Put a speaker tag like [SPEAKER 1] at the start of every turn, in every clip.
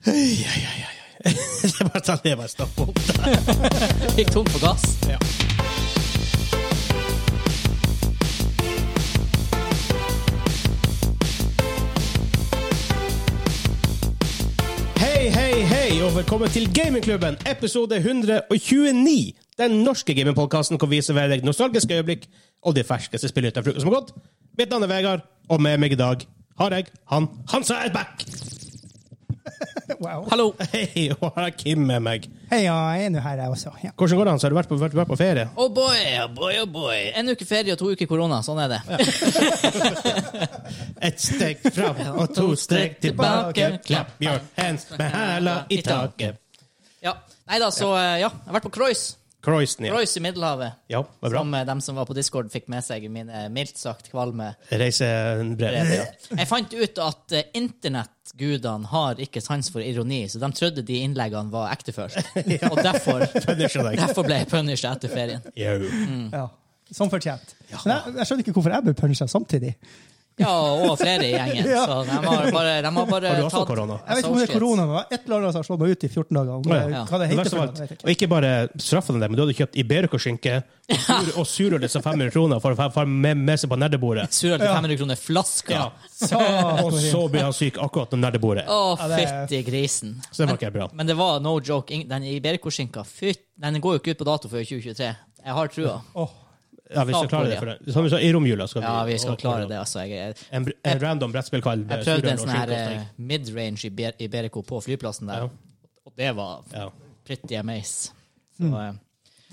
[SPEAKER 1] Hei, hei, hei, hei. Det er bare sånn jeg bare stopper opp der.
[SPEAKER 2] Gikk tom for gass.
[SPEAKER 1] Hei, hei, hei, og velkommen til Gamingklubben, episode 129. Den norske gamingpodkasten hvor vi serverer deg nostalgiske øyeblikk og de ferskeste spillene ut av frukost som har gått. Mitt navn er Vegard, og med meg i dag har jeg han Hansa er back!
[SPEAKER 2] Hallo.
[SPEAKER 1] Hei, og har jeg Kim med meg.
[SPEAKER 3] Hei, ja, jeg er nå her, jeg også. Ja.
[SPEAKER 1] Hvordan går det, Hansa? Har du vært på, vært, vært på ferie?
[SPEAKER 2] Oh boy, oh boy, oh boy. En uke ferie og to uker korona. Sånn er det.
[SPEAKER 1] Ett steg fram og to steg tilbake. Clap your hands med hæla i taket.
[SPEAKER 2] Ja. Nei da, så eh, ja. Jeg har vært på Croice.
[SPEAKER 1] Croysen, ja.
[SPEAKER 2] Croice i Middelhavet.
[SPEAKER 1] Ja, det var bra.
[SPEAKER 2] Som eh, dem som var på Discord, fikk med seg mine mildt sagt kvalme.
[SPEAKER 1] Reisebrev. Ja.
[SPEAKER 2] Jeg fant ut at eh, internettgudene har ikke sans for ironi, så de trodde de innleggene var ekte først. Og derfor,
[SPEAKER 1] Punisher deg.
[SPEAKER 2] derfor ble jeg punished etter ferien.
[SPEAKER 1] Jau.
[SPEAKER 3] Ja. Som fortjent. Men jeg, jeg skjønner ikke hvorfor jeg ble punsja samtidig.
[SPEAKER 2] Ja, og flere i gjengen.
[SPEAKER 3] Ja.
[SPEAKER 2] Så de har bare, de har bare
[SPEAKER 1] Har du også korona?
[SPEAKER 3] Jeg vet ikke om det er korona, men det var et eller annet som har slått meg ut i 14 dager. Om, det-
[SPEAKER 2] Ja.
[SPEAKER 3] Hva det
[SPEAKER 1] Det
[SPEAKER 3] heter
[SPEAKER 1] verste
[SPEAKER 3] for
[SPEAKER 1] var
[SPEAKER 3] noe, vet
[SPEAKER 1] at-
[SPEAKER 3] jeg ikke.
[SPEAKER 1] Og ikke bare straffa den der, men du hadde kjøpt Iberco-skinke sur- og surøl til 500 kroner for å få- få med, med seg på nerdebordet.
[SPEAKER 2] Surøl til 500 kroner flaska.
[SPEAKER 1] Ja. Og
[SPEAKER 3] Så-
[SPEAKER 1] så blir han syk akkurat når nerdebordet.
[SPEAKER 2] Å,
[SPEAKER 3] Ja, det er-
[SPEAKER 2] fytti grisen.
[SPEAKER 1] Så det var ikke bra.
[SPEAKER 2] Men det var no joke. Ing- Den Iberco-skinka fyt, den går jo ikke ut på dato før 2023. Jeg har trua.
[SPEAKER 3] Åh,
[SPEAKER 1] Ja, vi skal klare det. For det. Som vi sa, I romjula skal vi
[SPEAKER 2] Ja, vi skal klare det, altså. Jeg, jeg,
[SPEAKER 1] En, br- en random brettspill kalt
[SPEAKER 2] jeg prøvde en sånn her eh, mid-range Iber- Iberco på flyplassen
[SPEAKER 1] Ja.
[SPEAKER 2] der, og det var
[SPEAKER 1] Ja.
[SPEAKER 2] pretty amaze. Så, eh,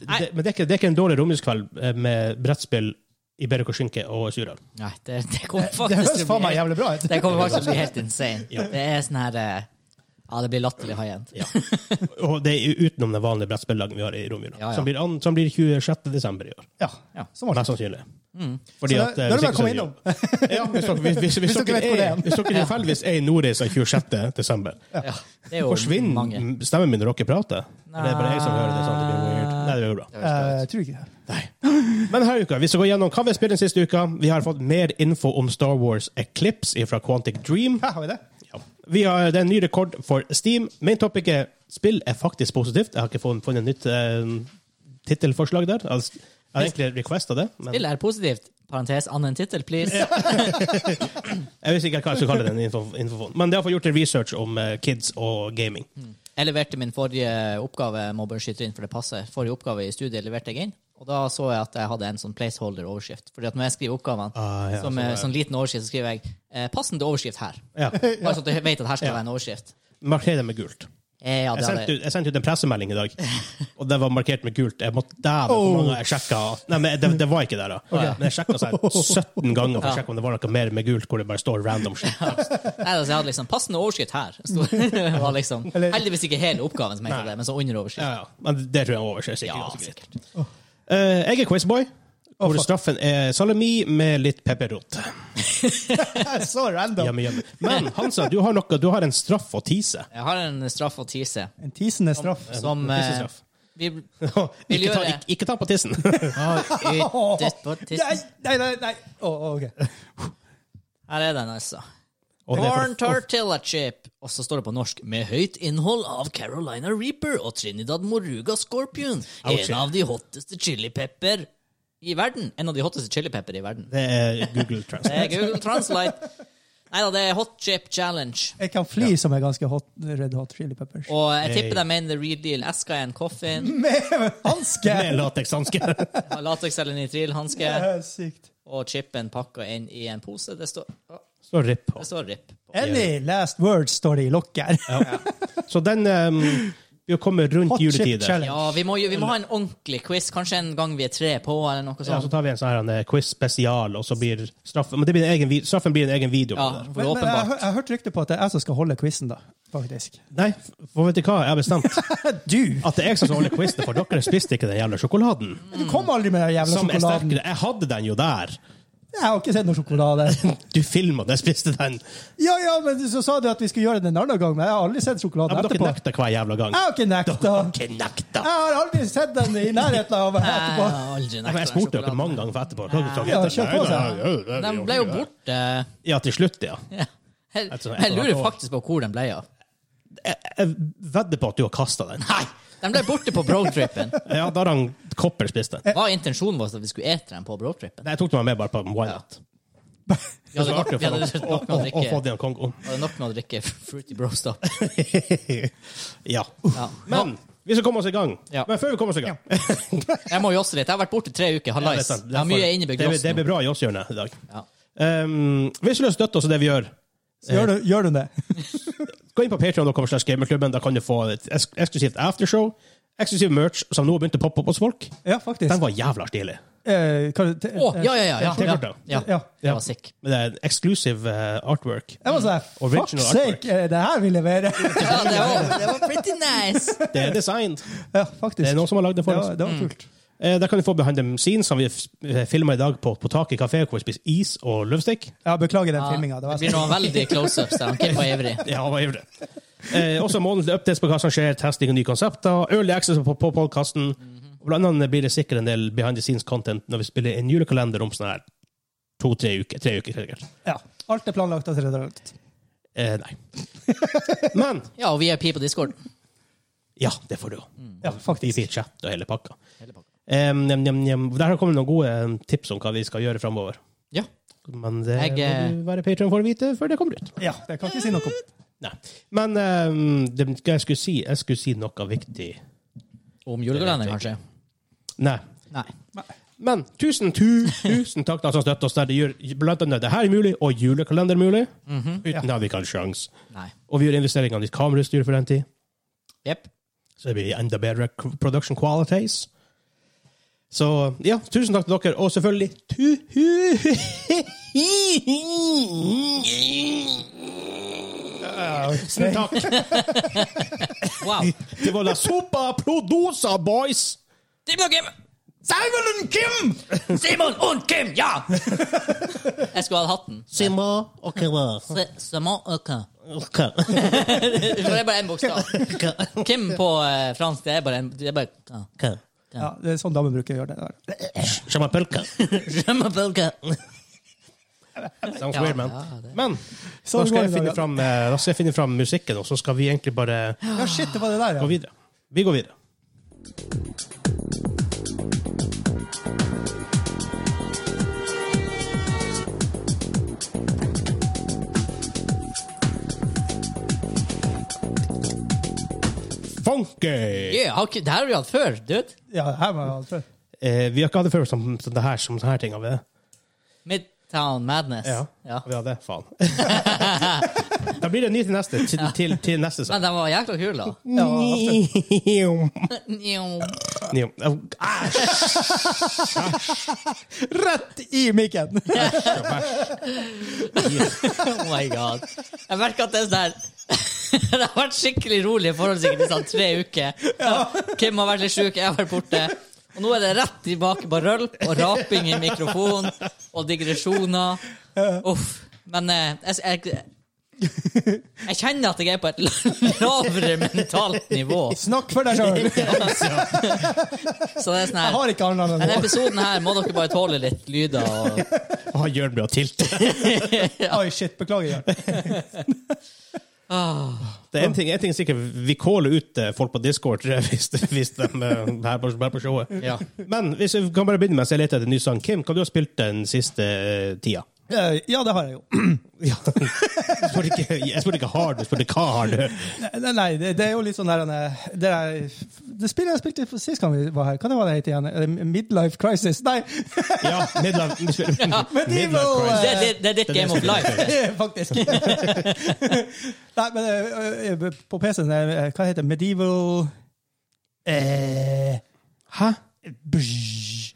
[SPEAKER 2] Nei.
[SPEAKER 1] Det, men det er, ikke, det er ikke en dårlig romjulskveld eh, med brettspill, Iberco-skinke og surøl.
[SPEAKER 2] nei, det, det kommer
[SPEAKER 3] det
[SPEAKER 2] faktisk
[SPEAKER 3] høres
[SPEAKER 2] til å
[SPEAKER 3] faen
[SPEAKER 2] bli
[SPEAKER 3] meg
[SPEAKER 2] helt,
[SPEAKER 3] jævlig bra ut.
[SPEAKER 2] det kommer faktisk til å bli helt insane. Det er sånn her eh, Ja, det blir latterlig high end.
[SPEAKER 1] Ja. Og det er utenom den vanlige brettspillagen vi har i romjula,
[SPEAKER 2] Ja, ja.
[SPEAKER 1] som, blir an, som blir 26. desember i år.
[SPEAKER 3] Ja.
[SPEAKER 2] Ja.
[SPEAKER 3] Som var
[SPEAKER 1] Mest
[SPEAKER 3] det.
[SPEAKER 1] sannsynlig.
[SPEAKER 2] Mm.
[SPEAKER 1] Fordi
[SPEAKER 3] Så da-
[SPEAKER 1] at, eh,
[SPEAKER 3] da er det
[SPEAKER 1] hvis
[SPEAKER 3] bare
[SPEAKER 1] ikke
[SPEAKER 3] å
[SPEAKER 1] så
[SPEAKER 3] komme
[SPEAKER 1] er det
[SPEAKER 3] innom.
[SPEAKER 1] jo- Ja, hvis dere- hvis- hvis- hvis
[SPEAKER 3] Hvis dere
[SPEAKER 1] dere
[SPEAKER 3] vet hvor det
[SPEAKER 1] er-
[SPEAKER 3] er.
[SPEAKER 1] hvis dere tilfeldigvis er i Nordreisa 27. desember,
[SPEAKER 2] Ja, det er jo mange.
[SPEAKER 1] forsvinner stemmen min når dere prater? Eller er det bare jeg som hører det? sånn at det blir weird? Nei, det blir bra.
[SPEAKER 3] Eh, tror ikke det.
[SPEAKER 1] Men her uka, vi skal gå gjennom hva vi har spilt den siste uka. Vi har fått mer info om Star Wars Eclipse fra Quantic Dream.
[SPEAKER 3] Her har vi det.
[SPEAKER 1] Ja. Vi har, det er en ny rekord for Steam. Main topic er spill er faktisk positivt. Jeg har ikke funnet, funnet nytt eh, tittelforslag der. Altså, Jeg har egentlig requesta det. Men
[SPEAKER 2] Spill er positivt. Parentes annen tittel, please.
[SPEAKER 1] Jeg visste ikke hva jeg skulle kalle den info- infofonen. Men det har fått gjort en research om eh, kids og gaming.
[SPEAKER 2] Jeg leverte min forrige oppgave må bare skyte inn, for det passer. Forrige oppgave i studiet leverte jeg inn, og da så jeg at jeg hadde en sånn placeholder overskrift. Fordi at når jeg skriver oppgavene,
[SPEAKER 1] Ah, ja,
[SPEAKER 2] som
[SPEAKER 1] sånn,
[SPEAKER 2] eh,
[SPEAKER 1] ja.
[SPEAKER 2] sånn liten overskrift, så skriver jeg eh, passende overskrift her.
[SPEAKER 1] Ja.
[SPEAKER 2] Bare så at du vet at her skal være en overskrift.
[SPEAKER 1] Marker det med gult.
[SPEAKER 2] Eh, ja,
[SPEAKER 1] Jeg
[SPEAKER 2] det
[SPEAKER 1] sendte,
[SPEAKER 2] hadde...
[SPEAKER 1] ut, jeg sendte ut en pressemelding i dag, og det var markert med gult. Jeg måtte, Dæven,
[SPEAKER 2] Oh.
[SPEAKER 1] hvor mange ganger jeg sjekka Nei, men det, det var ikke der, da. Men jeg sjekka sånn 17 ganger for å sjekke om det var noe mer med gult hvor det bare står random shit.
[SPEAKER 2] Nei, altså, jeg hadde liksom passende overskrift her. Sto, det var liksom,
[SPEAKER 3] Eller-
[SPEAKER 2] heldigvis ikke hele oppgaven som heter det, men så underoverskrift.
[SPEAKER 1] Ja, ja. Men det tror jeg han overser sikkert.
[SPEAKER 2] Ja,
[SPEAKER 1] ganske greit.
[SPEAKER 2] sikkert.
[SPEAKER 1] Eh, jeg er quizboy, hvor
[SPEAKER 3] fuck.
[SPEAKER 1] straffen er salami med litt pepperrot.
[SPEAKER 3] Så random.
[SPEAKER 1] Jamme, jamme. Men Hansa, du har, noe, du har en straff å tise.
[SPEAKER 2] Jeg har en straff å tise,
[SPEAKER 3] En tisende straff.
[SPEAKER 2] som... Eh,
[SPEAKER 1] Tissestraff.
[SPEAKER 2] vi,
[SPEAKER 1] Ikke ta,
[SPEAKER 2] gjøre-
[SPEAKER 1] ikke, ikke ta på tissen.
[SPEAKER 3] Åh,
[SPEAKER 2] ytet på
[SPEAKER 3] Nei,
[SPEAKER 2] tissen.
[SPEAKER 3] nei, nei. nei. Åh, ok.
[SPEAKER 2] Her er den, altså.
[SPEAKER 1] Og det er
[SPEAKER 2] Corn
[SPEAKER 1] for-
[SPEAKER 2] tortilla chip. Og så står det på norsk med høyt innhold av Carolina Reaper og Trinidad Moruga Scorpion.
[SPEAKER 1] Ouch.
[SPEAKER 2] En av de hotteste chilipepper i verden. En av de hotteste chilipepper i verden.
[SPEAKER 1] Det er Google
[SPEAKER 2] Det
[SPEAKER 1] Translate.
[SPEAKER 2] er Google Translate. Nei da, det er Hot Chip Challenge.
[SPEAKER 3] Jeg kan fly som er ganske hot, red hot chili peppers.
[SPEAKER 2] Og jeg tipper de mener the real deal. Eska er en coffin.
[SPEAKER 3] Hanske!
[SPEAKER 1] Med latekshansker.
[SPEAKER 2] Lateks eller nitrilhanske.
[SPEAKER 3] Det er Sykt.
[SPEAKER 2] Og chipen pakka inn i en pose. Det står,
[SPEAKER 1] Så ripp på.
[SPEAKER 2] det står RIP. på.
[SPEAKER 3] Any last words står det i lokket her.
[SPEAKER 1] Så den um, vil komme rundt
[SPEAKER 3] Hot chip
[SPEAKER 1] juletider.
[SPEAKER 3] challenge.
[SPEAKER 2] Ja, vi må, jo- vi må ha en ordentlig quiz. Kanskje en gang vi er tre på, eller noe
[SPEAKER 1] Ja, så
[SPEAKER 2] sånt.
[SPEAKER 1] tar vi en sånn her en quiz spesial, og så blir straffen Men det blir en egen, vi- straffen blir en egen video.
[SPEAKER 2] Ja,
[SPEAKER 1] på det.
[SPEAKER 2] for
[SPEAKER 3] Men, men jeg,
[SPEAKER 2] åpenbart.
[SPEAKER 3] har- jeg har hørt rykte på at det er jeg som skal holde quizen, da. Faktisk.
[SPEAKER 1] Nei, for vet du hva? Jeg har bestemt
[SPEAKER 3] Du!
[SPEAKER 1] at det er jeg som skal holde quizen, for dere spiste ikke den jævla sjokoladen.
[SPEAKER 3] Du kom aldri med den jævla
[SPEAKER 1] Som er
[SPEAKER 3] sjokoladen.
[SPEAKER 1] sterkere. Jeg hadde den jo der.
[SPEAKER 3] Jeg har ikke sett noe sjokolade.
[SPEAKER 1] Du filma da jeg spiste den.
[SPEAKER 3] Ja, ja, men så sa du at vi skulle gjøre det en annen gang, men jeg har aldri sett
[SPEAKER 1] Ja,
[SPEAKER 3] sjokoladen
[SPEAKER 1] men dere
[SPEAKER 3] etterpå.
[SPEAKER 1] nekta hver jævla gang.
[SPEAKER 3] Jeg har ikke nekta.
[SPEAKER 1] Dere nekta.
[SPEAKER 3] Jeg har aldri sett den i nærheten av meg
[SPEAKER 2] Nei,
[SPEAKER 3] etterpå.
[SPEAKER 2] jeg har aldri
[SPEAKER 1] Ja, men jeg
[SPEAKER 2] nekta
[SPEAKER 1] spurte dere
[SPEAKER 2] sjokoladen.
[SPEAKER 1] mange ganger for etterpå. Dere sa,
[SPEAKER 3] Ja, kjør på, sa
[SPEAKER 1] Nei,
[SPEAKER 3] jeg.
[SPEAKER 1] nei, nei, nei,
[SPEAKER 2] Den
[SPEAKER 1] nei,
[SPEAKER 2] ble jo
[SPEAKER 1] nei.
[SPEAKER 2] borte.
[SPEAKER 1] Ja, til slutt, ja.
[SPEAKER 2] Ja.
[SPEAKER 1] tror-
[SPEAKER 2] Jeg,
[SPEAKER 1] jeg
[SPEAKER 2] jeg
[SPEAKER 1] tror
[SPEAKER 2] lurer
[SPEAKER 1] det var-
[SPEAKER 2] faktisk på hvor den ble av.
[SPEAKER 1] Jeg, jeg vedder på at du har kasta den.
[SPEAKER 2] Nei! De ble borte på broadtripen.
[SPEAKER 1] Ja, da har han Copper spist den.
[SPEAKER 2] Hva intensjonen vår at vi skulle ete dem på broadtripen?
[SPEAKER 1] Nei, Jeg tok den med bare på Wild.
[SPEAKER 2] Vi hadde
[SPEAKER 1] Det var
[SPEAKER 2] nok,
[SPEAKER 1] artig å
[SPEAKER 2] vi
[SPEAKER 1] få
[SPEAKER 2] hadde
[SPEAKER 1] den-
[SPEAKER 2] nok
[SPEAKER 1] å- å-
[SPEAKER 2] med å
[SPEAKER 1] å få
[SPEAKER 2] drikke,
[SPEAKER 1] den i Kongo.
[SPEAKER 2] hadde nok med å drikke Fruity Brostop.
[SPEAKER 1] Ja.
[SPEAKER 2] Ja.
[SPEAKER 1] Men vi skal komme oss i gang.
[SPEAKER 2] Ja.
[SPEAKER 1] Men før vi kommer oss i gang
[SPEAKER 2] Jeg må josse litt. Jeg har vært borte tre uker.
[SPEAKER 1] Det er
[SPEAKER 2] Hallais.
[SPEAKER 1] sant.
[SPEAKER 2] Jeg har mye innebygd
[SPEAKER 1] Det-
[SPEAKER 2] joss
[SPEAKER 1] Det blir
[SPEAKER 2] nå.
[SPEAKER 1] bra i oss-hjørnet i dag.
[SPEAKER 2] Ja.
[SPEAKER 1] Um, hvis du vil støtte oss i det vi gjør,
[SPEAKER 3] Så gjør du, gjør du det?
[SPEAKER 1] Gå inn på patreon.com slash gamerklubben. Da kan du få et eks- eksklusivt aftershow, eksklusiv merch, som nå har begynt å poppe opp hos folk.
[SPEAKER 3] Ja, faktisk.
[SPEAKER 1] Den var jævla stilig.
[SPEAKER 3] Eh, hva er det-
[SPEAKER 2] Å, ja, ja, ja. ja, ja,
[SPEAKER 1] T-skjorta.
[SPEAKER 2] ja.
[SPEAKER 3] Ja.
[SPEAKER 2] Det var sick.
[SPEAKER 1] Men det er en eksklusiv eh, artwork.
[SPEAKER 3] Jeg var sånn, fuck
[SPEAKER 1] Original artwork.
[SPEAKER 3] sake, er det her vi leverer?
[SPEAKER 2] Ja, det, var, det var pretty nice.
[SPEAKER 1] Det er designed.
[SPEAKER 3] ja, faktisk.
[SPEAKER 1] Det er noen som har lagd det
[SPEAKER 3] det
[SPEAKER 1] for oss.
[SPEAKER 3] var, det var kult.
[SPEAKER 1] Eh, der kan du få behind the scenes, som vi filma i dag på, på taket i kafé, hvor vi spiser is og løvstikk.
[SPEAKER 3] Ja, beklager den
[SPEAKER 2] Ja,
[SPEAKER 3] filminga.
[SPEAKER 2] det
[SPEAKER 3] Det var
[SPEAKER 2] blir noen veldig close-ups der. Han Kim var ivrig.
[SPEAKER 1] Ja, hva gjør det? Eh, også månedlig updates på hva som skjer, testing av nye konsepter, early access på, på podkasten. Blant annet blir det sikkert en del behind the scenes-content når vi spiller en julekalender om sånn her to-tre uker. Tre uker, sikkert.
[SPEAKER 3] ja. Alt er planlagt. Alt er planlagt.
[SPEAKER 1] Eh, nei. Men
[SPEAKER 2] Ja, og vi er pi på Discord.
[SPEAKER 1] ja, det får du òg.
[SPEAKER 3] Ja,
[SPEAKER 1] Vi
[SPEAKER 3] faktisk.
[SPEAKER 1] fikk chat og hele pakka.
[SPEAKER 2] Hele pakka.
[SPEAKER 1] Um, um, um, um, der har kommet noen gode em, tips om hva vi skal gjøre framover.
[SPEAKER 2] Ja.
[SPEAKER 1] Men det
[SPEAKER 2] Jeg, eh,
[SPEAKER 1] må du være patron for å vite før det kommer ut.
[SPEAKER 3] Ja, det kan ikke si noe om.
[SPEAKER 1] Nei. Men em, det, hva jeg, skulle si, jeg skulle si noe viktig.
[SPEAKER 2] Om julekalender, kanskje?
[SPEAKER 1] Nei.
[SPEAKER 2] Nei.
[SPEAKER 1] Men tusen, tu, tusen takk til alle som støtter oss der. Det gjør blant annet det her mulig, og julekalender mulig. Uten det hadde vi ikke hatt sjans.
[SPEAKER 2] Nei.
[SPEAKER 1] Og vi gjør investeringene i kamerautstyr for den tid.
[SPEAKER 2] Jepp.
[SPEAKER 1] Så det blir enda bedre production qualities. Så ja, tusen takk til dere, og selvfølgelig Tusen takk!
[SPEAKER 2] Wow.
[SPEAKER 1] Det var la sopa prodosa, boys!
[SPEAKER 2] Simon og Kim! Simon og Kim! Simon og Kim, ja! Jeg skulle hatt hatten.
[SPEAKER 1] Sima og kava.
[SPEAKER 2] Se- Simon og Kim. For det er bare én bokstav. Kim på eh, fransk, det er bare en det er bare, ja.
[SPEAKER 3] Ja, det er sånn damer bruker å gjøre det. Der.
[SPEAKER 1] Sjamapulka.
[SPEAKER 2] Kim.
[SPEAKER 1] Sounds
[SPEAKER 2] Ja,
[SPEAKER 1] weird, man.
[SPEAKER 2] ja, det-
[SPEAKER 1] Men da skal
[SPEAKER 3] Sånn går det
[SPEAKER 1] jeg
[SPEAKER 3] da,
[SPEAKER 1] finne
[SPEAKER 3] ja.
[SPEAKER 1] fram, eh, da skal jeg finne fram musikken, og så skal vi egentlig bare
[SPEAKER 3] Ja, shit, det var det der,
[SPEAKER 1] gå
[SPEAKER 3] ja.
[SPEAKER 1] videre. Vi går videre. Funky!
[SPEAKER 2] Yeah, har ikke- det her har vi hatt før, dude.
[SPEAKER 3] Ja, her var alt før.
[SPEAKER 1] Eh, vi har ikke hatt det før som, som det her, som sånne her ting. Har vi det?
[SPEAKER 2] Midtown Madness. Ja.
[SPEAKER 1] Vi hadde det, faen. da blir det ny til neste. Til, til, til neste
[SPEAKER 2] Men
[SPEAKER 1] sang.
[SPEAKER 2] den var jækla kul, da.
[SPEAKER 3] Ja, absolutt.
[SPEAKER 2] Jo.
[SPEAKER 1] Nio. Æsj!
[SPEAKER 3] Rett i mikken!
[SPEAKER 2] Oh my god. Jeg merker at det er sånn her Det har vært skikkelig rolig forhold sikkert i sånn tre uker. Ja. Kim har vært litt sjuk, jeg har vært borte. Og nå er det rett tilbake på rølp og raping i mikrofonen og digresjoner. Uff. Men eh, jeg, jeg, jeg kjenner at jeg er på et lavere mentalt nivå.
[SPEAKER 3] Snakk for deg sjøl!
[SPEAKER 2] Så det er sånn
[SPEAKER 3] Jeg
[SPEAKER 2] her
[SPEAKER 3] har ikke annet enn
[SPEAKER 2] Denne
[SPEAKER 3] det.
[SPEAKER 2] episoden her må dere bare tåle litt lyder og
[SPEAKER 1] Ah, Jørn blir å tilte.
[SPEAKER 3] Oi, shit, beklager. Jørn.
[SPEAKER 2] Ah.
[SPEAKER 1] Det er en ting, en ting er sikkert, vi caller ut eh, folk på Discord eh, hvis, hvis de er her på, her på showet.
[SPEAKER 2] Ja.
[SPEAKER 1] Men hvis vi kan bare begynne med å se litt etter en ny sang. Kim, hva du har spilt den siste eh, tida?
[SPEAKER 3] Eh, Ja, det har jeg jo.
[SPEAKER 1] Jeg spurte ikke, jeg spurte ikke hard, jeg spurte hva har du?
[SPEAKER 3] Nei, nei det, det er jo litt sånn der eh, Det, er, det spillet jeg spilte for sist gang vi var her, hva det var det het igjen? Er det Midlife Crisis? Nei,
[SPEAKER 1] Ja, midlife, midlife
[SPEAKER 3] Medieval,
[SPEAKER 1] crisis.
[SPEAKER 2] Det er ditt- det er ditt game of life. det.
[SPEAKER 3] faktisk. Nei, men eh, eh, på PC-en eh, Hva heter det? Medieval eh,
[SPEAKER 1] Hæ?
[SPEAKER 3] bzz.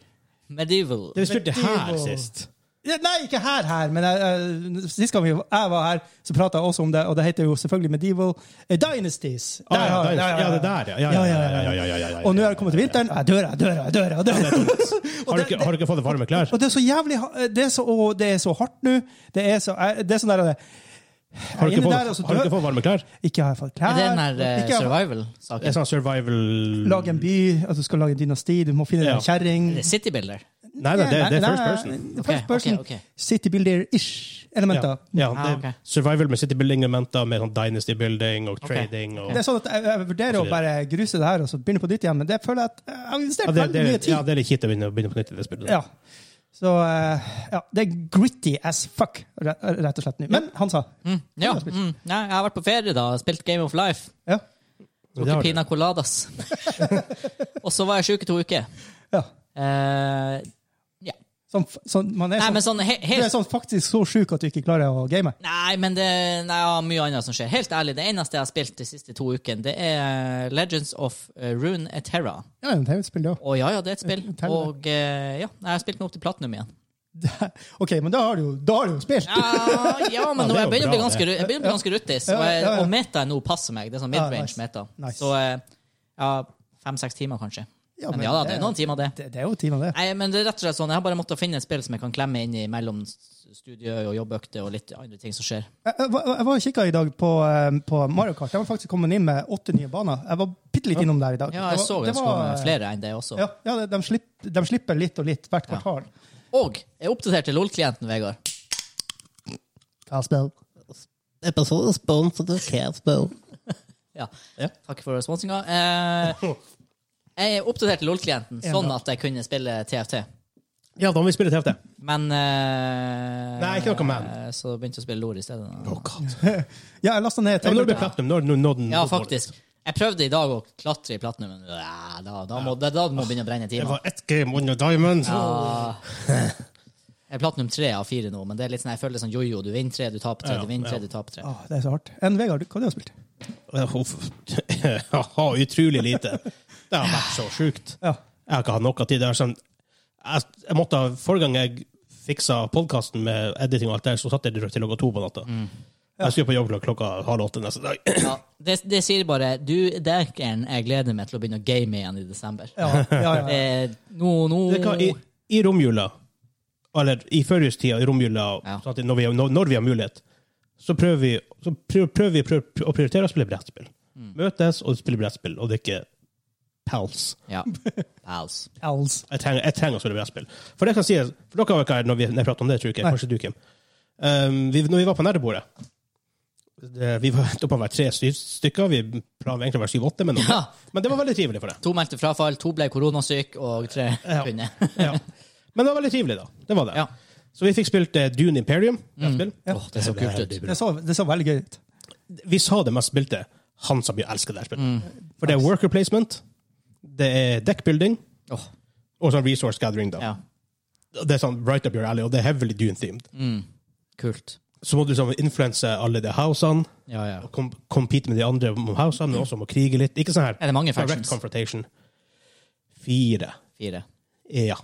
[SPEAKER 2] Medieval.
[SPEAKER 1] Det vi spilte her
[SPEAKER 3] Medieval.
[SPEAKER 1] sist.
[SPEAKER 3] Ja, Nei, ikke her, her, men eh, eh, sist gang vi- jeg var her, så prata jeg også om det, og det heter jo selvfølgelig Medieval eh, Dynasties.
[SPEAKER 1] Ah, ja,
[SPEAKER 3] har-
[SPEAKER 1] der, ja, det der, ja. Ja, ja, ja, ja, ja, ja, ja, ja, ja.
[SPEAKER 3] Og nå er det kommet til vinteren. Jeg dør, jeg dør, jeg dør. jeg dør.
[SPEAKER 1] Har du ikke, har du ikke fått varme klær?
[SPEAKER 3] Og det er så jævlig ha- eh, det er så, og det er så hardt nå. Det er så jeg- det er sånn der jeg
[SPEAKER 1] Har du
[SPEAKER 3] er
[SPEAKER 1] ikke
[SPEAKER 3] inne
[SPEAKER 1] fått,
[SPEAKER 3] der, og så
[SPEAKER 1] har du ikke
[SPEAKER 3] dør-
[SPEAKER 1] fått varme klær?
[SPEAKER 3] Ikke har jeg fått klær.
[SPEAKER 2] Er det den her eh,
[SPEAKER 3] ikke har jeg
[SPEAKER 1] Det er
[SPEAKER 2] survival-saken?
[SPEAKER 1] sånn survival
[SPEAKER 3] altså fått- Lage en by, at du skal lage en dynasti, du må finne
[SPEAKER 1] Ja.
[SPEAKER 3] en kjerring
[SPEAKER 2] Er det Citybuilder?
[SPEAKER 1] Nei, nei, det, det er first
[SPEAKER 3] Nei,
[SPEAKER 1] person.
[SPEAKER 3] nei,
[SPEAKER 2] Ok,
[SPEAKER 3] First person
[SPEAKER 2] ok, ok.
[SPEAKER 3] City Builder-ish elementer.
[SPEAKER 1] Ja,
[SPEAKER 2] Ah,
[SPEAKER 1] det
[SPEAKER 2] ok.
[SPEAKER 1] er survival med city building-elementer, med sånn dynasty building og trading. Og,
[SPEAKER 3] Det er sånn at jeg, jeg vurderer å bare gruse det her og så begynne på nytt igjen, men det føler jeg at jeg har
[SPEAKER 1] ja,
[SPEAKER 3] investert
[SPEAKER 1] det, det,
[SPEAKER 3] veldig mye tid.
[SPEAKER 1] ja, det er litt kjipt å begynne, begynne på nytt i det spillet.
[SPEAKER 3] Ja. Så eh, ja, det er gritty as fuck, re- rett og slett. nå. Men han sa
[SPEAKER 2] Mm, ja, mm, nei, jeg har vært på ferie da, spilt Game of Life.
[SPEAKER 3] ja.
[SPEAKER 1] Det har
[SPEAKER 2] Drukket
[SPEAKER 1] du.
[SPEAKER 2] pina coladas. og så var jeg sjuk i to uker.
[SPEAKER 3] ja.
[SPEAKER 2] Eh, ja.
[SPEAKER 3] Sånn, f- sånn, man er
[SPEAKER 2] Nei,
[SPEAKER 3] sånn,
[SPEAKER 2] men sånn he
[SPEAKER 3] du
[SPEAKER 2] helt
[SPEAKER 3] er sånn faktisk så sjuk at du ikke klarer å game.
[SPEAKER 2] Nei, men det nei, jeg har mye annet som skjer. Helt ærlig, det eneste jeg har spilt de siste to ukene, det er eh, Legends of eh, Rune Eterra.
[SPEAKER 3] Ja, men det er jo et spill, det også.
[SPEAKER 2] Og ja, ja, det er et spill.
[SPEAKER 3] Teller.
[SPEAKER 2] Og eh, ja, jeg har spilt meg opp til platinum igjen.
[SPEAKER 3] Det- OK, men da har du jo da har du jo spilt!
[SPEAKER 2] Ja, ja men nå,
[SPEAKER 1] Ja, det
[SPEAKER 2] jeg
[SPEAKER 1] er jo
[SPEAKER 2] begynner å bli
[SPEAKER 1] bra,
[SPEAKER 2] ganske, ru- jeg begynner å bli ganske ruttis, og, jeg,
[SPEAKER 3] Ja, ja, ja.
[SPEAKER 2] og meta nå passer meg. Det er sånn
[SPEAKER 3] Ja,
[SPEAKER 2] midrange
[SPEAKER 3] nice.
[SPEAKER 2] meta.
[SPEAKER 3] Nice.
[SPEAKER 2] Så eh, ja, fem-seks timer, kanskje.
[SPEAKER 3] Ja,
[SPEAKER 2] men,
[SPEAKER 3] men
[SPEAKER 2] ja da,
[SPEAKER 3] det
[SPEAKER 2] det
[SPEAKER 3] er-
[SPEAKER 2] er noen timer, det.
[SPEAKER 3] Det, det er jo timen, det.
[SPEAKER 2] Nei, men det er rett og slett sånn, jeg har bare måttet finne et spill som jeg kan klemme inn i mellom studiet og jobbøkter og litt andre ting som skjer.
[SPEAKER 3] Jeg, jeg, var- jeg var og kikka i dag på, eh, på Mario Kart. Jeg var faktisk kommet inn med åtte nye baner. Jeg var bitte litt innom der i dag.
[SPEAKER 2] Ja, jeg
[SPEAKER 3] Det
[SPEAKER 2] så
[SPEAKER 3] var-
[SPEAKER 2] det
[SPEAKER 3] det
[SPEAKER 2] skulle
[SPEAKER 3] var-
[SPEAKER 2] komme flere enn det også.
[SPEAKER 3] Ja, ja de, de, slipper, de slipper litt og litt hvert
[SPEAKER 2] Ja.
[SPEAKER 3] kvartal.
[SPEAKER 2] Og jeg oppdaterte LOL-klienten, Vegard.
[SPEAKER 4] Episode sponset av Casbo.
[SPEAKER 2] Ja.
[SPEAKER 1] Ja.
[SPEAKER 2] Takk for responsinga. Eh, jeg oppdaterte LOL-klienten sånn at jeg kunne spille TFT.
[SPEAKER 1] Ja, da må vi spille TFT.
[SPEAKER 2] Men eh,
[SPEAKER 1] Nei, ikke noe men.
[SPEAKER 2] Så begynte jeg å spille LOL i stedet.
[SPEAKER 3] Ja, jeg lasta
[SPEAKER 1] Ja, men når det
[SPEAKER 3] ned Taylor.
[SPEAKER 1] blir platinum, når, når, når den
[SPEAKER 2] Ja, faktisk. Jeg prøvde i dag å klatre i platinumen. Ja, da, da, må, da, da må begynne å brenne
[SPEAKER 1] Det
[SPEAKER 2] timer.
[SPEAKER 1] var ett game under diamond.
[SPEAKER 2] Jeg er platinum tre av fire nå, men det er litt sånn, jeg føler det er sånn jojo. Du vinner tre, du taper tre,
[SPEAKER 1] Ja,
[SPEAKER 2] du vinner
[SPEAKER 1] ja.
[SPEAKER 2] tre, du taper tre.
[SPEAKER 3] Åh, det er så hardt. Enn Vegard, du- hva har du spilt?
[SPEAKER 1] Ja, uff. Haha, utrolig lite. Det har vært så sjukt.
[SPEAKER 3] Ja.
[SPEAKER 1] Jeg har ikke hatt noe tid. Det er sånn, jeg, jeg måtte, ha- Forrige gang jeg fiksa podkasten med editing og alt det, så satt jeg til klokka to på natta.
[SPEAKER 2] Mm.
[SPEAKER 1] Jeg skulle på jobb klokka- klokka halv åtte neste dag.
[SPEAKER 2] Ja, det, det sier bare Du, dækeren, jeg gleder meg til å begynne å game igjen i desember.
[SPEAKER 3] Ja, ja, ja.
[SPEAKER 2] Eh, nå, nå
[SPEAKER 1] Det er hva, I, i romjula, eller i førjulstida i romjula,
[SPEAKER 2] Ja.
[SPEAKER 1] sånn at når, vi, når, når vi har mulighet, så prøver vi, så prø- prøver vi å prior- å prioritere å spille brettspill.
[SPEAKER 2] Mm.
[SPEAKER 1] Møtes og spille brettspill, og det er ikke pals.
[SPEAKER 2] Ja. Pals.
[SPEAKER 3] Els.
[SPEAKER 1] Jeg trenger, jeg trenger å spille brettspill. For det kan sies, for dere var ikke her når vi når jeg pratet om det, tror jeg. ikke.
[SPEAKER 3] Nei.
[SPEAKER 1] Kanskje du, Kim. Um, vi, når vi var på nerdebordet det, Vi var endte opp med å være tre syv stykker. Vi planla egentlig å være syv-åtte, men,
[SPEAKER 2] Ja.
[SPEAKER 1] men det var veldig trivelig for det.
[SPEAKER 2] To meldte frafall, to ble koronasyk, og tre
[SPEAKER 1] Ja.
[SPEAKER 2] kunne.
[SPEAKER 1] Ja. Men det var veldig trivelig, da. Det var det.
[SPEAKER 2] Ja. Mm.
[SPEAKER 1] Så vi fikk spilt eh, Dune Imperium. brettspill.
[SPEAKER 2] Åh, det er så kult ut.
[SPEAKER 3] Det så, det så veldig gøy ut.
[SPEAKER 1] Vi sa det mest spilte. Han som jo elsker det her
[SPEAKER 2] Mm.
[SPEAKER 1] spillet. For det er worker placement, det er deckbuilding
[SPEAKER 2] Åh,
[SPEAKER 1] og sånn resource gathering. da.
[SPEAKER 2] ja.
[SPEAKER 1] Det er sånn right up your alley, og det er heavily Dune-themed.
[SPEAKER 2] Mm. Kult.
[SPEAKER 1] Så må du sånn influense alle de housene,
[SPEAKER 2] Ja, ja.
[SPEAKER 1] og kom, compete med de andre om housene, men også om å krige litt. Ikke sånn her.
[SPEAKER 2] Er det mange
[SPEAKER 1] Direct
[SPEAKER 2] factions?
[SPEAKER 1] confrontation. Fire. E,
[SPEAKER 2] Fire.
[SPEAKER 1] Ja.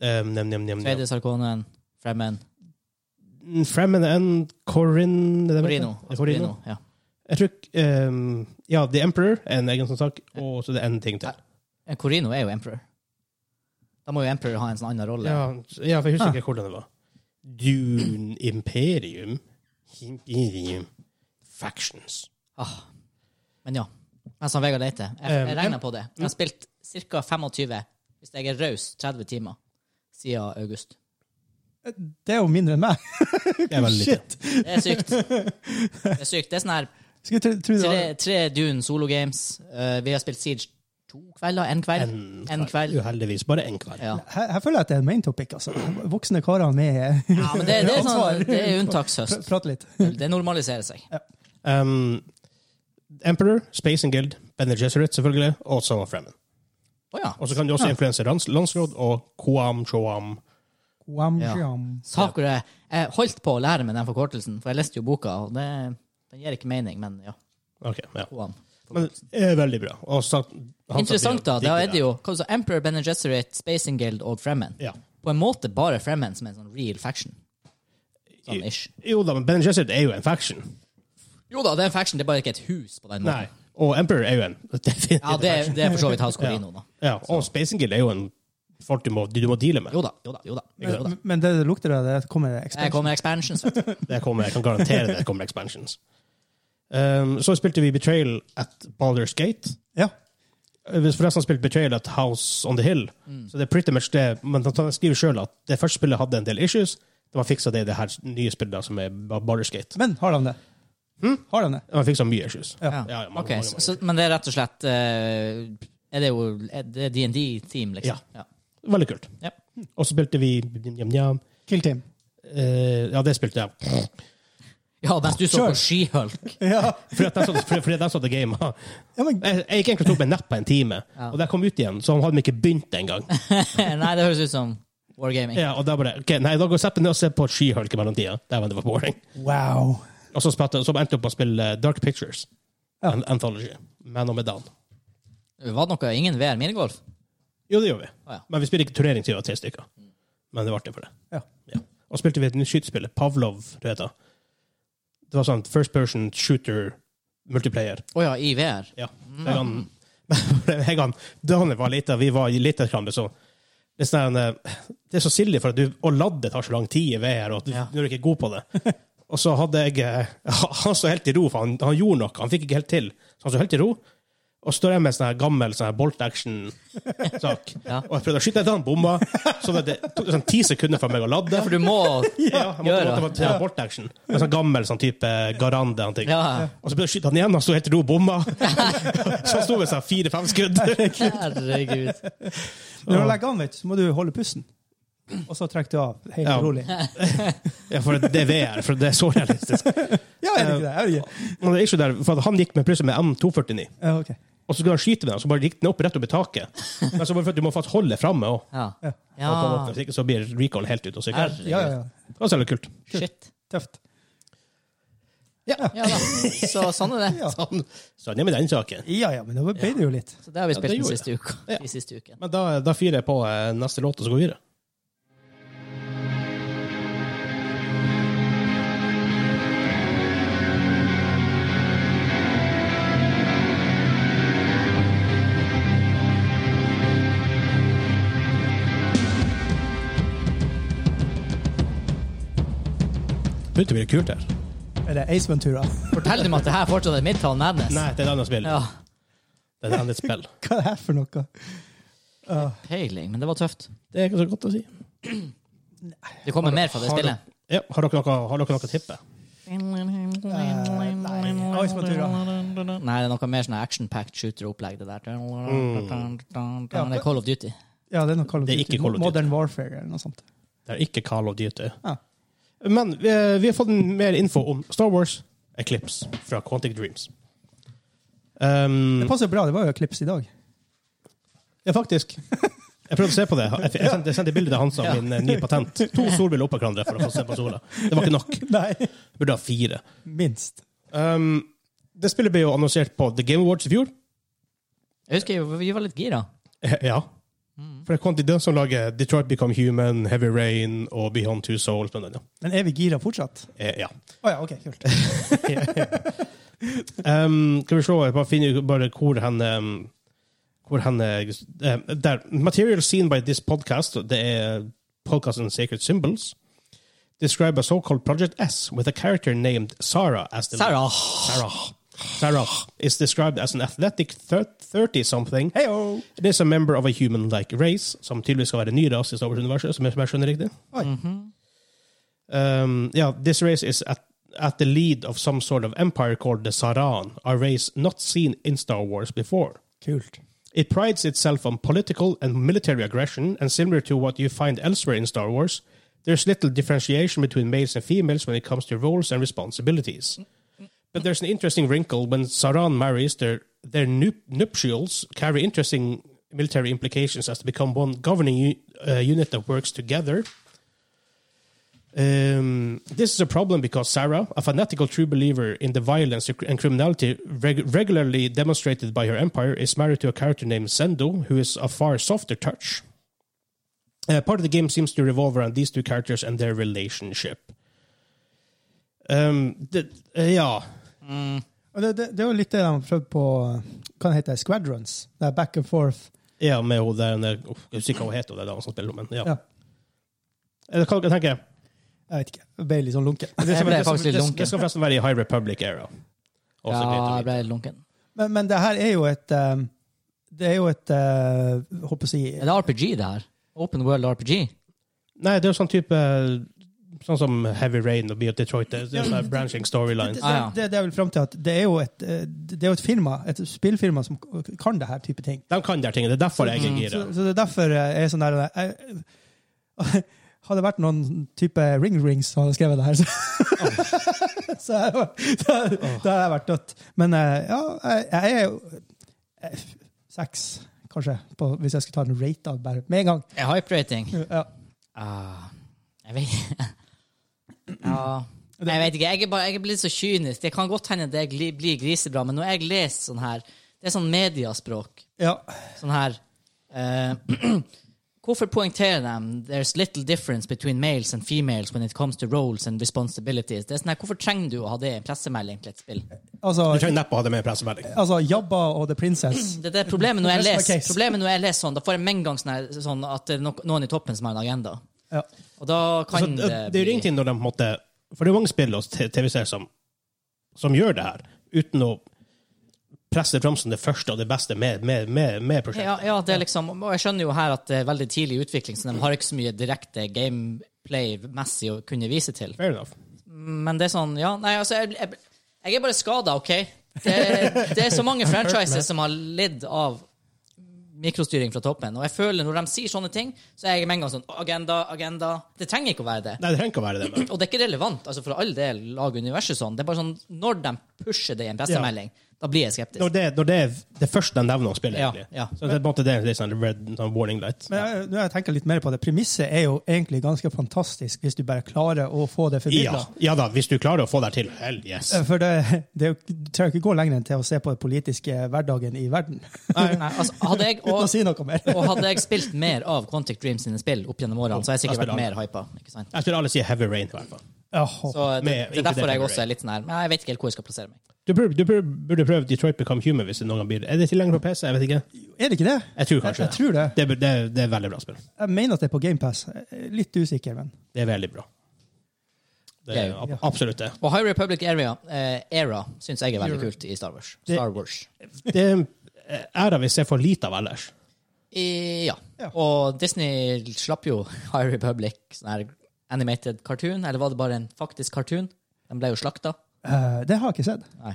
[SPEAKER 1] Um, nem, nem, nem, nem.
[SPEAKER 2] Tredje Sarkonen, Fremmen,
[SPEAKER 1] Fremmen and Corin... er det det heter?
[SPEAKER 2] Corino.
[SPEAKER 1] Ja, Corino.
[SPEAKER 2] Corino. Ja.
[SPEAKER 1] Jeg tror ehm, Ja, The Emperor er en egen sånn sak, og så det er en ting til.
[SPEAKER 2] Eh, Corino er jo Emperor. Da må jo Emperor ha en sånn annen rolle.
[SPEAKER 1] Ja, ja, for jeg
[SPEAKER 2] Ah.
[SPEAKER 1] husker ikke hvordan det var. Dune Imperium Imperium Factions.
[SPEAKER 2] Ah. Men ja. Mens han Vegard leter. Jeg, jeg
[SPEAKER 1] Um,
[SPEAKER 2] regner på det. Jeg har spilt ca. 25, hvis jeg er raus, 30 timer siden august.
[SPEAKER 3] Det er jo mindre enn meg.
[SPEAKER 1] Det er veldig lite.
[SPEAKER 3] Shit!
[SPEAKER 2] Det er sykt. Det er sykt. Det er sånn her
[SPEAKER 3] Skulle tro, tro det
[SPEAKER 2] tre,
[SPEAKER 3] var
[SPEAKER 2] tre Dune solo games. Eh, vi har spilt Siege to kvelder, en kveld. En, kveld. Ja.
[SPEAKER 1] Uheldigvis bare én kveld.
[SPEAKER 2] Ja.
[SPEAKER 3] her, her føler jeg at det er en main topic, altså. Voksne karer med
[SPEAKER 2] men det, det er, sånn,
[SPEAKER 3] Ansvar.
[SPEAKER 2] det er unntakshøst.
[SPEAKER 3] Pr- Prate litt.
[SPEAKER 2] Det normaliserer seg.
[SPEAKER 1] Um, Emperor, Space and Guild, Bene Gesserit selvfølgelig, og Son of Fremen.
[SPEAKER 2] Å ja.
[SPEAKER 1] Og så kan du også influense lands, landsråd og Koam Shoam.
[SPEAKER 3] Wam,
[SPEAKER 2] Ja.
[SPEAKER 3] sham.
[SPEAKER 2] Sakura Jeg holdt på å lære meg den forkortelsen, for jeg leste jo boka, og det, den gir ikke mening, men ja.
[SPEAKER 1] Ok, ja.
[SPEAKER 2] Koan.
[SPEAKER 1] Men det er veldig bra. Og så, han
[SPEAKER 2] Interessant, da.
[SPEAKER 1] sa-
[SPEAKER 2] Da er det jo hva du sa, Emperor, Bene Gesserit, Spacing Guild og Fremen.
[SPEAKER 1] Ja.
[SPEAKER 2] På en måte bare Fremen som en sånn real faction. Sånn ish.
[SPEAKER 1] Jo da, men Bene Gesserit er jo en faction.
[SPEAKER 2] Jo da, det er en faction, det er bare ikke et hus på den
[SPEAKER 1] Nei.
[SPEAKER 2] måten.
[SPEAKER 1] Og Emperor er jo en definitivt
[SPEAKER 2] Ja, det, er-
[SPEAKER 1] faction.
[SPEAKER 2] det er for så vidt House Corino, da.
[SPEAKER 1] Ja, og Space and Guild er jo en folk du må, du må deale med.
[SPEAKER 2] Jo da, jo da, jo da. Jo da.
[SPEAKER 3] Men, men det det lukter av, det kommer
[SPEAKER 2] Jeg
[SPEAKER 3] ekspansion.
[SPEAKER 2] kommer expansions, vet du.
[SPEAKER 1] Det kommer, jeg kan garantere det kommer expansions. Um, så spilte vi Betrayal at Baldur's Gate.
[SPEAKER 3] Ja.
[SPEAKER 1] Hvis for jeg som spilte Betrayal at House on the Hill,
[SPEAKER 2] Mm.
[SPEAKER 1] så det er pretty much det. Men han skriver sjøl at det første spillet hadde en del issues. De har fiksa det i det her nye spillet da, som er Baldur's Gate.
[SPEAKER 3] Men har de det?
[SPEAKER 2] Hm?
[SPEAKER 3] Har de det?
[SPEAKER 1] De har fiksa mye issues.
[SPEAKER 3] Ja.
[SPEAKER 1] Ja, ja, mange,
[SPEAKER 2] Ok,
[SPEAKER 1] mange,
[SPEAKER 2] så,
[SPEAKER 1] mange.
[SPEAKER 2] så, men det er rett og slett eh, Er det jo er det D&D-team, liksom?
[SPEAKER 1] Ja. Veldig kult.
[SPEAKER 2] Ja.
[SPEAKER 1] Og så spilte vi njam, njam.
[SPEAKER 3] Kill Team.
[SPEAKER 1] Eh, Ja, det spilte jeg.
[SPEAKER 2] Ja, mens du så
[SPEAKER 3] Sure.
[SPEAKER 2] på Skihulk.
[SPEAKER 3] Ja.
[SPEAKER 1] Fordi at jeg så- fordi at jeg så det gamet.
[SPEAKER 3] ja, men
[SPEAKER 1] Jeg, jeg gikk egentlig og tok meg en napp på en time, og da jeg kom ut igjen, så hadde de ikke begynt engang.
[SPEAKER 2] Nei, det høres ut som Wargaming.
[SPEAKER 1] Ja, og da bare OK, nei, da går jeg og setter meg ned og ser på Skihulk i mellomtida. Dæven, det var boring.
[SPEAKER 3] wow.
[SPEAKER 1] Og så, spilte, så endte jeg opp med å spille eh, Dark Pictures.
[SPEAKER 3] Ja.
[SPEAKER 1] An Anthology. Man of Medan.
[SPEAKER 2] Det var noe, ingen VR minigolf?
[SPEAKER 1] Jo, det gjør vi.
[SPEAKER 2] Å, ja.
[SPEAKER 1] Men vi spiller ikke turnering til vi var tre stykker. Men det var artig for det.
[SPEAKER 3] Ja.
[SPEAKER 1] Ja. Og spilte vi et nytt skytespill, Pavlov, du vet det. Det var sånn first person shooter multiplayer.
[SPEAKER 2] Å ja, i VR?
[SPEAKER 1] Ja. Jeg han, jeg han, Daniel var liten, vi var litt hverandre, så det er, sånn, eh, det er så sildig, for at du, å ladde tar så lang tid i VR, og at du,
[SPEAKER 2] Ja.
[SPEAKER 1] når du ikke er god på det. Og så hadde jeg eh, Han så helt i ro, for han, han gjorde noe. Han fikk ikke helt til. Så han så helt i ro. Og står jeg med en sånn her gammel sånn her bolt action-sak.
[SPEAKER 2] Ja.
[SPEAKER 1] Og jeg prøvde å skyte etter han, bomma. Så det, det tok sånn ti sekunder for meg å ladde.
[SPEAKER 2] For du må
[SPEAKER 1] Ja, jeg måtte,
[SPEAKER 2] gjør det.
[SPEAKER 1] måtte, måtte, ja. bolt action. En sånn gammel sånn type Garande. Han, ting.
[SPEAKER 2] Ja.
[SPEAKER 1] Og så begynte jeg å skyte han igjen, han sto helt i ro og bomma. Så han sto med seg fire-fem skudd.
[SPEAKER 2] Herregud.
[SPEAKER 3] Når du legger an, vet du, så må du holde pusten. Og så trekker du av helt
[SPEAKER 1] Ja.
[SPEAKER 3] rolig.
[SPEAKER 1] Ja, for det er VR, for det er så realistisk.
[SPEAKER 3] Ja, er det ikke det? Er det ikke?
[SPEAKER 1] Men det er ikke der, for at han gikk med plutselig med M249,
[SPEAKER 3] Ja, ok.
[SPEAKER 1] og så skulle han skyte med den, så bare gikk den opp rett opp i taket. Men så bare for at du må faktisk holde framme òg.
[SPEAKER 2] Ja.
[SPEAKER 3] Ja.
[SPEAKER 2] ja.
[SPEAKER 1] Hvis ikke så blir recall helt ute og sykler.
[SPEAKER 2] Herregud.
[SPEAKER 3] Ja, ja, ja.
[SPEAKER 1] Det var særlig kult.
[SPEAKER 2] Shit.
[SPEAKER 3] Tøft.
[SPEAKER 2] Ja da. Så sånn er det.
[SPEAKER 3] Ja.
[SPEAKER 1] Sånn, sånn er med den saken.
[SPEAKER 3] Ja, ja, men da ble det jo litt.
[SPEAKER 2] Så det har vi
[SPEAKER 1] Ja, det
[SPEAKER 2] spilt den
[SPEAKER 1] gjorde
[SPEAKER 2] siste uka.
[SPEAKER 1] Ja.
[SPEAKER 2] I siste uken.
[SPEAKER 1] Men da, da fyrer jeg på eh, neste låt, og så går vi videre. Begynte å bli kult her.
[SPEAKER 3] Er det Ace Ventura?
[SPEAKER 2] Fortell dem at det her fortsatt er mitt tall, Madness.
[SPEAKER 1] Nei, det er et annet spill.
[SPEAKER 2] Ja.
[SPEAKER 1] Det er et annet spill.
[SPEAKER 3] Hva er det her for noe?
[SPEAKER 2] Peiling, men det var tøft.
[SPEAKER 1] Det er ikke så godt å si.
[SPEAKER 2] Det kommer mer fra det
[SPEAKER 1] Har, Eh,
[SPEAKER 2] spillet.
[SPEAKER 1] ja, har dere noe, har dere noe å tippe?
[SPEAKER 3] nei, Ice Ventura.
[SPEAKER 2] Nei, det er noe mer sånn action-packed shooter-opplegg. Det
[SPEAKER 1] Mm.
[SPEAKER 2] der. Det er Call of Duty.
[SPEAKER 3] Ja, det er noe Call of
[SPEAKER 1] Det er
[SPEAKER 3] Duty.
[SPEAKER 1] ikke Call of Duty.
[SPEAKER 3] Modern Warfare eller noe sånt.
[SPEAKER 1] Det er ikke Call of Duty.
[SPEAKER 3] Ja.
[SPEAKER 1] Men vi, vi har fått mer info om Star Wars Eclipse fra Quantic Dreams. Um,
[SPEAKER 3] Det passer bra, det var jo klips i dag.
[SPEAKER 1] ja, faktisk. Jeg prøvde å se på det. Jeg, jeg sendte, jeg sendte bilde til Hansa av min eh, nye patent. To solbriller oppå hverandre for å få se på sola. Det var ikke nok.
[SPEAKER 3] Nei.
[SPEAKER 1] Jeg burde ha fire.
[SPEAKER 3] Minst.
[SPEAKER 1] Um, det spillet ble jo annonsert på The Game Awards i fjor.
[SPEAKER 2] Jeg husker jo, vi var litt gira.
[SPEAKER 1] Eh, Ja.
[SPEAKER 3] Mm.
[SPEAKER 1] For det er Quantic Dreams som lager Detroit Become Human, Heavy Rain og Beyond Two Souls. Men, ja.
[SPEAKER 3] Men er vi gira fortsatt?
[SPEAKER 1] Eh, ja.
[SPEAKER 3] Å ja, ok, kult.
[SPEAKER 1] um, skal vi se, jeg bare finner ut bare hvor han um, hvor han eh, der, Material seen by this podcast, det er podcasten Sacred Symbols, describe a so-called Project S with a character named Sarah as the
[SPEAKER 2] Sarah.
[SPEAKER 1] Sarah. Sarah is described as an athletic thir- 30-something.
[SPEAKER 3] Heio!
[SPEAKER 1] It is a member of a human-like race, som tydeligvis skal være en ny rase i Star Wars-universet, som jeg, som jeg skjønner riktig.
[SPEAKER 3] Oi.
[SPEAKER 1] Um, yeah, this race is at, at the lead of some sort of empire called the Saran, a race not seen in Star Wars before.
[SPEAKER 3] Kult.
[SPEAKER 1] It prides itself on political and military aggression, and similar to what you find elsewhere in Star Wars, there's little differentiation between males and females when it comes to roles and responsibilities. But there's an interesting wrinkle when Saran marries, their, their nup- nuptials carry interesting military implications as to become one governing u- uh, unit that works together. Um, this is a problem because Sarah, a fanatical true believer in the violence and criminality reg- regularly demonstrated by her empire, is married to a character named Sendo, who is a far softer touch. Uh, part of the game seems to revolve around these two characters and their relationship. Um, det, eh, ja.
[SPEAKER 3] Og det, det, det var litt det de prøvde på Hva heter det? Squadrons? Det er back and forth.
[SPEAKER 1] ja, med hun der den der- oh, Jeg husker ikke hva hun heter, hun der dama som spiller, men ja.
[SPEAKER 3] Ja.
[SPEAKER 1] Eh, Hva dere tenker
[SPEAKER 3] Jeg vet ikke. Jeg ble litt sånn lunken.
[SPEAKER 1] Det skal,
[SPEAKER 2] ble
[SPEAKER 1] det,
[SPEAKER 2] faktisk
[SPEAKER 1] skal,
[SPEAKER 2] litt
[SPEAKER 1] det,
[SPEAKER 2] lunken.
[SPEAKER 1] det skal forresten være i High Republic era. Også
[SPEAKER 2] Ja,
[SPEAKER 1] greit å
[SPEAKER 2] jeg
[SPEAKER 1] vite.
[SPEAKER 2] ble lunken.
[SPEAKER 3] Men, men det her er jo et um, Det er jo et eh, Håper jeg å si
[SPEAKER 2] Er det RPG, det her? Open World RPG?
[SPEAKER 1] Nei, det er jo sånn type Sånn som Heavy Rain og Beat Detroit. Det det er sånne branching storylines.
[SPEAKER 3] det,
[SPEAKER 2] Ah, ja.
[SPEAKER 3] det, det er vel frem til at det er jo et, eh, det er jo et firma, et spillfirma som kan det her type ting.
[SPEAKER 1] De kan de her tingene. Det er derfor jeg
[SPEAKER 2] Mm.
[SPEAKER 1] er gira.
[SPEAKER 3] Så, så det er derfor eh, jeg er sånn der jeg, Hadde det vært noen type Ring Rings som hadde skrevet det her, så Så jeg var- da da hadde jeg vært dødt. Men eh, ja, jeg, jeg er jo eh, seks, kanskje, på, hvis jeg skulle ta en rate av bare med en gang.
[SPEAKER 2] Er hype rating?
[SPEAKER 3] Ja.
[SPEAKER 2] Ah, jeg vet Ja. Nei, Jeg vet ikke. Jeg er, bare, jeg er blitt så kynisk. Det kan godt hende det gli- blir grisebra, men når jeg leser sånn her Det er sånn mediaspråk.
[SPEAKER 3] ja.
[SPEAKER 2] Sånn her eh, Hvorfor poengterer de There's little difference between males and females when it comes to roles and responsibilities? Det er sånn her, Hvorfor trenger du å ha det i en pressemelding til et spill?
[SPEAKER 1] Du
[SPEAKER 3] Altså,
[SPEAKER 1] trenger neppe ha det med i pressemelding.
[SPEAKER 3] altså Jabba og The Princess.
[SPEAKER 2] Det er det problemet når jeg
[SPEAKER 3] Rest my
[SPEAKER 2] leser,
[SPEAKER 3] case.
[SPEAKER 2] problemet når jeg leser sånn. Da får jeg med en gang sånn, her, sånn at det er nok- noen i toppen som har en agenda.
[SPEAKER 3] Ja.
[SPEAKER 2] Og da
[SPEAKER 1] Så,
[SPEAKER 2] kan
[SPEAKER 1] Altså, det det er jo
[SPEAKER 2] bli-
[SPEAKER 1] ingenting når de på en måte For det er jo mange spill og t- TV-serier som, som gjør det her, uten å presse fram som det første og det beste med, med, med, med
[SPEAKER 2] Ja,
[SPEAKER 1] prosjektet.
[SPEAKER 2] ja, det er liksom, og jeg skjønner jo her at det er veldig tidlig utvikling, så de har ikke så mye direkte gameplay-messig å kunne vise til.
[SPEAKER 1] Fair enough.
[SPEAKER 2] Men det er sånn, ja, nei, altså, jeg, jeg, jeg er bare skada, OK? Det, det er så mange franchises som har lidd av mikrostyring fra toppen, og jeg føler når de sier sånne ting, så er jeg med en gang sånn Agenda, agenda. Det trenger ikke å være det.
[SPEAKER 1] Nei, det trenger ikke å være det. Men.
[SPEAKER 2] Og det er ikke relevant, altså for all del, lag universet sånn. Det er bare sånn, når de pusher det i en pressemelding, da blir jeg skeptisk.
[SPEAKER 1] Når det, når det er det første de nevner å spille,
[SPEAKER 2] Ja,
[SPEAKER 1] egentlig.
[SPEAKER 2] ja.
[SPEAKER 1] Så det er på en måte det er litt sånn red sånn warning light.
[SPEAKER 3] Men jeg, når jeg tenker litt mer på det, premisset er jo egentlig ganske fantastisk hvis du bare klarer å få
[SPEAKER 1] Ja,
[SPEAKER 3] det formidla.
[SPEAKER 1] ja da, hvis du klarer å få det til. Hell yes.
[SPEAKER 3] For det, det er jo- du trenger ikke gå lenger enn til å se på den politiske hverdagen i verden.
[SPEAKER 2] Nei, altså, hadde jeg,
[SPEAKER 3] Uten
[SPEAKER 2] og,
[SPEAKER 3] å si noe mer.
[SPEAKER 2] Og hadde jeg spilt mer av Quantic Dream sine spill opp gjennom årene, så hadde jeg sikkert vært mer hypa. Ikke sant?
[SPEAKER 1] Jeg skulle alle si Heavy Rain, i hvert fall.
[SPEAKER 3] Jaha.
[SPEAKER 2] Så det,
[SPEAKER 1] Med-
[SPEAKER 2] det er derfor jeg
[SPEAKER 1] inkludert
[SPEAKER 2] også er litt sånn her. Men jeg vet ikke helt hvor jeg skal plassere meg.
[SPEAKER 1] Du burde, du burde, burde prøve Detroit Become Human hvis det noen gang blir Er det tilgjengelig på PC? Jeg vet ikke.
[SPEAKER 3] er det ikke det?
[SPEAKER 1] Jeg tror kanskje
[SPEAKER 3] Jeg tror det.
[SPEAKER 1] det. bur- Det, det er veldig bra spill.
[SPEAKER 3] Jeg mener at det er på GamePass. Litt usikker, men.
[SPEAKER 1] Det er veldig bra. Det
[SPEAKER 2] Ja,
[SPEAKER 1] er
[SPEAKER 2] ja.
[SPEAKER 1] ab absolutt det.
[SPEAKER 2] Og High Republic Area, eh, Era syns jeg er veldig kult i Star Wars.
[SPEAKER 1] Det-
[SPEAKER 2] Star Wars.
[SPEAKER 1] Det er en æra vi ser for lite av ellers.
[SPEAKER 2] I, ja.
[SPEAKER 3] Ja.
[SPEAKER 2] Og Disney slapp jo High Republic, sånn her animated cartoon, eller var det bare en faktisk cartoon? Den ble jo slakta.
[SPEAKER 3] Eh, det har jeg ikke sett.
[SPEAKER 2] Nei.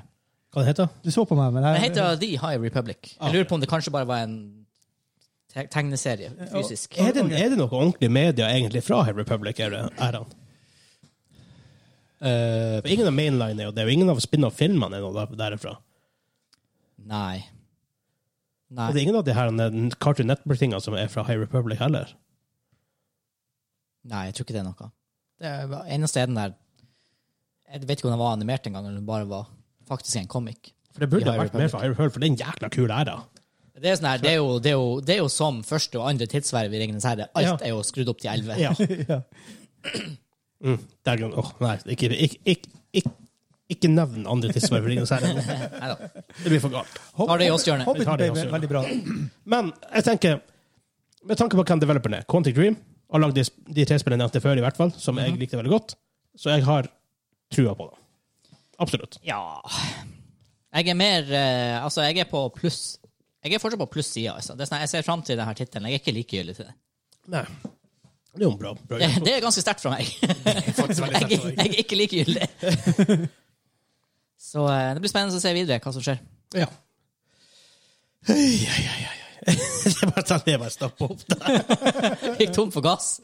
[SPEAKER 1] Hva det heter
[SPEAKER 3] Du så på meg, men
[SPEAKER 2] Den
[SPEAKER 3] jeg,
[SPEAKER 2] heter The High Republic. Jeg lurer på om det kanskje bare var en te tegneserie, fysisk.
[SPEAKER 1] er det? Er det noe ordentlig media egentlig fra High Republic? Er det, er han? For ingen av mainline er jo det, og ingen av spin-off-filmene er noe der- derifra.
[SPEAKER 2] Nei. Nei.
[SPEAKER 1] Og det er ingen av de her eh, Cartoon Network-tingene som er fra High Republic heller.
[SPEAKER 2] Nei, jeg tror ikke det er noe. Det er bare- eneste er den der Jeg vet ikke om den var animert engang, eller om den bare var faktisk en comic.
[SPEAKER 1] For det burde ha
[SPEAKER 2] I High
[SPEAKER 1] vært mer fra High Republic, for det er en jækla kul æra.
[SPEAKER 2] Det er, sånn her, det, er jo, det, er jo, det er jo som første og andre tidsverv i Ringenes herre. Alt
[SPEAKER 1] Ja.
[SPEAKER 2] er jo skrudd opp til 11.
[SPEAKER 1] Ja.
[SPEAKER 3] ja.
[SPEAKER 1] Mm, det er grunn- Åh, nei, ikke, ikke, ikke, ikke, ikke nevn andre tidsververinger.
[SPEAKER 2] Neida.
[SPEAKER 1] Det blir for galt.
[SPEAKER 2] Tar det i oss, Jørne.
[SPEAKER 3] Hobbit
[SPEAKER 1] Vi tar det
[SPEAKER 3] ble
[SPEAKER 1] også, ja.
[SPEAKER 3] veldig bra.
[SPEAKER 1] Men jeg tenker, med tanke på hvem developeren er, Quantic Dream har lagd de, de tre spillene jeg nevnte før, i hvert fall, som
[SPEAKER 3] Mhm.
[SPEAKER 1] jeg likte veldig godt. Så jeg har trua på det. Absolutt.
[SPEAKER 2] Ja Jeg er mer eh, Altså, jeg er på pluss. Jeg er fortsatt på pluss-sida. Altså. Det er sånn her, Jeg ser fram til denne tittelen. Jeg er ikke likegyldig til det.
[SPEAKER 1] Nei. Det er jo en bra, bra
[SPEAKER 2] Det, det er ganske sterkt fra meg. Jeg,
[SPEAKER 1] sterkt fra deg.
[SPEAKER 2] jeg er ikke likegyldig. Så eh, det blir spennende å se videre hva som skjer.
[SPEAKER 1] Ja. Hei, hei, hei, hei. Det er bare sånn jeg bare stopper opp der.
[SPEAKER 2] Gikk tom for gass.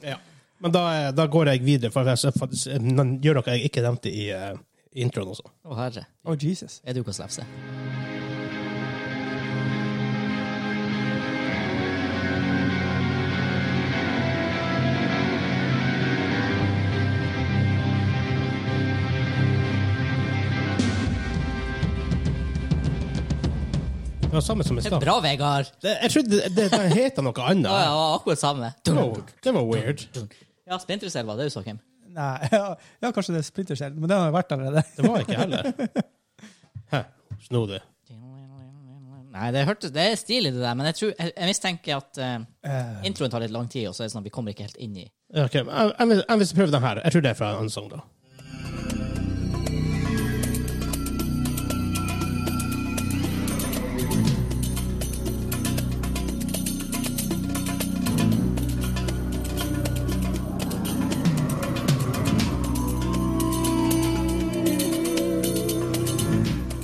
[SPEAKER 1] Men da, da går jeg videre, for jeg så faktisk- eh, gjør noe jeg ikke nevnte i eh, introen også.
[SPEAKER 2] Å, herre.
[SPEAKER 3] Oh, Jesus.
[SPEAKER 2] Er du ikke å slefse?
[SPEAKER 1] Det var samme som i stad.
[SPEAKER 2] Bra, Vegard!
[SPEAKER 1] Det, jeg trodde det, det, den heter noe annet.
[SPEAKER 2] Ja, ja, akkurat samme.
[SPEAKER 1] Wow, det var weird.
[SPEAKER 2] Ja, Splintercell var det du sa, Kim.
[SPEAKER 3] Nei, ja, ja, kanskje det er Splinter Cell, men det har jo vært allerede.
[SPEAKER 1] Det var ikke heller. Hæ, snodig.
[SPEAKER 2] Nei, det, hørtes, det er stilig, det der, men jeg, tror, jeg, jeg mistenker at eh,
[SPEAKER 3] Eh,
[SPEAKER 2] introen tar litt lang tid, og så er det sånn at vi kommer ikke helt inn i
[SPEAKER 1] Ja, ok, men Jeg, jeg, vil, jeg vil prøve den her. Jeg tror det er fra en annen sang, da.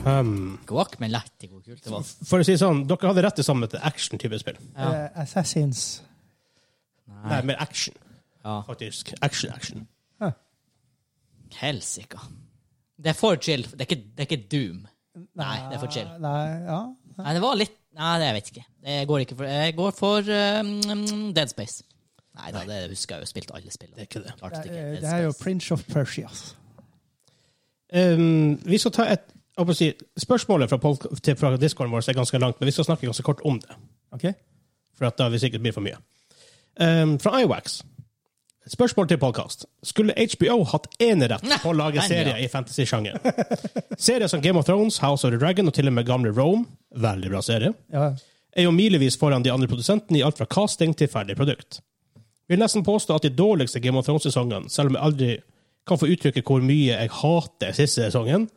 [SPEAKER 1] Um,
[SPEAKER 2] Guac, men lett i hvor kult det var.
[SPEAKER 1] for å si det sånn, dere hadde rett til sammen til action-type spill.
[SPEAKER 2] Ja.
[SPEAKER 3] Eh, Assassins.
[SPEAKER 1] Nei, mer action,
[SPEAKER 2] Ja.
[SPEAKER 1] faktisk. Action-action.
[SPEAKER 2] Helsika. Det er for chill. Det er ikke, det er ikke Doom. Nei, det er for chill.
[SPEAKER 3] Eh, Nei, ja.
[SPEAKER 2] Nei, det var litt Nei, det jeg vet ikke. Jeg går, ikke for, jeg går for ehm, Dead Space. Nei da, det husker jeg jo. Spilte alle spillene.
[SPEAKER 1] Det er ikke det.
[SPEAKER 2] Klart
[SPEAKER 3] Det,
[SPEAKER 2] ikke
[SPEAKER 3] er-
[SPEAKER 2] Dead
[SPEAKER 3] Eh, det er jo
[SPEAKER 2] Space.
[SPEAKER 3] Prince of Persia.
[SPEAKER 1] Um, vi skal ta et jeg håper å si, Spørsmålet fra, folk- til, fra discorden vår er ganske langt, men vi skal snakke ganske kort om det.
[SPEAKER 3] Ok?
[SPEAKER 1] For at da vil det sikkert bli for mye. Um, fra Iwax. Spørsmål til podkast. Skulle HBO hatt enerett på å lage
[SPEAKER 2] Nei,
[SPEAKER 1] serier i fantasy-sjangeren? Serier som Game of Thrones, House of the Dragon og til og med gamle Rome, veldig bra serie,
[SPEAKER 3] Ja.
[SPEAKER 1] er jo milevis foran de andre produsentene i alt fra casting til ferdig produkt. Vil nesten påstå at de dårligste Game of Thrones-sesongene, selv om jeg aldri kan få uttrykke hvor mye jeg hater siste sesongen,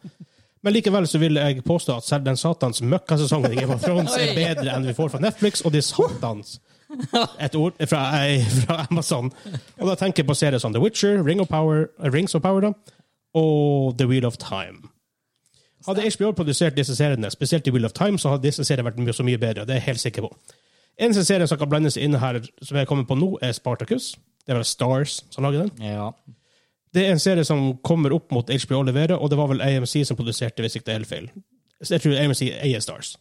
[SPEAKER 1] men likevel så vil jeg påstå at selv den satans møkkasesongen i Game of Thrones er
[SPEAKER 2] Oi.
[SPEAKER 1] bedre enn vi får fra Netflix, og de satans et ord fra, eh, fra Amazon. Og da tenker jeg på serier som The Witcher, Ring of Power, eh, Rings of Power da, og The Wheel of Time. Hadde HBO produsert disse seriene, spesielt The Wheel of Time, så hadde disse seriene vært mye, så mye bedre. Det er jeg helt sikker på. Eneste serien som kan blendes inn her, som jeg kommer på nå, er Spartacus. Det er vel Stars som lager den.
[SPEAKER 2] Ja.
[SPEAKER 1] Det er en serie som kommer opp mot HBO leverer, og det var vel AMC som produserte, hvis ikke det er helt feil. Så Jeg tror AMC eier Stars.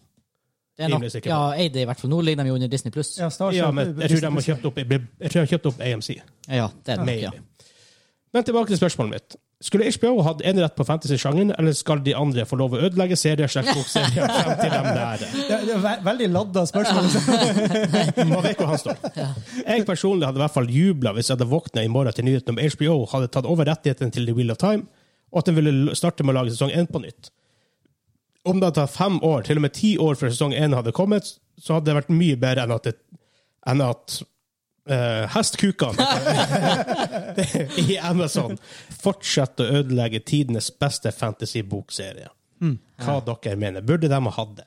[SPEAKER 2] Det er nok,
[SPEAKER 1] Rimelig sikker på.
[SPEAKER 2] ja, Eide i hvert fall. Nå ligger de jo under Disney pluss. Ja.
[SPEAKER 3] ja, Star
[SPEAKER 1] Ja,
[SPEAKER 3] Trek-
[SPEAKER 1] men jeg tror de har kjøpt opp, jeg tror de har kjøpt opp AMC.
[SPEAKER 2] det er det nok,
[SPEAKER 1] Maybe.
[SPEAKER 2] ja.
[SPEAKER 1] Men tilbake til spørsmålet mitt. Skulle HBO hatt enerett på fantasy-sjangeren, eller skal de andre få lov å ødelegge serier slags bokserier frem til dem lærer?
[SPEAKER 3] Det, det er ve veldig ladda spørsmål.
[SPEAKER 1] Man vet hvor han står. Jeg personlig hadde i hvert fall jubla hvis jeg hadde våkna i morgen til nyheten om HBO hadde tatt over rettighetene til The Wheel of Time, og at den ville starte med å lage sesong én på nytt. Om det hadde tatt fem år, til og med ti år før sesong én hadde kommet, så hadde det vært mye bedre enn at, det, enn at eh, hestkukene i Amazon fortsetter å ødelegge tidenes beste fantasy-bokserie.
[SPEAKER 3] Hmm.
[SPEAKER 1] Hva dere mener. Burde de ha hatt det?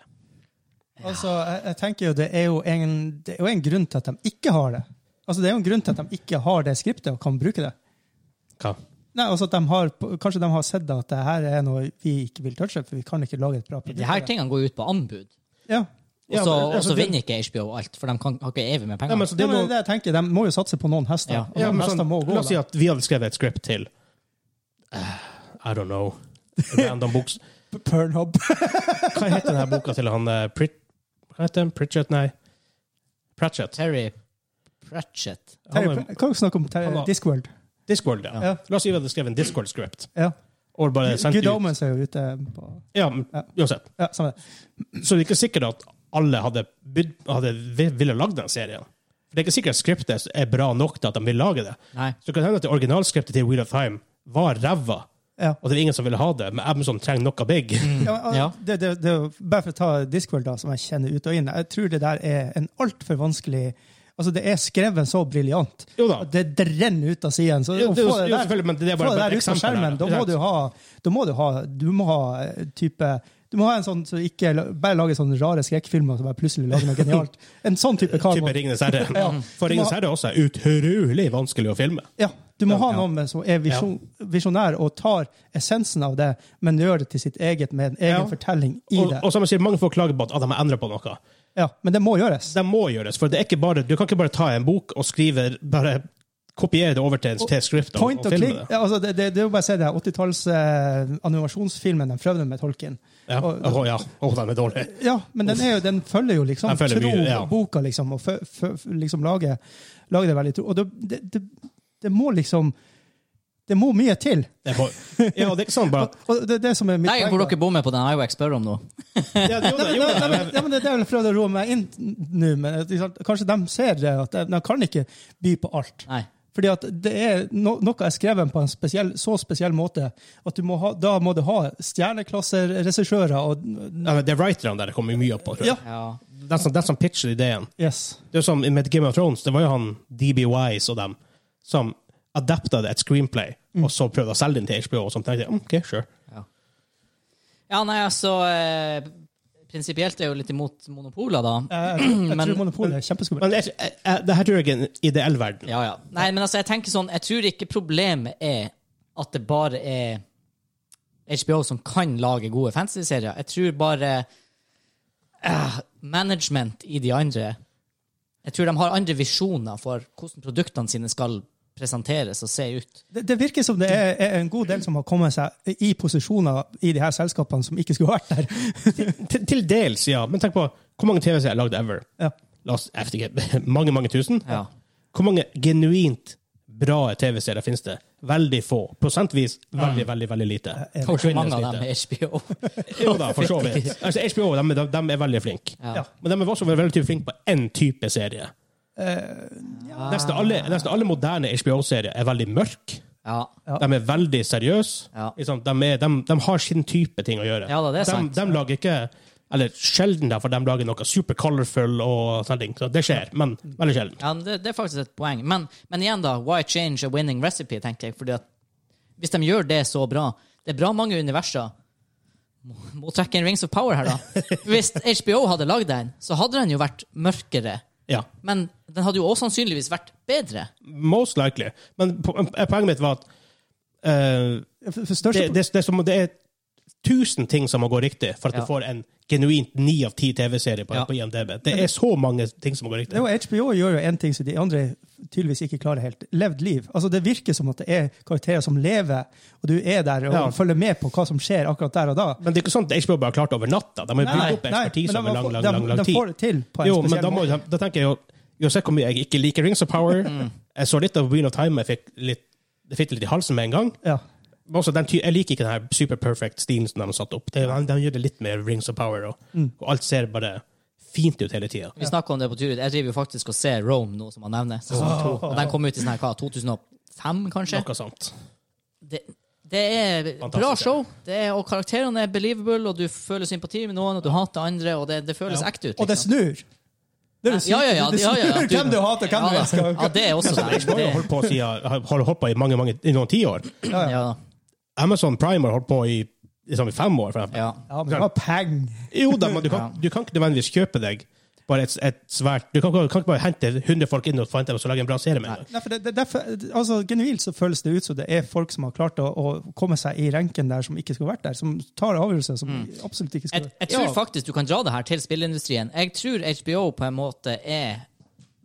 [SPEAKER 3] Altså, jeg, jeg tenker jo det er jo, en, det er jo en grunn til at de ikke har det. Altså, Det er jo en grunn til at de ikke har det skriptet og kan bruke det.
[SPEAKER 1] Hva?
[SPEAKER 3] Nei, altså at de har, Kanskje de har sett at det her er noe vi ikke vil touche, for vi kan ikke lage et bra produkt.
[SPEAKER 2] De her
[SPEAKER 3] av det.
[SPEAKER 2] tingene går jo ut på anbud.
[SPEAKER 3] Ja.
[SPEAKER 2] Og
[SPEAKER 1] Ja,
[SPEAKER 2] så
[SPEAKER 1] men,
[SPEAKER 2] og
[SPEAKER 1] altså,
[SPEAKER 2] så
[SPEAKER 1] det-
[SPEAKER 2] vinner ikke HBO alt, for de kan, har ikke evig med
[SPEAKER 1] Nei,
[SPEAKER 2] penger.
[SPEAKER 1] men, så
[SPEAKER 3] Det,
[SPEAKER 1] det
[SPEAKER 3] ja, men
[SPEAKER 1] må,
[SPEAKER 3] det jeg tenker, De må jo satse på noen hester.
[SPEAKER 2] Ja.
[SPEAKER 3] og
[SPEAKER 1] Ja,
[SPEAKER 3] noen
[SPEAKER 1] men
[SPEAKER 3] hester
[SPEAKER 1] sånn,
[SPEAKER 3] må gå.
[SPEAKER 1] la oss si at vi hadde skrevet et script til eh, I don't know. Random boks.
[SPEAKER 3] da. Pornhub.
[SPEAKER 1] Hva heter denne boka til han eh, Prit... Hva heter han? Pritchett? Nei. Pratchett.
[SPEAKER 2] Terry Pratchett.
[SPEAKER 1] Han
[SPEAKER 3] Terry,
[SPEAKER 1] er-
[SPEAKER 3] Pr- Kan vi snakke om Terry-
[SPEAKER 1] Han var-
[SPEAKER 3] Discworld?
[SPEAKER 1] Discord, ja.
[SPEAKER 3] Ja.
[SPEAKER 1] La oss si vi hadde skrevet en Discord-script.
[SPEAKER 3] Ja.
[SPEAKER 1] Og bare sendt
[SPEAKER 3] Good
[SPEAKER 1] det ut.
[SPEAKER 3] Omens er jo ute på
[SPEAKER 1] Ja, men
[SPEAKER 3] Ja.
[SPEAKER 1] uansett.
[SPEAKER 3] Ja, samme det.
[SPEAKER 1] Så det er ikke sikkert at alle hadde, bydd, hadde vi- ville lagd den serien. For det er ikke sikkert at skriptet er bra nok til at de vil lage det.
[SPEAKER 2] Nei.
[SPEAKER 1] Så det kan hende at det originalskriptet til Wheel of Time var ræva,
[SPEAKER 3] Ja.
[SPEAKER 1] og det er ingen som ville ha det, men Amazon trenger noe big.
[SPEAKER 3] Ja, men,
[SPEAKER 2] Ja.
[SPEAKER 3] Det, det, det, er jo- bare for å ta Discworld, da, som jeg kjenner ut og inn. Jeg tror det der er en altfor vanskelig Altså, det er skrevet så briljant.
[SPEAKER 1] Jo da.
[SPEAKER 3] at Det drenner ut av siden. Så
[SPEAKER 1] Jo,
[SPEAKER 3] å
[SPEAKER 1] det er jo-
[SPEAKER 3] få det
[SPEAKER 1] jo,
[SPEAKER 3] der-
[SPEAKER 1] selvfølgelig, men det er bare
[SPEAKER 3] få
[SPEAKER 1] bare
[SPEAKER 3] det der
[SPEAKER 1] et
[SPEAKER 3] ut av
[SPEAKER 1] eksempel her,
[SPEAKER 3] skjermen,
[SPEAKER 1] da.
[SPEAKER 3] da må du ha Da må du ha, du må ha eh, type du må ha en sånn som ikke la- bare lager sånne rare skrekkfilmer som bare plutselig lager noe genialt. En sånn type
[SPEAKER 1] Type
[SPEAKER 3] kamera.
[SPEAKER 1] Ringenes herre. For
[SPEAKER 3] Du må
[SPEAKER 1] Ringenes
[SPEAKER 3] ha-
[SPEAKER 1] herre også er utrolig vanskelig å filme.
[SPEAKER 3] Ja, du må ha noen med som er visjon, visjonær og tar essensen av det, men gjør det til sitt eget med en egen
[SPEAKER 1] Ja.
[SPEAKER 3] fortelling i
[SPEAKER 1] Og,
[SPEAKER 3] det.
[SPEAKER 1] og som jeg sier, mange får klage på at ah, de har endret på noe.
[SPEAKER 3] Ja, men det må gjøres.
[SPEAKER 1] Det må gjøres, for det er ikke bare, du kan ikke bare ta en bok og skrive bare kopiere det over til, til et skrift og,
[SPEAKER 3] Point
[SPEAKER 1] og
[SPEAKER 3] og
[SPEAKER 1] filme
[SPEAKER 3] click.
[SPEAKER 1] det.
[SPEAKER 3] Ja, altså, det, det, det er jo bare å se det 80-talls eh, animasjonsfilmen de prøvde med Tolkien.
[SPEAKER 1] Ja.
[SPEAKER 3] Og-
[SPEAKER 1] Åh, ja. Åh, den er dårlig.
[SPEAKER 3] Ja, men den, er jo, den følger jo liksom
[SPEAKER 1] Den følger
[SPEAKER 3] tro
[SPEAKER 1] mye, ja.
[SPEAKER 3] og boka, liksom, og fø, fø, liksom lager, lager det veldig tro. Og det, det, det, det må liksom Det må mye til.
[SPEAKER 1] Det er for, ja, det er ikke sånn bare at
[SPEAKER 3] Og det, er det som er mitt
[SPEAKER 2] Nei, hvor
[SPEAKER 3] da.
[SPEAKER 2] dere bommer på den IWAX spør om nå.
[SPEAKER 1] ja, det, jo,
[SPEAKER 3] Nei,
[SPEAKER 1] det,
[SPEAKER 3] men-
[SPEAKER 1] jo,
[SPEAKER 3] nei,
[SPEAKER 1] det,
[SPEAKER 3] men- ja, men Det er det jeg prøvde å roe meg inn nå, men at, liksom, kanskje de ser det, at de, de kan ikke by på alt.
[SPEAKER 2] Nei.
[SPEAKER 3] Fordi at det er no, noe er skrevet på en spesiell, så spesiell måte at du må ha, da må du ha stjerneklasseregissører og
[SPEAKER 1] ja, men det er writerne der det kommer mye opp på. tror jeg. sånn,
[SPEAKER 3] Ja.
[SPEAKER 2] Ja.
[SPEAKER 1] Den som, den som pitcher ideen.
[SPEAKER 3] Yes.
[SPEAKER 1] Det er jo som med Game of Thrones, det var jo han DB Wise og dem som adapta et screenplay,
[SPEAKER 3] Mm.
[SPEAKER 1] og så prøvde å selge den til HBO, og som tenkte "Mm, OK, sure.
[SPEAKER 2] Ja, nei, altså eh, Prinsipielt er jeg jo litt imot monopoler, da.
[SPEAKER 3] Jeg, jeg,
[SPEAKER 1] Mm,
[SPEAKER 3] jeg
[SPEAKER 2] Men-
[SPEAKER 3] tror monopolet er kjempeskummelt.
[SPEAKER 1] Men jeg, jeg, jeg, det her tror jeg er en ideell verden.
[SPEAKER 2] Ja, ja. Nei, men altså, jeg tenker sånn Jeg tror ikke problemet er at det bare er HBO som kan lage gode fantasy-serier. Jeg tror bare eh, management i de andre Jeg tror de har andre visjoner for hvordan produktene sine skal presenteres og se ut.
[SPEAKER 3] Det, det virker som det er, er en god del som har kommet seg i posisjoner i de her selskapene som ikke skulle vært der.
[SPEAKER 1] Til, til dels, ja. Men tenk på hvor mange TV-serier er lagd ever.
[SPEAKER 3] ja.
[SPEAKER 1] La oss jeg vet ikke, mange, mange tusen.
[SPEAKER 2] Ja.
[SPEAKER 1] Hvor mange genuint bra TV-serier finnes det? Veldig få. Prosentvis
[SPEAKER 2] Mm.
[SPEAKER 1] veldig, veldig veldig lite.
[SPEAKER 2] Kanskje mange
[SPEAKER 1] Forsvinnende
[SPEAKER 2] av dem er HBO.
[SPEAKER 1] lite. Jo da, for så vidt. Altså, HBO de, de, de er veldig flinke.
[SPEAKER 2] Ja.
[SPEAKER 1] Men de er også veldig flinke på én type serie.
[SPEAKER 2] Eh,
[SPEAKER 1] Nesten alle, nesten alle moderne HBO-serier er veldig mørke.
[SPEAKER 2] Ja.
[SPEAKER 3] Ja.
[SPEAKER 1] De er veldig seriøse.
[SPEAKER 2] Ja.
[SPEAKER 1] Liksom, de, er, de, de har sin type ting å gjøre.
[SPEAKER 2] Ja da, det er
[SPEAKER 1] de,
[SPEAKER 2] sant.
[SPEAKER 1] de lager ikke Eller sjelden, derfor de lager noe super colorful og sånne ting. Så det skjer, men veldig sjelden.
[SPEAKER 2] Ja, men det, det er faktisk et poeng. Men, men igjen, da. Why change a winning recipe, tenker jeg. Fordi at hvis de gjør det så bra Det er bra mange universer. Må, må trekke en Rings of Power her, da. Hvis HBO hadde lagd den, så hadde den jo vært mørkere.
[SPEAKER 1] Ja.
[SPEAKER 2] Men den hadde jo også sannsynligvis vært bedre.
[SPEAKER 1] Most likely. Men po- poenget mitt var at eh,
[SPEAKER 3] For- for største-
[SPEAKER 1] det, det, det, er som, det er tusen ting som må gå riktig for at
[SPEAKER 2] Ja.
[SPEAKER 1] du får en genuint ni av ti TV-serie på,
[SPEAKER 2] Ja.
[SPEAKER 1] på IMDb. Det er så mange ting som må gå
[SPEAKER 3] Det
[SPEAKER 1] riktig.
[SPEAKER 3] var HBO gjør jo en ting som de andre tydeligvis ikke klarer helt. Levd liv. Altså Det virker som at det er karakterer som lever, og du er der og
[SPEAKER 1] Ja.
[SPEAKER 3] følger med på hva som skjer akkurat der og da.
[SPEAKER 1] Men det er ikke sånn at HBO bare har klart det over natta. De har jo bygd opp
[SPEAKER 3] men
[SPEAKER 1] ekspertise
[SPEAKER 3] de,
[SPEAKER 1] over lang,
[SPEAKER 3] får-
[SPEAKER 1] lang,
[SPEAKER 3] de,
[SPEAKER 1] lang, lang
[SPEAKER 3] de
[SPEAKER 1] tid.
[SPEAKER 3] får det til på en
[SPEAKER 1] Jo, men
[SPEAKER 3] spesiell
[SPEAKER 1] da, må,
[SPEAKER 3] måte.
[SPEAKER 1] da tenker jeg jo Uansett hvor mye jeg ikke liker Rings of Power
[SPEAKER 2] Mm.
[SPEAKER 1] Jeg så litt av Wheel of Time, jeg fikk litt, det fikk litt i halsen med en gang.
[SPEAKER 3] Ja.
[SPEAKER 1] Men Også den ty jeg liker ikke den her super perfect stilen som de har satt opp. Det, de, de gjør det litt mer Rings of Power, og,
[SPEAKER 3] Mm.
[SPEAKER 1] og alt ser bare fint ut hele tida.
[SPEAKER 2] Vi snakket om det på tur ut. Jeg driver jo faktisk og ser Rome nå, som han nevner. Sesong to. Og den kom ut i sånn her, hva, 2005, kanskje?
[SPEAKER 1] Noe sånt.
[SPEAKER 2] det, det er bra
[SPEAKER 1] Fantastisk,
[SPEAKER 2] show, det er, og karakterene er believable, og du føler sympati med noen, og du hater andre, og det, det føles ekte ut.
[SPEAKER 3] Og det
[SPEAKER 2] Liksom.
[SPEAKER 3] snur! Det er jo
[SPEAKER 2] Ja, ja, ja,
[SPEAKER 3] sykt. det
[SPEAKER 2] ja,
[SPEAKER 3] snur
[SPEAKER 2] ja, ja.
[SPEAKER 3] hvem du hater, hvem du
[SPEAKER 2] ja,
[SPEAKER 3] elsker.
[SPEAKER 2] Ja, det er også der.
[SPEAKER 1] HBO har
[SPEAKER 2] Det,
[SPEAKER 1] holdt på, siden, har- har holdt på i mange, mange, i noen tiår.
[SPEAKER 2] ja,
[SPEAKER 1] Amazon Prime har holdt på i, liksom, i fem år. For eksempel.
[SPEAKER 2] ja.
[SPEAKER 3] Ja, men det var peng.
[SPEAKER 1] Jo da, men du kan, du kan ikke nødvendigvis kjøpe deg bare et, et svært Du kan, ikke- kan ikke bare hente 100 folk inn og forvente dem til å lage en bra serie med en gang.
[SPEAKER 3] Nei, for det, det, derfor, altså, genuint så føles det ut som det er folk som har klart å, å komme seg i renken der som ikke skulle vært der, som tar avgjørelser som
[SPEAKER 2] Mm.
[SPEAKER 3] absolutt ikke
[SPEAKER 2] Jeg,
[SPEAKER 3] skulle vært
[SPEAKER 2] jeg tror
[SPEAKER 1] Ja.
[SPEAKER 2] faktisk du kan dra det her til spillindustrien. Jeg tror HBO på en måte er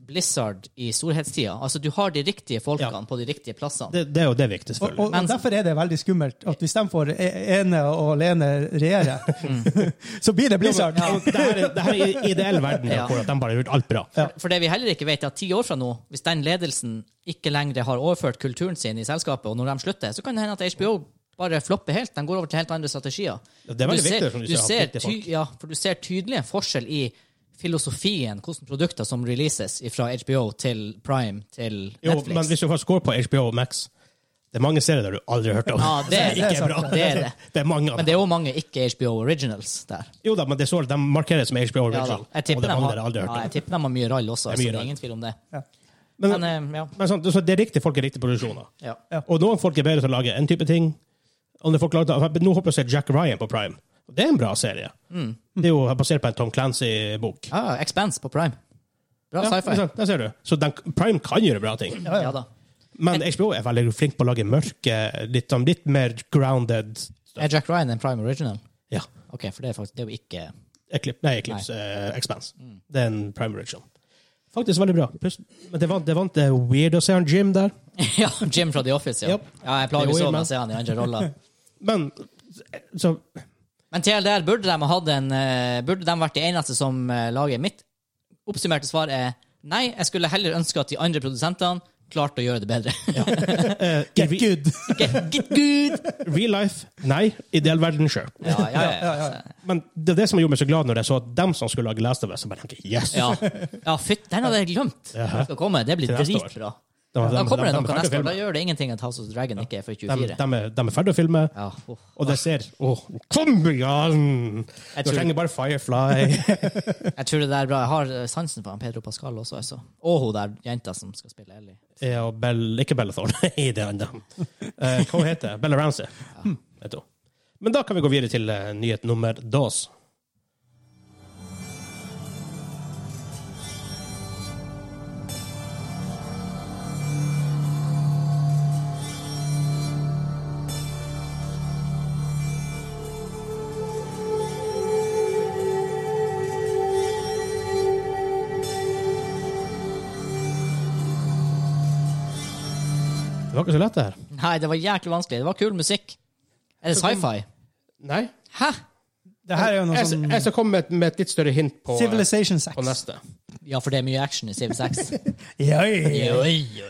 [SPEAKER 2] Blizzard i storhetstida. Altså, du har de riktige folkene
[SPEAKER 1] Ja.
[SPEAKER 2] på de riktige plassene.
[SPEAKER 1] Det, det er jo det viktige,
[SPEAKER 3] Og,
[SPEAKER 1] selvfølgelig.
[SPEAKER 3] og, og Derfor er det veldig skummelt at hvis de får e- ene og alene regjere,
[SPEAKER 2] Mm.
[SPEAKER 3] så blir det Blizzard.
[SPEAKER 1] Ja, det her er- det her er i- ideell verden,
[SPEAKER 2] Ja.
[SPEAKER 1] hvor at de bare har gjort alt bra.
[SPEAKER 2] For det vi heller ikke vet, er at ti år fra nå, hvis den ledelsen ikke lenger har overført kulturen sin i selskapet, og når de slutter, så kan det hende at HBO bare flopper helt. De går over til helt andre strategier.
[SPEAKER 1] Ja, det er veldig
[SPEAKER 2] Du ser-
[SPEAKER 1] viktig, som du sier, at
[SPEAKER 2] ser
[SPEAKER 1] viktige folk-
[SPEAKER 2] ty- Ja, for du ser tydelig en forskjell i filosofien, hvordan produkter som releases fra HBO til Prime til
[SPEAKER 1] Jo,
[SPEAKER 2] Netflix.
[SPEAKER 1] men hvis du først går på HBO Max Det er mange serier der du aldri har hørt om.
[SPEAKER 2] Ja, det er-
[SPEAKER 1] Som ikke
[SPEAKER 3] det er
[SPEAKER 1] bra.
[SPEAKER 3] sant,
[SPEAKER 2] det er det.
[SPEAKER 1] Det er mange av
[SPEAKER 2] Men
[SPEAKER 1] dem.
[SPEAKER 2] det er jo mange ikke HBO Originals der.
[SPEAKER 1] Jo da, men det er så, de markeres som HBO
[SPEAKER 2] Ja, da.
[SPEAKER 1] Original.
[SPEAKER 2] jeg,
[SPEAKER 1] og
[SPEAKER 2] tipper
[SPEAKER 1] det
[SPEAKER 2] de
[SPEAKER 1] er
[SPEAKER 2] har,
[SPEAKER 1] andre jeg aldri har
[SPEAKER 2] ja, jeg
[SPEAKER 1] hørt om.
[SPEAKER 2] tipper de har mye rall også,
[SPEAKER 1] Det
[SPEAKER 2] det
[SPEAKER 1] er mye
[SPEAKER 2] så det er
[SPEAKER 1] rall.
[SPEAKER 2] ingen tvil om det.
[SPEAKER 3] Ja.
[SPEAKER 1] Men,
[SPEAKER 2] Men, eh, ja.
[SPEAKER 1] men sånn, så det er riktige folk i riktige produksjoner.
[SPEAKER 2] ja.
[SPEAKER 1] Og noen folk er bedre til å lage en type ting. Andre folk lager, nå håper jeg å se Jack Ryan på Prime. Det er en bra serie.
[SPEAKER 2] Mm.
[SPEAKER 1] Det er jo basert på en Tom Clancy-bok.
[SPEAKER 2] ja, ja, Ah, Expanse på Prime. Bra
[SPEAKER 1] Ja,
[SPEAKER 2] sci-fi.
[SPEAKER 1] der ser du. Så den, Prime kan gjøre bra ting.
[SPEAKER 2] ja da.
[SPEAKER 1] Men HBO er veldig flink på å lage mørke, litt, sånn, litt mer grounded
[SPEAKER 2] Er Jack Ryan en Prime Original?
[SPEAKER 1] Ja.
[SPEAKER 2] Ok, for det er faktisk det er jo ikke
[SPEAKER 1] Eclipse, nei, Eclipse eh, Expanse.
[SPEAKER 2] Mm.
[SPEAKER 1] Det er en prime direction. Faktisk veldig bra. Plus, men det vant, det vant det Weird Ocean Gym der.
[SPEAKER 2] Ja, Jim fra The Office, ja.
[SPEAKER 1] Yep.
[SPEAKER 2] Ja, jeg
[SPEAKER 1] Det
[SPEAKER 2] plager
[SPEAKER 1] er
[SPEAKER 2] så
[SPEAKER 1] weird,
[SPEAKER 2] med
[SPEAKER 1] man.
[SPEAKER 2] å se han i andre roller.
[SPEAKER 1] Men så
[SPEAKER 2] Men TLDR, burde de ha hatt en eh, Burde de vært de eneste som eh, lager mitt? Oppsummerte svar er nei, jeg skulle heller ønske at de andre produsentene klarte å gjøre det bedre.
[SPEAKER 1] eh, i
[SPEAKER 3] Get
[SPEAKER 1] re-
[SPEAKER 3] good!
[SPEAKER 2] Get, get good!
[SPEAKER 1] real life, nei. Ideell verden, sure.
[SPEAKER 2] Ja, ja, ja. ja,
[SPEAKER 1] Men det er det som gjorde meg så glad når jeg så at dem som skulle lage Last of Us, så bare tenkte jeg, yes!
[SPEAKER 2] ja. ja fytt, den hadde jeg glemt. Den skal komme, Det blir
[SPEAKER 1] Til neste år.
[SPEAKER 2] dritbra.
[SPEAKER 1] De, de,
[SPEAKER 2] Da
[SPEAKER 1] de-
[SPEAKER 2] kommer det
[SPEAKER 1] de- de
[SPEAKER 2] noe
[SPEAKER 1] er ferdig
[SPEAKER 2] neste
[SPEAKER 1] å
[SPEAKER 2] år. Da
[SPEAKER 1] filme.
[SPEAKER 2] gjør det ingenting at House of the Dragon ikke er fra
[SPEAKER 1] De,
[SPEAKER 2] 24.
[SPEAKER 1] de, er- de er ferdig å filme,
[SPEAKER 2] Ja, uff.
[SPEAKER 1] og det ser Åh, Kom igjen!
[SPEAKER 2] Jeg
[SPEAKER 1] Du
[SPEAKER 2] tror-
[SPEAKER 1] trenger bare Firefly.
[SPEAKER 2] Jeg tror det der er bra. Jeg har eh, sansen for han Pedro Pascal også, altså. Og hun der jenta som skal spille Ellie.
[SPEAKER 1] Ja, og Bell, ikke Bella Thorne, i det andre. Eh, hva hun heter hun? Bella Ramsey. Hmm, vet du. Men da kan vi gå videre til eh, nyhet nummer dos. var ikke så lett, det her.
[SPEAKER 2] Nei, det var jæklig vanskelig. Det var kul musikk. Er det sci-fi?
[SPEAKER 1] Nei.
[SPEAKER 2] Hæ?
[SPEAKER 3] Det her er jo noe
[SPEAKER 1] Jeg,
[SPEAKER 3] sånn
[SPEAKER 1] jeg skal komme med et, med et litt større hint på, eh,
[SPEAKER 3] Civilization
[SPEAKER 1] på
[SPEAKER 3] 6.
[SPEAKER 1] neste.
[SPEAKER 2] Ja, for det er mye action i Civ 6.
[SPEAKER 3] Jøy!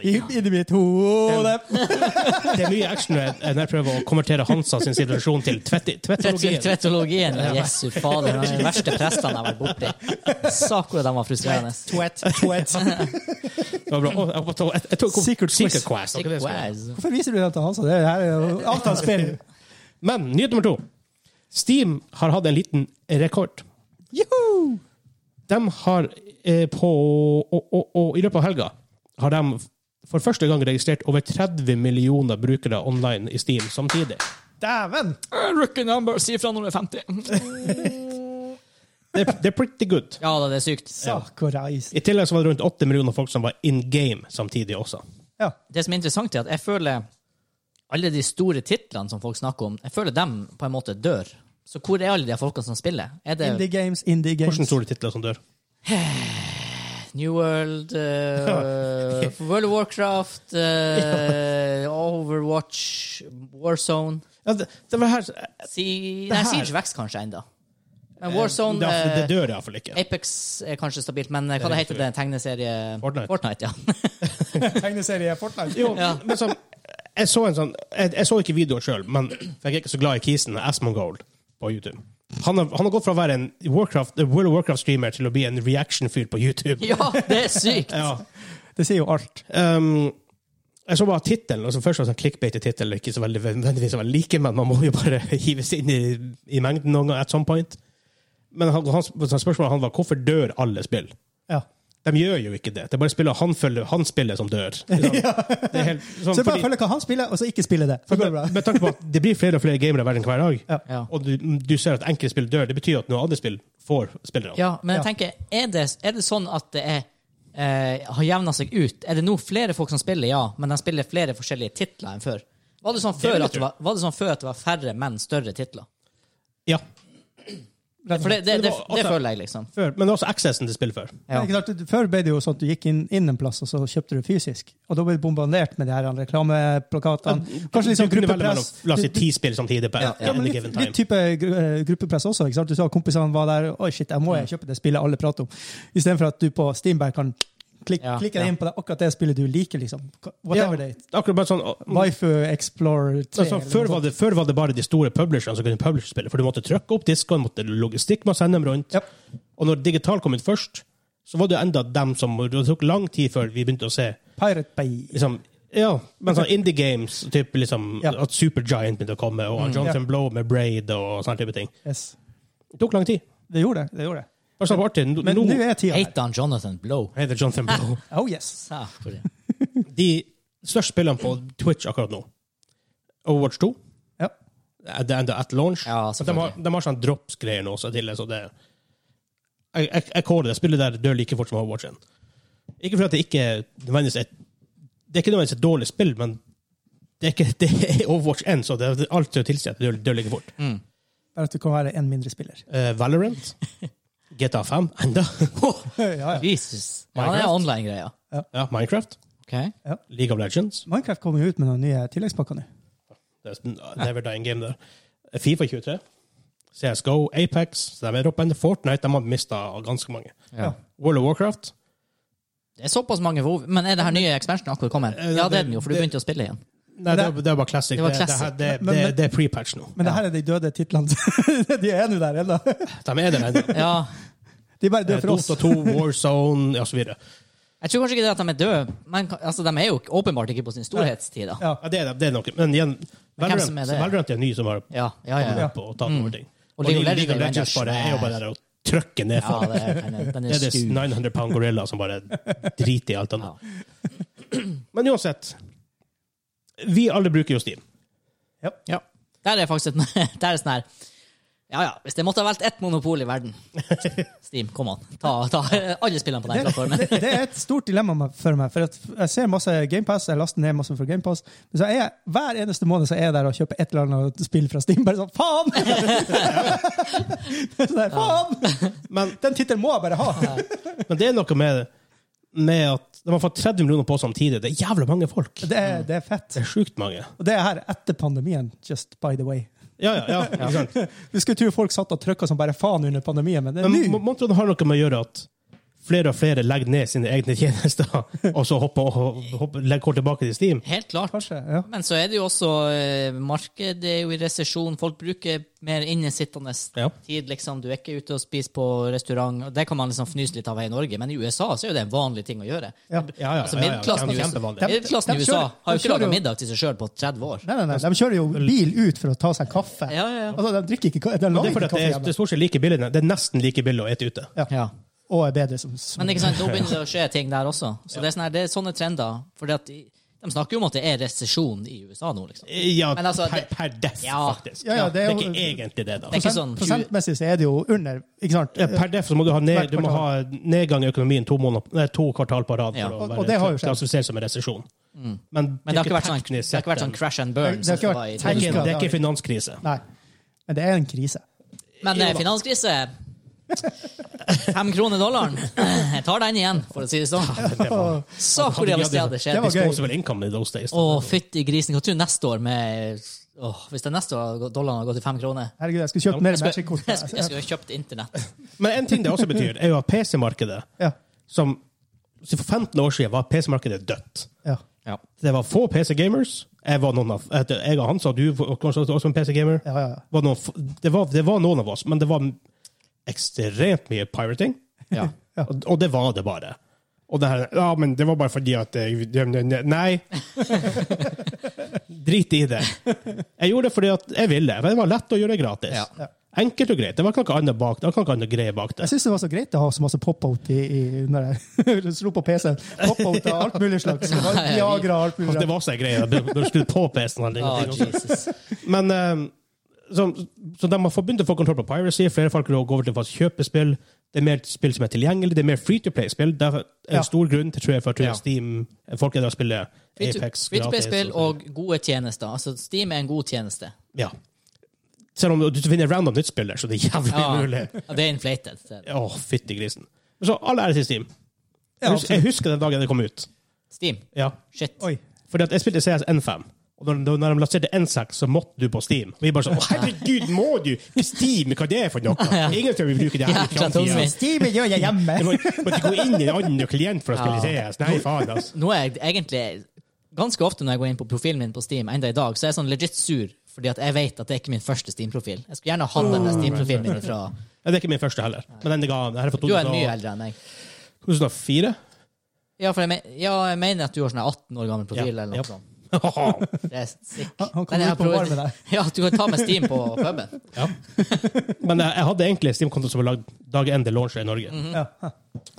[SPEAKER 3] Inni mitt hode.
[SPEAKER 1] Det er mye action når jeg, når jeg prøver å konvertere Hansa sin situasjon til tvetti- tvettologien.
[SPEAKER 2] Tretologien. Jesu fader, det var de verste prestene jeg har vært borti. Sa hvor de var frustrerende.
[SPEAKER 3] Twet, twet.
[SPEAKER 1] Det var bra. Å, jeg, jeg, jeg, jeg tok
[SPEAKER 3] Secret Quest.
[SPEAKER 1] Secret Quest. ok, det skal jeg.
[SPEAKER 2] Wow.
[SPEAKER 3] Hvorfor viser du den til Hansa? Det her er jo alt han spiller.
[SPEAKER 1] Men nyhet nummer to. Steam har hatt en liten rekord.
[SPEAKER 3] Juhu!
[SPEAKER 1] De har eh, på og, og, og, I løpet av helga har de for første gang registrert over 30 millioner brukere online i Steam samtidig.
[SPEAKER 3] Dæven!
[SPEAKER 2] Rookie number, si ifra når du er 50.
[SPEAKER 1] Det, det er pretty good.
[SPEAKER 2] Ja da, det er sykt.
[SPEAKER 3] Sakurais.
[SPEAKER 1] I tillegg så var det rundt 8 millioner folk som var in game samtidig også.
[SPEAKER 3] Ja.
[SPEAKER 2] Det som er interessant, er at jeg føler alle de store titlene som folk snakker om, jeg føler dem på en måte dør. Så hvor er alle de folkene som spiller? Er det
[SPEAKER 3] Indie games, indie games.
[SPEAKER 1] Hvordan store titler som dør?
[SPEAKER 2] New World, eh, World of Warcraft, eh, Overwatch, Warzone
[SPEAKER 1] Ja, det, det var her
[SPEAKER 2] Si- Nei,
[SPEAKER 1] her-
[SPEAKER 2] Siege vokser kanskje ennå. Men Warzone
[SPEAKER 1] Det, det
[SPEAKER 2] eh,
[SPEAKER 1] dør iallfall ikke.
[SPEAKER 2] Apex er kanskje stabilt, men eh, hva det heter det? Tegneserie
[SPEAKER 1] Fortnite.
[SPEAKER 2] Fortnite ja.
[SPEAKER 3] Tegneserie Fortnite.
[SPEAKER 1] Jo,
[SPEAKER 2] Ja.
[SPEAKER 1] men sånn, jeg så en sånn Jeg, jeg så ikke videoen sjøl, men for jeg er ikke så glad i kisen Asmongold på YouTube. Han har, han har gått fra å være en Warcraft, eh, World of Warcraft-streamer til å bli en reaction-fyr på YouTube.
[SPEAKER 2] ja, det er sykt!
[SPEAKER 1] Ja.
[SPEAKER 3] Det sier jo alt.
[SPEAKER 1] Um, jeg så bare tittelen, og så først var det sånn clickbait-tittel, ikke så veldig nødvendigvis å være like, men man må jo bare hive seg inn i, i mengden noen gang at some point. Men han, han, spørsmålet han var hvorfor dør alle spill?
[SPEAKER 3] Ja.
[SPEAKER 1] De gjør jo ikke det. Det er bare spillet han, følger, han spiller som dør. Liksom. Det er helt, sånn,
[SPEAKER 3] Så bare
[SPEAKER 1] fordi-
[SPEAKER 3] følg hva han spiller, og så ikke spille det. Så går det bra.
[SPEAKER 1] Med tanke på at det blir flere og flere gamere i verden hver dag,
[SPEAKER 2] Ja.
[SPEAKER 1] og du, du ser at enkelte spill dør, det betyr at noen andre spill får spillere.
[SPEAKER 2] Ja, men jeg tenker, er det, er det sånn at det er eh, har jevna seg ut? Er det nå flere folk som spiller, ja, men de spiller flere forskjellige titler enn før? Var det sånn
[SPEAKER 1] vil
[SPEAKER 2] før,
[SPEAKER 1] jeg
[SPEAKER 2] at det
[SPEAKER 1] tro.
[SPEAKER 2] var, var, det sånn før at det var færre, men større titler?
[SPEAKER 1] Ja,
[SPEAKER 2] For det, det,
[SPEAKER 1] Men det
[SPEAKER 2] det,
[SPEAKER 1] var-
[SPEAKER 2] det
[SPEAKER 1] altså-
[SPEAKER 2] føler jeg, liksom.
[SPEAKER 1] før, men også accessen til spill før.
[SPEAKER 2] Ja.
[SPEAKER 3] Ikke sant? Før ble det jo sånn at du gikk inn, inn en plass, og så kjøpte du fysisk. Og da ble du bombardert med de her reklameplakatene. Kanskje litt sånn
[SPEAKER 1] du kunne velge
[SPEAKER 3] gruppepress.
[SPEAKER 1] mellom la oss si ti spill samtidig på
[SPEAKER 2] Ja, ja.
[SPEAKER 3] Ja, men
[SPEAKER 1] any
[SPEAKER 3] litt,
[SPEAKER 1] given time.
[SPEAKER 3] litt type gru- eh, gruppepress også. ikke sant? Du sa kompisene var der. Oi, shit, jeg må
[SPEAKER 1] Mm.
[SPEAKER 3] jeg kjøpe det spillet alle prater om. Istedenfor at du på Steamberg kan klik,
[SPEAKER 2] Ja,
[SPEAKER 3] klikke
[SPEAKER 2] ja.
[SPEAKER 3] deg inn på det, akkurat det spillet du liker. liksom.
[SPEAKER 1] Ja,
[SPEAKER 3] Whatever
[SPEAKER 1] det
[SPEAKER 3] det er.
[SPEAKER 1] er akkurat bare sånn, og-
[SPEAKER 3] Waifu Explorer 3.
[SPEAKER 1] altså, før, var det, før var det bare de store publisherne som kunne publishe spillet, for du måtte trykke opp disken, måtte logistikk med å sende dem rundt.
[SPEAKER 3] Ja.
[SPEAKER 1] Og når digital kom ut først, så var det jo enda dem som Det tok lang tid før vi begynte å se
[SPEAKER 3] Pirate Bay.
[SPEAKER 1] liksom, ja, men sånn indie games, typ, liksom,
[SPEAKER 3] Ja. Mm.
[SPEAKER 1] at Supergiant begynte å komme, og Jonathan Blow med Braid og sånne type ting.
[SPEAKER 3] Yes.
[SPEAKER 1] Det tok lang tid.
[SPEAKER 3] Det gjorde det. det gjorde det.
[SPEAKER 1] Bare sånn på artig. Nå,
[SPEAKER 3] Men nå
[SPEAKER 1] nå
[SPEAKER 3] er tida her.
[SPEAKER 2] Heter han Jonathan Blow?
[SPEAKER 1] heter Jonathan Blow.
[SPEAKER 3] Oh yes.
[SPEAKER 2] Sa, hvor er-
[SPEAKER 1] De største spillene på Twitch akkurat nå. Overwatch 2.
[SPEAKER 3] Ja.
[SPEAKER 1] Det er enda at launch.
[SPEAKER 2] Ja,
[SPEAKER 1] de, har, de har sånn drops-greier nå, så til det, så det Jeg, jeg, jeg kårer det. Spillet der dør like fort som Overwatchen. Ikke fordi at det ikke nødvendigvis er et- Det er ikke nødvendigvis et dårlig spill, men det er, ikke, det er Overwatch 1, så det er alt som tilsier at det dør, dør like fort.
[SPEAKER 3] Bare at du kan være en mindre spiller.
[SPEAKER 1] Eh, Valorant. GTA 5 enda.
[SPEAKER 3] Ja, ja.
[SPEAKER 2] Jesus. Ja, det er online-greia.
[SPEAKER 1] ja, Minecraft.
[SPEAKER 2] Ok.
[SPEAKER 1] League of Legends.
[SPEAKER 3] Minecraft kommer jo ut med noen nye tilleggspakker nå.
[SPEAKER 1] Det er en never dying game der. Fifa 23. CSGO, Apex. Så de er oppe enda Fortnite. De har mista ganske mange.
[SPEAKER 2] Ja.
[SPEAKER 1] World of Warcraft.
[SPEAKER 2] Det er såpass mange WoW. Men er det her nye expansionen akkurat kommet?
[SPEAKER 1] Eh,
[SPEAKER 2] Ja, det
[SPEAKER 1] det-
[SPEAKER 2] er den jo, for du begynte å spille igjen.
[SPEAKER 1] Nei, det, er- det er bare classic.
[SPEAKER 2] Det
[SPEAKER 1] Det,
[SPEAKER 2] var
[SPEAKER 1] det,
[SPEAKER 2] classic.
[SPEAKER 1] her- det,
[SPEAKER 3] Men-
[SPEAKER 1] det,
[SPEAKER 3] men-
[SPEAKER 1] det er pre-patch nå.
[SPEAKER 3] Men det her er de døde titlene. de er nå der ennå.
[SPEAKER 1] De er der ennå.
[SPEAKER 2] Ja.
[SPEAKER 3] De bare dør for oss.
[SPEAKER 1] Dota 2, Warzone osv. Ja,
[SPEAKER 2] Jeg tror kanskje ikke det at de er døde, men ka- altså, de er jo åpenbart ikke på sin storhetstid. da.
[SPEAKER 3] Ja.
[SPEAKER 1] det, er- det er noe. Men igjen,
[SPEAKER 2] hvem
[SPEAKER 1] Valorant,
[SPEAKER 2] som er det?
[SPEAKER 1] Valorant er ny som har
[SPEAKER 2] Ja, ja, ja.
[SPEAKER 1] kommet opp og tatt over ting. Og
[SPEAKER 2] Og League of
[SPEAKER 1] League
[SPEAKER 2] Legends
[SPEAKER 1] League of
[SPEAKER 2] er jo
[SPEAKER 1] Legends
[SPEAKER 2] enda
[SPEAKER 1] bare er jo bare der og trykker ned
[SPEAKER 2] Ja,
[SPEAKER 1] folk.
[SPEAKER 2] det er, den er, den
[SPEAKER 1] Det
[SPEAKER 2] er
[SPEAKER 1] er
[SPEAKER 2] sku.
[SPEAKER 1] det 900 pound gorilla som bare driter i alt annet. Men uansett Vi alle bruker jo Steam.
[SPEAKER 2] Ja. Der er faktisk et, der er sånn her Ja ja, hvis det måtte ha valgt ett monopol i verden Steam, kom an. Ta, ta alle spillene på den plattformen.
[SPEAKER 3] det, det er et stort dilemma med- for meg. For at jeg ser masse GamePass, jeg laster ned masse for GamePass. Men så er jeg, hver eneste måned så er jeg der og kjøper et eller annet spill fra Steam. Bare sånn faen! så det er, faen!
[SPEAKER 1] Men,
[SPEAKER 3] Den tittelen må jeg bare ha!
[SPEAKER 1] men det er noe med med at de har fått 30 millioner på samtidig. Det er jævla mange folk.
[SPEAKER 3] Det er, det er fett.
[SPEAKER 1] Det er sjukt mange.
[SPEAKER 3] Og det er her etter pandemien, just by the way.
[SPEAKER 1] Ja, ja, ja. ikke sant?
[SPEAKER 3] Du skulle tro folk satt og trykka som bare faen under pandemien, men det er
[SPEAKER 1] Men
[SPEAKER 3] nå!
[SPEAKER 1] må- må tro det har noe med å gjøre at flere og flere legger ned sine egne tjenester, og så hopper, hopper, legger kort tilbake til Steam.
[SPEAKER 2] Helt klart.
[SPEAKER 3] Kanskje. Ja.
[SPEAKER 2] Men så er det jo også eh, markedet er jo i resesjon. Folk bruker mer innesittende
[SPEAKER 1] Ja.
[SPEAKER 2] tid. liksom. Du er ikke ute og spiser på restaurant. og Det kan man liksom fnyse litt av her i Norge, men i USA så er jo det en vanlig ting å gjøre.
[SPEAKER 3] Ja.
[SPEAKER 1] Ja, ja,
[SPEAKER 2] Altså,
[SPEAKER 1] ja, ja,
[SPEAKER 2] Middelklassen i
[SPEAKER 1] kjempe-
[SPEAKER 2] USA,
[SPEAKER 1] kjempevanlig.
[SPEAKER 2] middelklassen
[SPEAKER 3] De-
[SPEAKER 2] i
[SPEAKER 3] de
[SPEAKER 2] USA har
[SPEAKER 3] kjører-
[SPEAKER 2] jo
[SPEAKER 3] de
[SPEAKER 2] ikke
[SPEAKER 3] kjører
[SPEAKER 2] laga
[SPEAKER 3] jo-
[SPEAKER 2] middag til seg sjøl på 30 år.
[SPEAKER 3] Nei, nei, nei, de kjører jo bil ut for å ta seg kaffe.
[SPEAKER 2] Ja, ja, ja.
[SPEAKER 3] Altså, de drikker ikke ka- de
[SPEAKER 1] Det
[SPEAKER 3] lager
[SPEAKER 1] er fordi at det
[SPEAKER 3] ikke kaffe
[SPEAKER 1] er, det
[SPEAKER 3] hjemme.
[SPEAKER 1] er stort sett like billig. Det er nesten like billig å ete ute.
[SPEAKER 2] Ja.
[SPEAKER 3] Og er bedre som som-
[SPEAKER 2] Men ikke sant, da begynner det å skje ting der også. Så det, er sånne, det er sånne trender. Fordi at de, de snakker jo om at det er resesjon i USA nå, liksom.
[SPEAKER 1] Ja,
[SPEAKER 2] Men altså,
[SPEAKER 1] per,
[SPEAKER 2] det-
[SPEAKER 1] per def,
[SPEAKER 2] Ja.
[SPEAKER 1] faktisk.
[SPEAKER 3] Ja, ja,
[SPEAKER 1] det,
[SPEAKER 3] det
[SPEAKER 1] er
[SPEAKER 3] er jo-
[SPEAKER 1] ikke egentlig det, da.
[SPEAKER 2] Det er ikke sånn 20,
[SPEAKER 3] Prosentmessig så er det jo under, ikke sant?
[SPEAKER 1] Ja, per def så må du ha, ned,
[SPEAKER 3] Hvert
[SPEAKER 1] du må ha nedgang i økonomien to, måneder, nei, to kvartal på rad for
[SPEAKER 2] Ja. Mm.
[SPEAKER 1] å
[SPEAKER 3] Og-
[SPEAKER 1] være
[SPEAKER 3] og det har jo skjedd.
[SPEAKER 1] klassifisert som en resesjon. Men,
[SPEAKER 2] Men det har ikke vært sånn,
[SPEAKER 1] teknisk
[SPEAKER 2] det har ikke vært
[SPEAKER 1] sett
[SPEAKER 2] sånn
[SPEAKER 1] en-
[SPEAKER 2] crash and burn. som
[SPEAKER 3] Det har ikke
[SPEAKER 2] det var i
[SPEAKER 3] vært
[SPEAKER 1] det er
[SPEAKER 3] tenkt-
[SPEAKER 1] ikke, det er ikke finanskrise.
[SPEAKER 3] Nei. Men det er en krise.
[SPEAKER 2] Men eh, finanskrise Fem kroner dollaren. Jeg tar den igjen, for å si det sånn.
[SPEAKER 1] Det var,
[SPEAKER 2] Så hvor jævlig det hadde
[SPEAKER 3] Det
[SPEAKER 2] skjedd.
[SPEAKER 3] var gøy.
[SPEAKER 1] disposable income i those days.
[SPEAKER 2] Å, fytti grisen. Hva tror du neste år med åh, Hvis det neste år hadde gått- dollaren hadde gått til fem kroner
[SPEAKER 3] Herregud, jeg skulle kjøpt mer
[SPEAKER 2] Jeg skulle
[SPEAKER 3] Magic-kort.
[SPEAKER 2] jeg skulle- jeg skulle ha kjøpt internett.
[SPEAKER 1] Men en ting det også betyr, er jo at PC-markedet,
[SPEAKER 3] Ja.
[SPEAKER 1] som så for 15 år siden var PC-markedet dødt.
[SPEAKER 3] Ja.
[SPEAKER 2] Ja.
[SPEAKER 1] Det var få PC-gamers. Jeg var noen av, et- jeg og han sa du var kanskje også en PC-gamer.
[SPEAKER 3] Ja, ja, ja.
[SPEAKER 1] Var noen f- Det, var- det var noen av oss, men det var ekstremt mye pirating.
[SPEAKER 2] Ja.
[SPEAKER 1] Og, og det var det bare. Og det her, ja, men det var bare fordi at jeg, Nei. Drit i det. Jeg gjorde det fordi at jeg ville. For det var lett å gjøre det gratis.
[SPEAKER 2] Ja.
[SPEAKER 3] Ja.
[SPEAKER 1] Enkelt og greit. Det var ikke noe annet bak det. Det var ikke noe annet greie bak det.
[SPEAKER 3] Jeg syns det var så greit å ha så masse pop-out i, i, når jeg slo på PC-en. Pop-out av alt mulig slags. Det var Viagra og alt mulig
[SPEAKER 1] Altså, det
[SPEAKER 3] slags.
[SPEAKER 1] var også en greie. Jeg burde- burde skru på PC-en. og alle
[SPEAKER 2] Å,
[SPEAKER 1] ting også.
[SPEAKER 2] Ah, Jesus.
[SPEAKER 1] Men eh, så, så de har fått- begynt å få kontroll på piracy. Flere folk går over til å faktisk kjøpe spill. Det er mer spill som er tilgjengelig. Det er mer free to play-spill. Det er en
[SPEAKER 3] Ja.
[SPEAKER 1] stor grunn til tror jeg, for at
[SPEAKER 2] Ja.
[SPEAKER 1] Steam folk er der og spiller
[SPEAKER 2] Free to-
[SPEAKER 1] Apex
[SPEAKER 2] free to
[SPEAKER 1] gratis.
[SPEAKER 2] play-spill og gode tjenester. Altså, Steam er en god tjeneste.
[SPEAKER 1] Ja. Selv om du finner random nytt spill der, så det er jævlig
[SPEAKER 2] Ja,
[SPEAKER 1] mulig.
[SPEAKER 2] Ja, det er inflated. så
[SPEAKER 1] Å, fytti grisen. Men så all ære til Steam.
[SPEAKER 3] Ja,
[SPEAKER 1] Jeg husker, jeg husker den dagen det kom ut.
[SPEAKER 2] Steam.
[SPEAKER 1] Ja.
[SPEAKER 2] Shit.
[SPEAKER 3] Oi.
[SPEAKER 1] Fordi at jeg spilte CS N5. Og når, når de lanserte N6, så måtte du på Steam. Og vi bare sånn «Å, Herregud, må du? Steam, hva det er for noe? Ingen tror vi bruker det her i
[SPEAKER 2] Jævla
[SPEAKER 1] framtida.
[SPEAKER 2] tungvint.
[SPEAKER 3] Steven gjør jeg hjemme!
[SPEAKER 1] Jeg må måtte gå inn i en annen klient for å spille CS. Nei, faen, altså.
[SPEAKER 2] Nå er jeg egentlig Ganske ofte når jeg går inn på profilen min på Steam, enda i dag, så er jeg sånn legit sur, fordi at jeg vet at det er ikke min første Steam-profil. Jeg skulle gjerne hatt denne Steam-profilen min fra
[SPEAKER 1] Ja, det er ikke min første heller. Men denne gangen, det her er fra
[SPEAKER 2] Du er mye
[SPEAKER 1] 2000
[SPEAKER 2] eldre enn meg.
[SPEAKER 1] 2004.
[SPEAKER 2] Ja, for jeg, men, ja, jeg mener at du har sånn 18 år gammel profil,
[SPEAKER 1] Ja.
[SPEAKER 2] eller
[SPEAKER 1] Ja.
[SPEAKER 2] noe sånt. Det er sick.
[SPEAKER 3] Han- han kommer
[SPEAKER 2] Men jeg
[SPEAKER 3] ut på
[SPEAKER 2] prøver-
[SPEAKER 3] bar med deg.
[SPEAKER 2] Ja, du kan ta med Steam på puben.
[SPEAKER 1] Ja. Men eh, jeg, jeg hadde egentlig en Steam-konto som var lagd dag én det launchet i Norge.
[SPEAKER 2] Mhm.
[SPEAKER 3] Ja.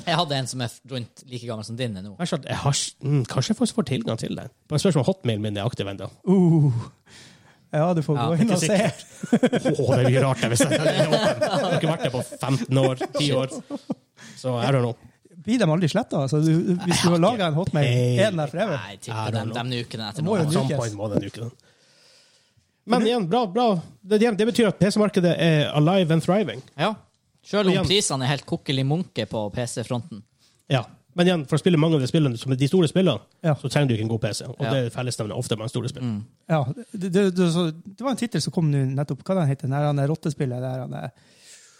[SPEAKER 2] Jeg hadde en som er rundt like gammel som din er nå.
[SPEAKER 1] Jeg skjønte, jeg har, mm, kanskje jeg faktisk får tilgang til den. Bare spørs om hotmailen min er aktiv ennå.
[SPEAKER 3] Uh. ja, du får
[SPEAKER 2] Ja,
[SPEAKER 3] gå inn
[SPEAKER 1] ikke
[SPEAKER 3] og se.
[SPEAKER 1] Åh, det blir rart. Jeg, hvis jeg, jeg har ikke vært der på 15 år, 10 år. Så I don't know.
[SPEAKER 3] Blir de aldri sletta? Altså, du, hvis du har laga en hotmail, er den der for evig?
[SPEAKER 2] Nei,
[SPEAKER 1] I
[SPEAKER 2] tipper
[SPEAKER 1] don't
[SPEAKER 2] dem,
[SPEAKER 1] know.
[SPEAKER 2] dem ukene etter
[SPEAKER 3] Må
[SPEAKER 2] nå. altså.
[SPEAKER 3] jo
[SPEAKER 1] At
[SPEAKER 3] nukes.
[SPEAKER 1] some point må den nuke den. Men igjen, bra. bra. Det, det betyr at PC-markedet er alive and thriving.
[SPEAKER 2] Ja. Selv
[SPEAKER 1] Igjen.
[SPEAKER 2] om prisene er helt kokkelig munke på PC-fronten.
[SPEAKER 1] Ja. Men igjen, for å spille mange av de spillene som er de store spillene,
[SPEAKER 3] Ja.
[SPEAKER 1] så trenger du ikke en god PC. Og
[SPEAKER 2] Ja.
[SPEAKER 1] det er fellesnevnet ofte med store spill.
[SPEAKER 3] Ja, det, det, det, så, det var en tittel som kom nå nettopp. Hva den heter den? Han er rottespillet. Det er han er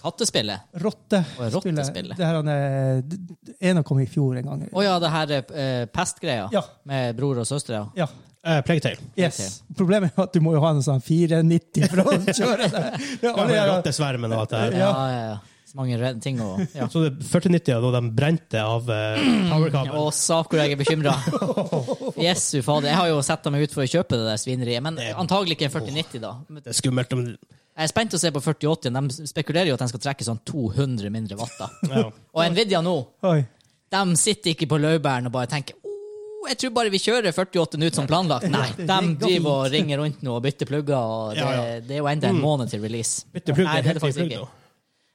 [SPEAKER 2] Kattespillet
[SPEAKER 3] rottespillet.
[SPEAKER 2] rottespillet.
[SPEAKER 3] Det her han er det- det ene kom i fjor en gang.
[SPEAKER 2] Å ja, det her er eh, pestgreia
[SPEAKER 3] Ja.
[SPEAKER 2] med bror og søstre. ja.
[SPEAKER 3] Ja.
[SPEAKER 1] Eh, Plegtail.
[SPEAKER 3] Yes. Problemet er at du må jo ha en sånn 490 for å kjøre det. Ja, alle
[SPEAKER 1] Ja,
[SPEAKER 3] er-
[SPEAKER 1] Rottesvermen og alt det her.
[SPEAKER 2] Ja, ja, ja. Så mange redde ting å ja.
[SPEAKER 1] Så det 4090 da de brente av eh,
[SPEAKER 2] Å,
[SPEAKER 1] powerkabelen.
[SPEAKER 2] sak hvor jeg er bekymra. Jesu fader. Jeg har jo sett meg ut for å kjøpe det der svineriet, men antagelig ikke en 4090, da. Men
[SPEAKER 1] Det er skummelt. om-
[SPEAKER 2] Jeg er spent å se på 4080. De spekulerer jo at den skal trekke sånn 200 mindre watt. da.
[SPEAKER 1] Ja.
[SPEAKER 2] Og Nvidia nå,
[SPEAKER 3] Oi.
[SPEAKER 2] de sitter ikke på laurbæren og bare tenker «Oh, jeg tror bare vi kjører 4080 ut som planlagt. Nei, de driver og ringer rundt nå og bytter plugger, og det,
[SPEAKER 1] Ja, Mm. ja.
[SPEAKER 2] det er jo enda en måned til release.
[SPEAKER 1] Bytte plugg
[SPEAKER 2] Nei,
[SPEAKER 1] er
[SPEAKER 2] det er
[SPEAKER 1] helt
[SPEAKER 2] det
[SPEAKER 1] ny
[SPEAKER 2] faktisk
[SPEAKER 1] plugg,
[SPEAKER 2] ikke.
[SPEAKER 1] da.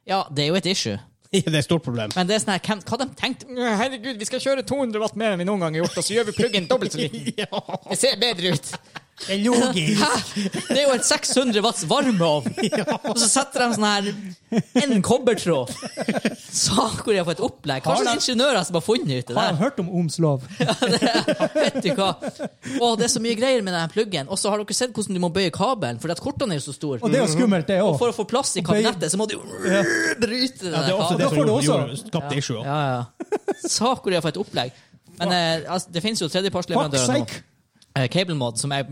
[SPEAKER 2] Ja, det er jo et issue.
[SPEAKER 1] Det er et stort problem.
[SPEAKER 2] Men det er sånn her, hvem, hva de tenkte Herregud, vi skal kjøre 200 watt mer enn vi noen gang har gjort, og så gjør vi pluggen dobbelt så liten. Det ser bedre ut.
[SPEAKER 3] Det er logisk.
[SPEAKER 2] Hæ? Det er jo et 600 watts varmeovn! Og så setter de sånn her En kobbertråd! Sakkorea for et opplegg! Hva slags ingeniører som har funnet ut det
[SPEAKER 3] Har jeg
[SPEAKER 2] der?
[SPEAKER 3] hørt om Ohms lov?
[SPEAKER 2] Vet du hva? Å, det er så mye greier med den her pluggen. Og så har dere sett hvordan du må bøye kabelen, fordi at kortene er jo så store.
[SPEAKER 3] Og det er jo skummelt, det òg.
[SPEAKER 2] For å få plass i kabinettet, så må du jo bryte den
[SPEAKER 1] Ja, det er
[SPEAKER 2] der
[SPEAKER 1] også det
[SPEAKER 2] kabelen.
[SPEAKER 3] Da får
[SPEAKER 1] som
[SPEAKER 3] du
[SPEAKER 1] gjorde,
[SPEAKER 3] også-
[SPEAKER 1] gjorde, skapte issue. også.
[SPEAKER 2] Ja, ja. Sakkorea for et opplegg. Men eh, altså, det finnes jo
[SPEAKER 3] Fuck
[SPEAKER 2] tredjepartsleverandører nå.
[SPEAKER 3] sake!
[SPEAKER 2] eh, CableMod, som jeg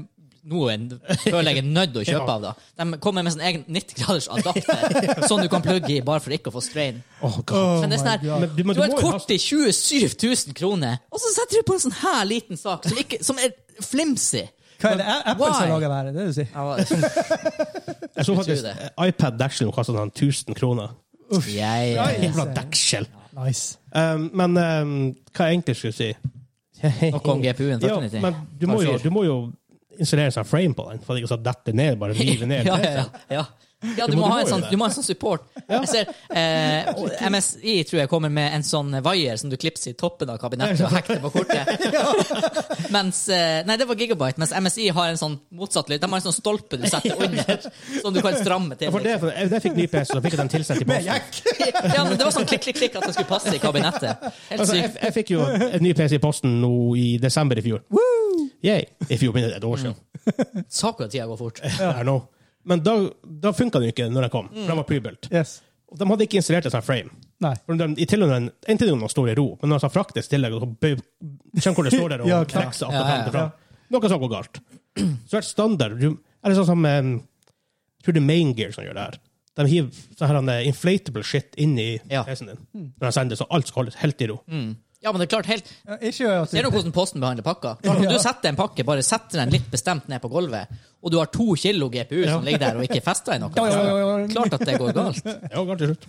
[SPEAKER 2] nå er en- føler jeg er nødt til å kjøpe av. da. De kommer med sånn egen 90-graders adapter, sånn du kan plugge i bare for ikke å få strain.
[SPEAKER 1] Åh, Oh God.
[SPEAKER 2] Men det er sånn
[SPEAKER 3] my God.
[SPEAKER 2] her,
[SPEAKER 1] Men du må-
[SPEAKER 2] du har
[SPEAKER 1] du må
[SPEAKER 2] et
[SPEAKER 1] jo
[SPEAKER 2] kort til 27 000 kroner, og så setter du på en sånn her liten sak som, ikke, som er flimsy.
[SPEAKER 3] Hva er det A- Apple som
[SPEAKER 2] Why?
[SPEAKER 3] lager det her? Det er det du sier.
[SPEAKER 2] Jeg var-
[SPEAKER 1] Jeg så faktisk
[SPEAKER 2] tror
[SPEAKER 1] eh, iPad Daxel kostet han 1000 kroner.
[SPEAKER 2] Jeg, eh,
[SPEAKER 1] Jævla Daxel!
[SPEAKER 3] Nice.
[SPEAKER 1] Um, men um, hva jeg egentlig skulle si
[SPEAKER 2] Noe om
[SPEAKER 1] Ja,
[SPEAKER 2] GPU-en. takk for
[SPEAKER 1] men
[SPEAKER 2] nytting.
[SPEAKER 1] du må, jo,
[SPEAKER 2] Han fyr.
[SPEAKER 1] du må jo installere en sånn frame på den, for at ikke så detter ned, bare river ned.
[SPEAKER 2] Altså-
[SPEAKER 1] altså.
[SPEAKER 2] ja, ja, ja. ja du,
[SPEAKER 1] Du må- du
[SPEAKER 2] må ha
[SPEAKER 1] må
[SPEAKER 2] en
[SPEAKER 1] jo
[SPEAKER 2] sånn,
[SPEAKER 1] det.
[SPEAKER 2] du må ha en sånn support. Jeg ser, eh, og MSI tror jeg kommer med en sånn vaier som du klipser i toppen av kabinettet og hekter på kortet. Mens, eh, nei, det var Gigabyte, mens MSI har en sånn motsatt lyd. De har en sånn stolpe du setter under, som du kan stramme
[SPEAKER 1] Ja,
[SPEAKER 2] til.
[SPEAKER 1] for det, for jeg, jeg fikk ny PC, så fikk jeg den tilsendt i posten.
[SPEAKER 2] Ja, men det var sånn klikk, klikk, klikk at den skulle passe i kabinettet. Helt
[SPEAKER 1] Altså, jeg,
[SPEAKER 2] sykt.
[SPEAKER 1] jeg fikk jo en ny PC i posten nå i desember i fjor. Yay! I fjor, men det er et år siden.
[SPEAKER 2] Saker og tida går fort.
[SPEAKER 1] I know. Men da, da funka den jo ikke når jeg kom, for den var prybelt.
[SPEAKER 3] Yes.
[SPEAKER 1] Og De hadde ikke installert en sånn frame.
[SPEAKER 3] Nei.
[SPEAKER 1] For de, i til og med, en til og med står i ro, men når de fraktes til deg, og så bøy- skjønner hvor det står der og
[SPEAKER 3] Ja, klar.
[SPEAKER 1] flekser att og
[SPEAKER 2] Ja, ja,
[SPEAKER 1] frem til fram. Noe som går galt. Så er det standard. Du, er det sånn som um, jeg tror det er Main Gear som gjør det her. De hiver sånn her han, eh, inflatable shit inn i
[SPEAKER 2] Ja. Mm.
[SPEAKER 1] PC-en din. Når de sender, så alt skal holdes helt i ro.
[SPEAKER 2] Ja, men det er klart helt
[SPEAKER 3] Ja, Ikke gjør at
[SPEAKER 2] Ser du
[SPEAKER 3] du
[SPEAKER 2] hvordan Posten behandler pakka? Når du setter en pakke, bare setter den litt bestemt ned på gulvet, og du har to kilo GPU som ligger der og ikke er festa i noe.
[SPEAKER 3] Ja, ja, ja, ja.
[SPEAKER 2] Klart at det går galt.
[SPEAKER 1] Det var galt til slutt.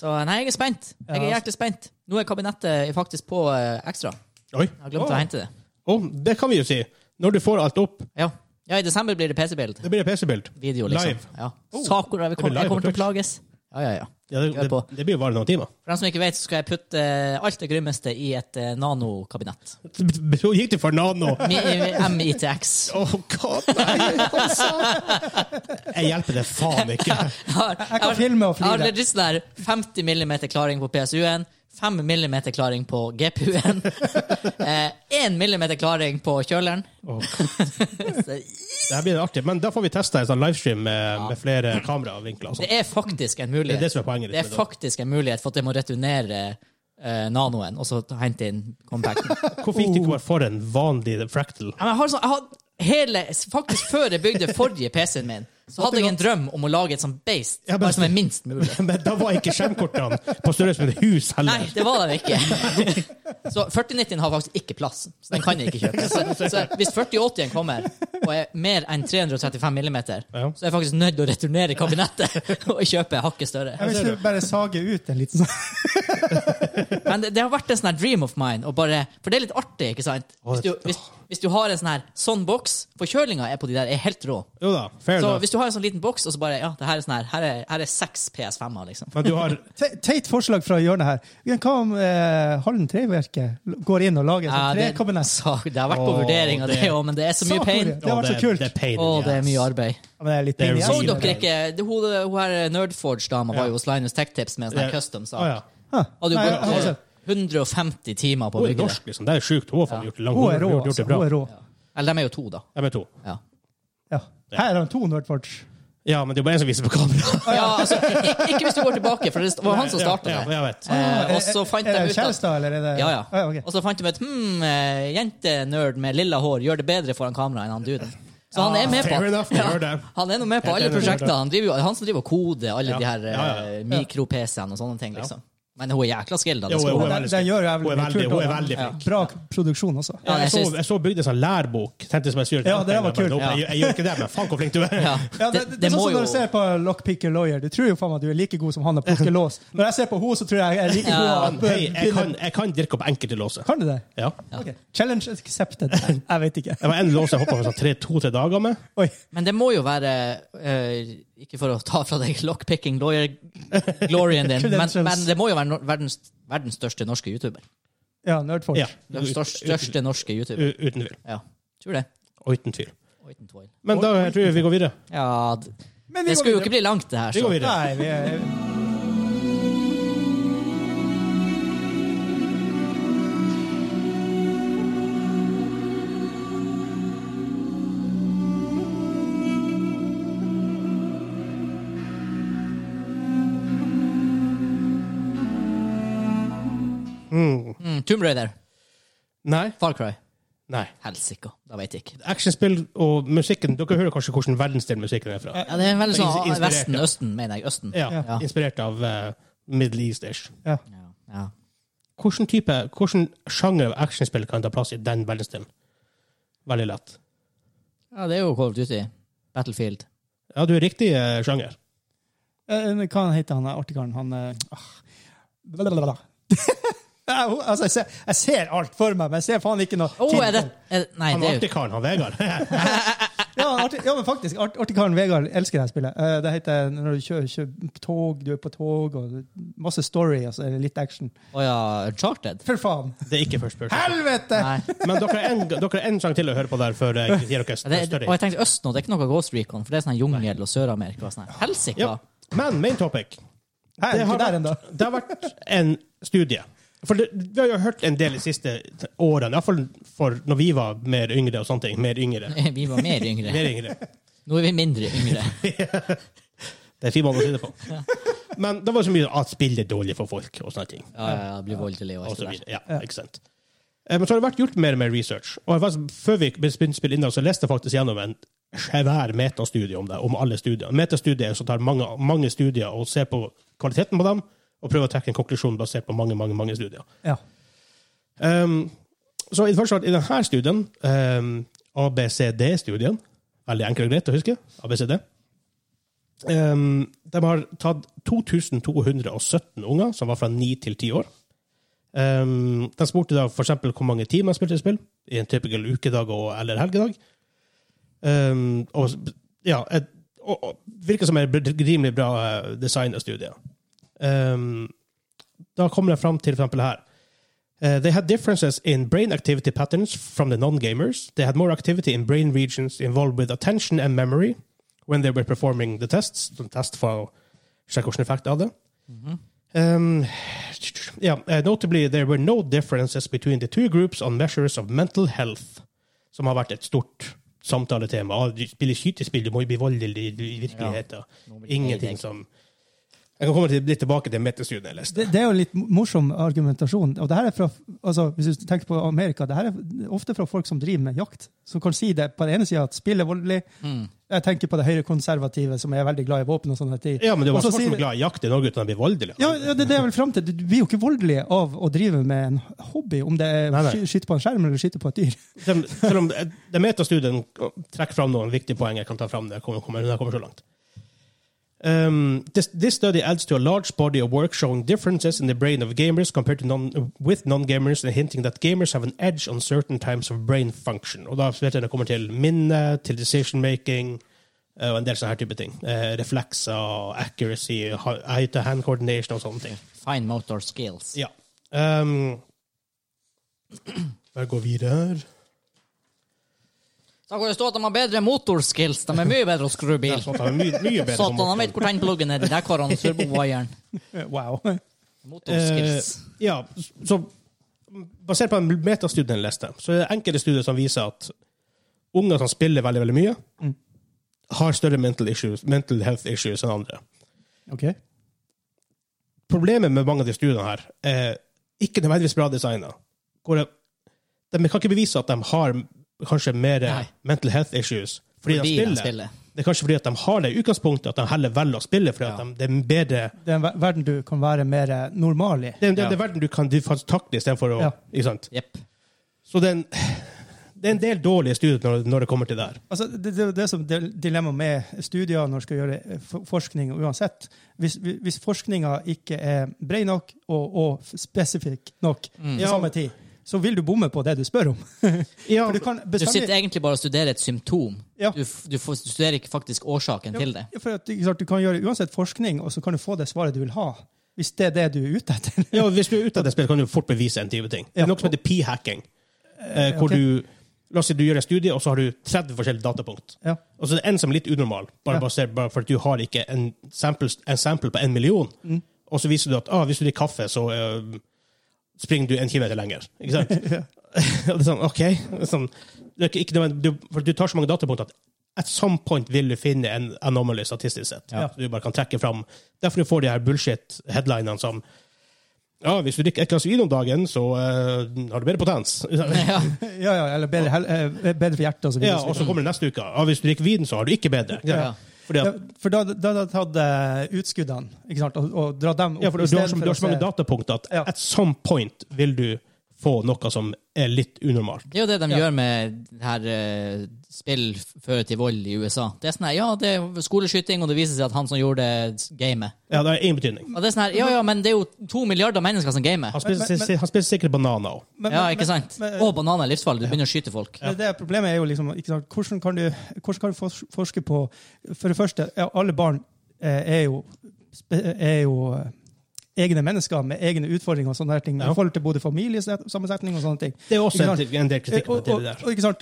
[SPEAKER 2] Så nei, jeg er spent. Jeg er hjertelig spent. Nå er kabinettet faktisk på eh, ekstra.
[SPEAKER 1] Oi.
[SPEAKER 2] Jeg har glemt å hente det.
[SPEAKER 1] Og det kan vi jo si. Når du får alt opp,
[SPEAKER 2] Ja, ja i desember blir det PC-bild.
[SPEAKER 1] det blir et PC-bild.
[SPEAKER 2] Video, liksom.
[SPEAKER 1] Live.
[SPEAKER 2] Ja.
[SPEAKER 1] Oh.
[SPEAKER 2] Sakura, jeg
[SPEAKER 1] Det blir
[SPEAKER 2] kommer,
[SPEAKER 1] live
[SPEAKER 2] jeg kommer til
[SPEAKER 1] på
[SPEAKER 2] å plages. Ja, ja, ja.
[SPEAKER 1] Ja, det,
[SPEAKER 2] Kjør
[SPEAKER 1] det,
[SPEAKER 2] på.
[SPEAKER 1] det blir jo bare noen timer.
[SPEAKER 2] For dem som ikke vet, så skal jeg putte eh, alt det grymmeste i et eh, nanokabinett.
[SPEAKER 1] Så gikk det for nano.
[SPEAKER 2] Mi- eh, i- MITX.
[SPEAKER 1] Oh, God, nei, altså. Jeg hjelper det faen ikke.
[SPEAKER 2] Jeg har-
[SPEAKER 3] kan filme og flire.
[SPEAKER 2] Jeg har legit sånn der 50 mm klaring på PSU-en, 5 mm klaring på GPU-en, eh, 1 mm klaring på kjøleren.
[SPEAKER 1] Åh.
[SPEAKER 2] Så
[SPEAKER 1] Det her blir artig, men da får vi teste en sånn livestream med, med flere kameravinkler. og sånt.
[SPEAKER 2] Det er faktisk en
[SPEAKER 1] Det er
[SPEAKER 2] mulighet.
[SPEAKER 1] det som er poenget.
[SPEAKER 2] Det er faktisk en mulighet for at jeg må returnere eh, nanoen og så ta- hente inn compacten.
[SPEAKER 1] Hvorfor gikk du ikke bare for en vanlig fractal?
[SPEAKER 2] Ja, men jeg har sånn, jeg har hele, faktisk før jeg bygde forrige PC-en min, så hadde jeg en drøm om å lage et sånt beist,
[SPEAKER 1] Ja, men-
[SPEAKER 2] bare som er minst mulig.
[SPEAKER 1] Men da var ikke skjermkortene på størrelse med et hus
[SPEAKER 2] Nei,
[SPEAKER 1] heller.
[SPEAKER 2] det var den ikke. Så 4090 har faktisk ikke plass. Så den kan jeg ikke kjøpe. Så, så hvis 4080 kommer og er mer enn 335 millimeter,
[SPEAKER 1] Ja.
[SPEAKER 2] så er jeg faktisk nødt til å returnere kabinettet og kjøpe hakket større.
[SPEAKER 3] Jeg vil ikke bare sage ut en liten sånn
[SPEAKER 2] Men det, det har vært en sånn her dream of mine. Å bare, for det er litt artig, ikke sant? Hvis du, hvis, hvis du har en sånn her sånn boks Forkjølinga er på de der, er helt rå.
[SPEAKER 1] Jo da, fair
[SPEAKER 2] Så
[SPEAKER 1] enough.
[SPEAKER 2] hvis du har en sånn liten boks, og så bare Ja, det her er sånn her. Her er, her er seks PS5-er, liksom.
[SPEAKER 1] Men du har
[SPEAKER 3] Te- Teit forslag fra hjørnet her. Men Hva om eh, Hallen Treverket l- går inn og lager
[SPEAKER 2] Ja,
[SPEAKER 3] et
[SPEAKER 2] det,
[SPEAKER 3] trekabinett?
[SPEAKER 2] så, det har vært på
[SPEAKER 1] Åh,
[SPEAKER 2] vurdering av det
[SPEAKER 1] det-
[SPEAKER 2] òg, men det er så mye
[SPEAKER 3] Sa
[SPEAKER 2] pain.
[SPEAKER 3] Korea. Det har vært så
[SPEAKER 1] Å,
[SPEAKER 3] kult.
[SPEAKER 1] Det er pain in
[SPEAKER 2] Å,
[SPEAKER 1] the
[SPEAKER 2] det er mye
[SPEAKER 1] ass.
[SPEAKER 2] arbeid.
[SPEAKER 3] Ja, men det er litt
[SPEAKER 1] Det er
[SPEAKER 3] pinlig.
[SPEAKER 2] Så
[SPEAKER 1] Sier
[SPEAKER 2] dere
[SPEAKER 1] det.
[SPEAKER 2] ikke det- Hun, hun her Nerdforge-dama var jo hos Linus Tech Tips med en sånn
[SPEAKER 1] Det-
[SPEAKER 2] custom-sak.
[SPEAKER 1] Å, ja.
[SPEAKER 3] Hæ?
[SPEAKER 2] Hadde jo
[SPEAKER 3] Nei, jeg har
[SPEAKER 2] brukt
[SPEAKER 3] ikke
[SPEAKER 2] eh,
[SPEAKER 3] sett.
[SPEAKER 2] 150 timer på å
[SPEAKER 1] Hun er
[SPEAKER 2] bygge det.
[SPEAKER 1] norsk, liksom. Det er sjukt. Hun har faen gjort det langt.
[SPEAKER 3] Hun er rå.
[SPEAKER 1] Hun har gjort
[SPEAKER 3] Altså.
[SPEAKER 1] det
[SPEAKER 3] Hun er
[SPEAKER 1] bra.
[SPEAKER 3] rå.
[SPEAKER 2] Eller de er jo to, da.
[SPEAKER 1] Jeg vet to.
[SPEAKER 2] Ja.
[SPEAKER 3] Ja. Her er han to Nerdforge.
[SPEAKER 1] Ja, men det er jo bare en som viser på kamera.
[SPEAKER 2] Ja, altså, ikke, ikke hvis du går tilbake, for det var han som starta
[SPEAKER 1] Ja, Ah, ja,
[SPEAKER 2] det.
[SPEAKER 1] jeg vet.
[SPEAKER 2] Eh, og så fant
[SPEAKER 3] Er
[SPEAKER 2] de
[SPEAKER 3] det
[SPEAKER 2] ut at
[SPEAKER 3] kjærester, eller er det
[SPEAKER 2] ja, ja.
[SPEAKER 3] Ah, ok.
[SPEAKER 2] Og så fant de ut hmm, eh, jentenerd med lilla hår gjør det bedre foran kamera enn han duden. Så han er med på
[SPEAKER 1] Ah, Fair enough, vi gjør det.
[SPEAKER 2] Han er nå med på
[SPEAKER 1] Helt
[SPEAKER 2] alle
[SPEAKER 1] enig.
[SPEAKER 2] prosjekter. Han, driver, jo- han som driver og koder alle
[SPEAKER 1] Ja.
[SPEAKER 2] de her eh,
[SPEAKER 1] Ja, ja, ja.
[SPEAKER 2] mikro-PC-ene og sånne ting. liksom. Men hun er jækla
[SPEAKER 1] Jo,
[SPEAKER 2] skilda. det skal
[SPEAKER 1] jo, jo.
[SPEAKER 2] hun ha.
[SPEAKER 3] Den,
[SPEAKER 1] veldig
[SPEAKER 3] den gjør
[SPEAKER 1] Hun er
[SPEAKER 3] jævlig mye
[SPEAKER 1] veldig-
[SPEAKER 3] kult,
[SPEAKER 1] hun er
[SPEAKER 3] og
[SPEAKER 1] veldig flink.
[SPEAKER 3] Bra produksjon også.
[SPEAKER 2] Ja,
[SPEAKER 1] Jeg
[SPEAKER 2] jeg
[SPEAKER 1] så,
[SPEAKER 2] synes-
[SPEAKER 1] jeg så bygde en sånn lærbok. Tenkte som jeg skulle gjøre.
[SPEAKER 3] Ja, det der var
[SPEAKER 1] Jeg bare,
[SPEAKER 3] kult.
[SPEAKER 1] "Nope, Jeg, jeg gjør ikke det, men faen hvor flink du er.
[SPEAKER 2] Ja,
[SPEAKER 3] Ja, det, det, er sånn som når du ser på Lockpicker Lawyer. Du tror jo faen meg at du er like god som han og plukker lås. Når jeg ser på henne, så tror jeg jeg er like
[SPEAKER 2] Ja.
[SPEAKER 3] god.
[SPEAKER 1] Men hei, jeg kan, jeg kan dirke opp enkelte låser.
[SPEAKER 3] Kan du det?
[SPEAKER 1] Ja.
[SPEAKER 3] Ok. Challenge accepted. Jeg vet ikke.
[SPEAKER 1] Det var en lås jeg hoppa for sånn tre- to-tre dager med.
[SPEAKER 3] Oi.
[SPEAKER 2] Men det må jo være eh, Ikke for å ta fra deg lockpicking lawyer gloryen din, men,
[SPEAKER 3] Credentials.
[SPEAKER 2] men det må jo være no verdens, verdens største norske YouTuber.
[SPEAKER 3] Ja, nerdfolk.
[SPEAKER 1] Ja.
[SPEAKER 2] Den største,
[SPEAKER 1] Uten,
[SPEAKER 2] største norske YouTuber.
[SPEAKER 1] u- uten tvil.
[SPEAKER 2] Ja, tror det.
[SPEAKER 1] Og uten tvil.
[SPEAKER 2] Og Og uten tvoil.
[SPEAKER 1] Men da jeg tror jeg vi går videre.
[SPEAKER 2] Ja, d-
[SPEAKER 3] Men vi
[SPEAKER 2] det
[SPEAKER 3] går
[SPEAKER 2] skulle jo
[SPEAKER 3] videre.
[SPEAKER 2] ikke bli langt, det her.
[SPEAKER 1] Vi går
[SPEAKER 2] Så.
[SPEAKER 1] videre.
[SPEAKER 3] Nei, vi er...
[SPEAKER 2] Mm, Tomb Raider.
[SPEAKER 1] Nei.
[SPEAKER 2] Far Cry.
[SPEAKER 1] Nei.
[SPEAKER 2] Helsike. Da veit jeg ikke.
[SPEAKER 1] Actionspill og musikken Dere hører kanskje hvordan verdensdelen musikken er fra.
[SPEAKER 2] Ja, det er veldig sånn
[SPEAKER 1] Ins-
[SPEAKER 2] ah,
[SPEAKER 1] inspirert,
[SPEAKER 2] Vesten,
[SPEAKER 1] ja.
[SPEAKER 2] Østen, mener jeg. Østen.
[SPEAKER 1] Ja.
[SPEAKER 2] Ja.
[SPEAKER 1] Inspirert av eh, Middle East-ish.
[SPEAKER 2] Ja. Ja.
[SPEAKER 1] Hvilken type, hvilken sjanger av actionspill kan ta plass i den verdensdelen? Veldig lett.
[SPEAKER 2] ja, det er jo Call of Duty. Battlefield.
[SPEAKER 1] Ja, du er riktig eh, sjanger.
[SPEAKER 3] Eh, Hva han heter han der artikaren? Han eh, ah. Blablabla. Ja, hun- altså, jeg, ser, jeg ser alt for meg, men jeg ser faen ikke noe.
[SPEAKER 2] Å,
[SPEAKER 3] tid.
[SPEAKER 2] er det, er det Nei,
[SPEAKER 1] Han
[SPEAKER 2] det er jo
[SPEAKER 1] artikaren, han Vegard.
[SPEAKER 3] Ja, arti, ja, men faktisk, art, artikaren Vegard elsker det her spillet. Eh, det heter når du kjører, kjører tog, du er på tog, og masse story, altså litt action.
[SPEAKER 2] Å ja, Uncharted?
[SPEAKER 3] For faen!
[SPEAKER 1] det er ikke First Person.
[SPEAKER 3] Helvete!
[SPEAKER 2] Nei.
[SPEAKER 1] Men dere har en, dere har en sang til å høre på der før eh, jeg gir dere
[SPEAKER 2] Ja, Det, er-
[SPEAKER 1] større.
[SPEAKER 2] og jeg tenkte Østen, og det er ikke noe Ghost Recon, for det er sånn her jungel og Sør-Amerika. og sånn her. Helsike!
[SPEAKER 1] Ja. Men main topic.
[SPEAKER 3] Nei,
[SPEAKER 1] Det har,
[SPEAKER 3] ikke der ennå.
[SPEAKER 1] vært, det har vært en studie. For det, Vi har jo hørt en del de siste årene, iallfall for når vi var mer yngre. og sånne ting, mer yngre.
[SPEAKER 2] Vi var mer yngre.
[SPEAKER 1] Mer yngre.
[SPEAKER 2] Nå er vi mindre yngre.
[SPEAKER 1] Det er fin måte å si det på. Men det var så mye at spill er dårlig for folk. og sånne ting.
[SPEAKER 2] Ja, ja, ja, blir voldelig og
[SPEAKER 1] Og
[SPEAKER 2] alt
[SPEAKER 1] så
[SPEAKER 2] det der.
[SPEAKER 1] videre. Ja, ikke sant. Eh, Men så har det vært gjort mer og mer research. Og jeg faktisk, før vi begynte å spille innhold, så leste jeg faktisk gjennom en svær metastudie om det, om alle studier. Metastudie er en som tar mange, mange studier og ser på kvaliteten på dem, og prøver å trekke en konklusjon basert på mange, mange, mange studier.
[SPEAKER 3] Ja.
[SPEAKER 1] Um, så i det første, i denne studien, um, ABCD-studien, veldig enkel og greit å huske, ABCD, um, de har tatt 2217 unger som var fra 9 til 10 år. Um, de spurte da for eksempel hvor mange timer de spilte spill, i en typisk ukedag og, eller helgedag. Um, og ja, et, og, og, virker som et rimelig bra eh, design av studiet. Um, da kommer jeg fram til for eksempel her. Uh, they had differences in brain activity patterns from the non-gamers. They had more activity in brain regions involved with attention and memory when they were performing the tests. The test for sjekke hvilken effekt det hadde. Um, yeah, uh, notably, there were no differences between the two groups on measures of mental health, som har vært et stort samtaletema. Ah, du spiller skytespill, du må jo bli voldelig i virkeligheten.
[SPEAKER 2] Nå blir det
[SPEAKER 1] Ingenting
[SPEAKER 2] deg.
[SPEAKER 1] som Jeg kan komme til, litt tilbake til metastudien jeg leste.
[SPEAKER 3] Det, det er jo litt morsom argumentasjon. Og det her er fra, altså, hvis du tenker på Amerika, det her er ofte fra folk som driver med jakt, som kan si det på den ene sida at spill er voldelig.
[SPEAKER 1] Mm.
[SPEAKER 3] Jeg tenker på det høyrekonservative som er veldig glad i våpen. og sånn her tid.
[SPEAKER 1] Ja, men det var
[SPEAKER 3] Og så
[SPEAKER 1] folk som
[SPEAKER 3] sier-
[SPEAKER 1] er glad i jakt i Norge uten å bli voldelige.
[SPEAKER 3] Ja, ja, det, det er vel frem til. Du blir jo ikke voldelig av å drive med en hobby, om det er
[SPEAKER 1] Nei, nei.
[SPEAKER 3] sky- skyte på en skjerm eller skyte på et dyr.
[SPEAKER 1] de, selv om eh, de metastudien trekker fram noen viktige poeng jeg kan ta fram når jeg kommer, kommer, når jeg kommer så langt. Um, this, this study adds to a large body of work showing differences in the brain of gamers compared to non, with non-gamers and hinting that gamers have an edge on certain types of brain function. Og da vet jeg det kommer til minne, til decision making eh, og en del sånne her type ting. Eh, reflekser, accuracy, eye-to-hand coordination og sånne ting.
[SPEAKER 2] Fine motor skills.
[SPEAKER 1] Ja. Um, bare gå videre.
[SPEAKER 2] Da kan det stå at de har bedre motorskills. De er mye bedre å skru bil.
[SPEAKER 1] Ja, sånt er mye, mye bedre på
[SPEAKER 2] Satan, han
[SPEAKER 1] motoren.
[SPEAKER 2] vet hvor tennpluggen er. Der har han turbowaieren.
[SPEAKER 3] Eh, Wow.
[SPEAKER 2] Motorskills.
[SPEAKER 1] Eh, ja, så basert på den metastudien jeg leste, så er det enkelte studier som viser at unger som spiller veldig, veldig mye, har større mental, issues, mental health issues enn andre.
[SPEAKER 3] Ok.
[SPEAKER 1] Problemet med mange av de studiene her er ikke nødvendigvis bra designa. De kan ikke bevise at de har kanskje mer
[SPEAKER 2] Nei.
[SPEAKER 1] mental health issues fordi, de,
[SPEAKER 2] Fordi de
[SPEAKER 1] spiller.
[SPEAKER 2] spiller.
[SPEAKER 1] Det er kanskje fordi at de har det i utgangspunktet, at de heller velger å spille fordi
[SPEAKER 2] Ja.
[SPEAKER 1] at de, det er bedre
[SPEAKER 3] Det er en ver- verden du kan være mer eh, normal i.
[SPEAKER 1] det er, det,
[SPEAKER 2] Ja.
[SPEAKER 1] det er verden du kan du faktisk takle istedenfor å
[SPEAKER 3] Ja.
[SPEAKER 1] ikke sant?
[SPEAKER 2] Jepp.
[SPEAKER 1] Så det er en, det er en del dårlige studier når, når det kommer til der.
[SPEAKER 3] Altså, det, det, det er som del- dilemma med studier når du skal gjøre eh, for- forskning uansett. Hvis, hvis forskninga ikke er bred nok og, og spesifikk nok på
[SPEAKER 1] Ja.
[SPEAKER 3] samme tid, så vil du bomme på det du spør om.
[SPEAKER 1] Ja,
[SPEAKER 3] For du kan
[SPEAKER 2] Du sitter
[SPEAKER 3] bestandig...
[SPEAKER 2] egentlig bare og studerer et symptom.
[SPEAKER 3] Ja.
[SPEAKER 2] Du, f- du, får- du studerer ikke faktisk årsaken til det.
[SPEAKER 3] Ja, for at, ikke sant, du kan gjøre uansett forskning, og så kan du få det svaret du vil ha. Hvis det er det du er ute etter.
[SPEAKER 1] ja, hvis du er ute av det spillet, kan du fort bevise en type ting. Det
[SPEAKER 3] Ja.
[SPEAKER 1] er noe som heter p-hacking. Eh, hvor
[SPEAKER 3] ok.
[SPEAKER 1] du La oss si du gjør en studie, og så har du 30 forskjellige datapunkt.
[SPEAKER 3] Ja.
[SPEAKER 1] Og så er det en som er litt unormal, bare
[SPEAKER 3] Ja.
[SPEAKER 1] basert bare for at du har ikke en sample, en sample på en million.
[SPEAKER 3] Mm.
[SPEAKER 1] Og så viser du at ah, hvis du drikker kaffe, så eh, springer du en kilometer lenger. Ikke sant? Og det er sånn, ok. Det er sånn, det er ikke- ikke nødvendig- du, for du tar så mange datapunkt at at some point vil du finne en anomaly statistisk sett.
[SPEAKER 3] Ja.
[SPEAKER 1] Du bare kan trekke fram. Derfor du får de her bullshit-headlinene som ja, hvis du drikker et glass vin om dagen, så eh, har du bedre potens.
[SPEAKER 2] Ja.
[SPEAKER 3] Ja, ja, eller bedre, hel- eh, bedre for hjertet og så videre.
[SPEAKER 1] Ja, og så kommer det neste uke. Ja, hvis du drikker vin, så har du ikke bedre.
[SPEAKER 2] Ja.
[SPEAKER 1] Fordi
[SPEAKER 3] Ja,
[SPEAKER 1] at,
[SPEAKER 3] for da da hadde jeg tatt eh, utskuddene ikke sant? Og, og dra dem opp.
[SPEAKER 1] ja, for
[SPEAKER 3] i
[SPEAKER 1] du, har
[SPEAKER 3] stedet
[SPEAKER 1] så,
[SPEAKER 3] for
[SPEAKER 1] du
[SPEAKER 3] å
[SPEAKER 1] har så mange
[SPEAKER 3] se-
[SPEAKER 1] datapunkter at
[SPEAKER 3] Ja.
[SPEAKER 1] at some point vil du få noe som er litt unormalt.
[SPEAKER 2] Det er jo det de gjør med det her eh, spill fører til vold i USA. Det er sånn her, ja, det er skoleskyting, og det viser seg at han som gjorde det, gamet.
[SPEAKER 1] Ja, det har ingen betydning.
[SPEAKER 2] Og det er sånn her, ja, ja, men det er jo to milliarder mennesker som gamer.
[SPEAKER 1] Han spiser,
[SPEAKER 3] Men- men-
[SPEAKER 1] han spiser sikkert bananer òg.
[SPEAKER 3] Men-
[SPEAKER 2] Ja,
[SPEAKER 3] men-
[SPEAKER 2] ikke sant?
[SPEAKER 3] men-
[SPEAKER 2] Og bananer er livsfarlig, du begynner å skyte folk.
[SPEAKER 3] Men det problemet er jo liksom ikke sant? Hvordan, kan du, hvordan kan du fors- forske på For det første, ja, alle barn eh, er jo, spe- er jo eh, egne mennesker med egne utfordringer og sånne her ting.
[SPEAKER 1] Ja.
[SPEAKER 3] I forhold til både familiesammensetning og sånne ting.
[SPEAKER 1] Det er også
[SPEAKER 3] Ikke
[SPEAKER 1] en,
[SPEAKER 3] sant?
[SPEAKER 1] en del kritikk på
[SPEAKER 3] og,
[SPEAKER 1] det
[SPEAKER 3] Eh, og,
[SPEAKER 1] der.
[SPEAKER 3] og, ikke sant?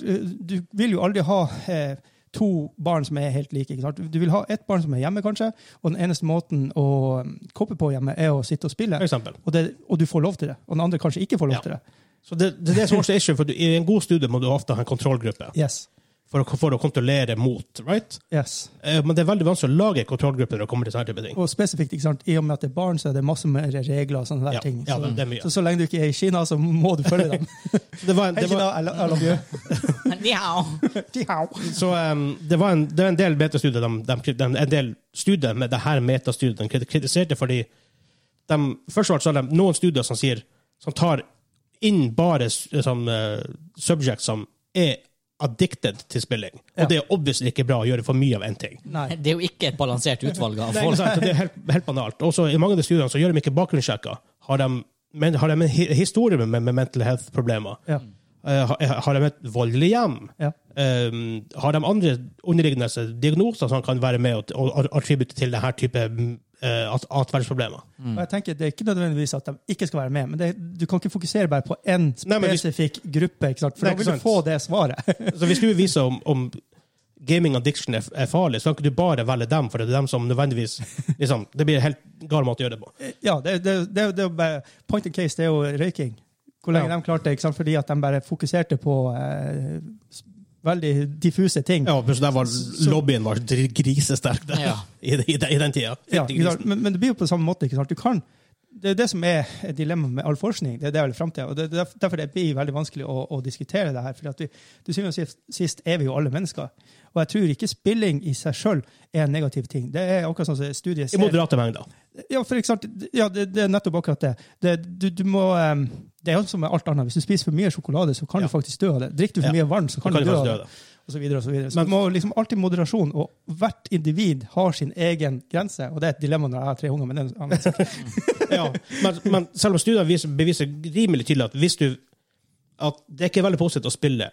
[SPEAKER 3] Du vil jo aldri ha eh, to barn som er helt like. Ikke sant? Du vil ha ett barn som er hjemme, kanskje, og den eneste måten å eh, koppe på hjemme, er å sitte og spille.
[SPEAKER 1] For eksempel.
[SPEAKER 3] Og, det, og du får lov til det. Og den andre kanskje ikke får lov
[SPEAKER 1] Ja.
[SPEAKER 3] til det.
[SPEAKER 1] Så det, det er det som også er issue, for du, I en god studie må du ofte ha en kontrollgruppe
[SPEAKER 3] Yes.
[SPEAKER 1] for å, for å kontrollere mot. right?
[SPEAKER 3] yes.
[SPEAKER 1] Eh, Men det er veldig vanskelig å lage en kontrollgruppe når det kommer til sånne type ting.
[SPEAKER 3] Og spesifikt, ikke sant? i og med at det er barn, så er det masse mer regler og sånne der
[SPEAKER 1] Ja,
[SPEAKER 3] ting.
[SPEAKER 1] ja,
[SPEAKER 3] Så,
[SPEAKER 1] det er mye.
[SPEAKER 3] så så lenge du ikke er i Kina, så må du følge dem.
[SPEAKER 1] Det var, en-
[SPEAKER 3] Hei,
[SPEAKER 1] det var,
[SPEAKER 3] Kina, I lo- I love you.
[SPEAKER 2] Ja.
[SPEAKER 3] Tihau.
[SPEAKER 1] Så um, det, var en, det var en del metastudier de, de, de, en del studier med det her metastudiet de kriti- kritiserte, fordi de, først og fremst så har de noen studier som sier som tar inn bare s- sånn, eh, subject som er addicted til spilling. Og
[SPEAKER 3] Ja.
[SPEAKER 1] det er obviously ikke bra å gjøre for mye av én ting.
[SPEAKER 3] Nei.
[SPEAKER 2] Det er jo ikke et balansert utvalg av
[SPEAKER 1] Nei,
[SPEAKER 2] folk.
[SPEAKER 1] ikke sant? Det er helt, helt banalt. Også I mange av de studiene så gjør de ikke bakgrunnssjekker. Har de, men, har de en hi- historie med, med mental health-problemer?
[SPEAKER 3] Ja.
[SPEAKER 1] Eh, har, har de et voldelig hjem?
[SPEAKER 3] Ja.
[SPEAKER 1] Um, har de andre underliggende diagnoser som kan være med og, og, og attribute til denne type uh, at, atferdsproblemer?
[SPEAKER 3] Og jeg tenker, Det er ikke nødvendigvis at de ikke skal være med, men det, du kan ikke fokusere bare på én
[SPEAKER 1] Nei, men hvis-
[SPEAKER 3] spesifikk gruppe. ikke sant? For
[SPEAKER 1] Nei,
[SPEAKER 3] da
[SPEAKER 1] ikke
[SPEAKER 3] vil du
[SPEAKER 1] sant.
[SPEAKER 3] få det svaret.
[SPEAKER 1] Så Hvis du vil vise om, om gaming addiction er, er farlig, så kan ikke du bare velge dem, for det er dem som nødvendigvis liksom, Det blir en helt gal måte å gjøre det på.
[SPEAKER 3] ja, det, det, det, det, er jo bare- Point in case, det er jo røyking. Hvor lenge
[SPEAKER 1] Ja.
[SPEAKER 3] de klarte det, ikke sant? fordi at de bare fokuserte på eh, s- veldig diffuse ting.
[SPEAKER 1] Ja, plutselig der var Lobbyen var grisesterk der,
[SPEAKER 2] Ja.
[SPEAKER 1] i, i, i den tida.
[SPEAKER 3] Ja, ikke sant? men, men det blir jo på samme måte. ikke sant? Du kan, det er jo det som er dilemmaet med all forskning. det er det vel fremtiden, og det, det er derf- Derfor det blir veldig vanskelig å, å diskutere det her. fordi at vi, til syvende og sist, sist er vi jo alle mennesker. Og jeg tror ikke spilling i seg sjøl er en negativ ting. Det er akkurat sånn som studiet
[SPEAKER 1] I moderate mengder.
[SPEAKER 3] Ja, for ikke sant? ja det, det er nettopp akkurat det. Det, du, du må, em, det er jo som med alt annet. Hvis du spiser for mye sjokolade, så kan
[SPEAKER 1] Ja.
[SPEAKER 3] du faktisk dø av det. Drikker du for
[SPEAKER 1] Ja.
[SPEAKER 3] mye varm, så
[SPEAKER 1] Kan
[SPEAKER 3] kan, du dø av
[SPEAKER 1] faktisk
[SPEAKER 3] det
[SPEAKER 1] dø av det.
[SPEAKER 3] og så videre og så videre. Så
[SPEAKER 1] Men-
[SPEAKER 3] du må liksom alltid moderasjon, og hvert individ har sin egen grense. Og det er et dilemma når jeg har tre unger, men det er en annen sak.
[SPEAKER 1] ja, men, men selv om studiene viser, beviser rimelig tydelig at hvis du at det er ikke veldig positivt å spille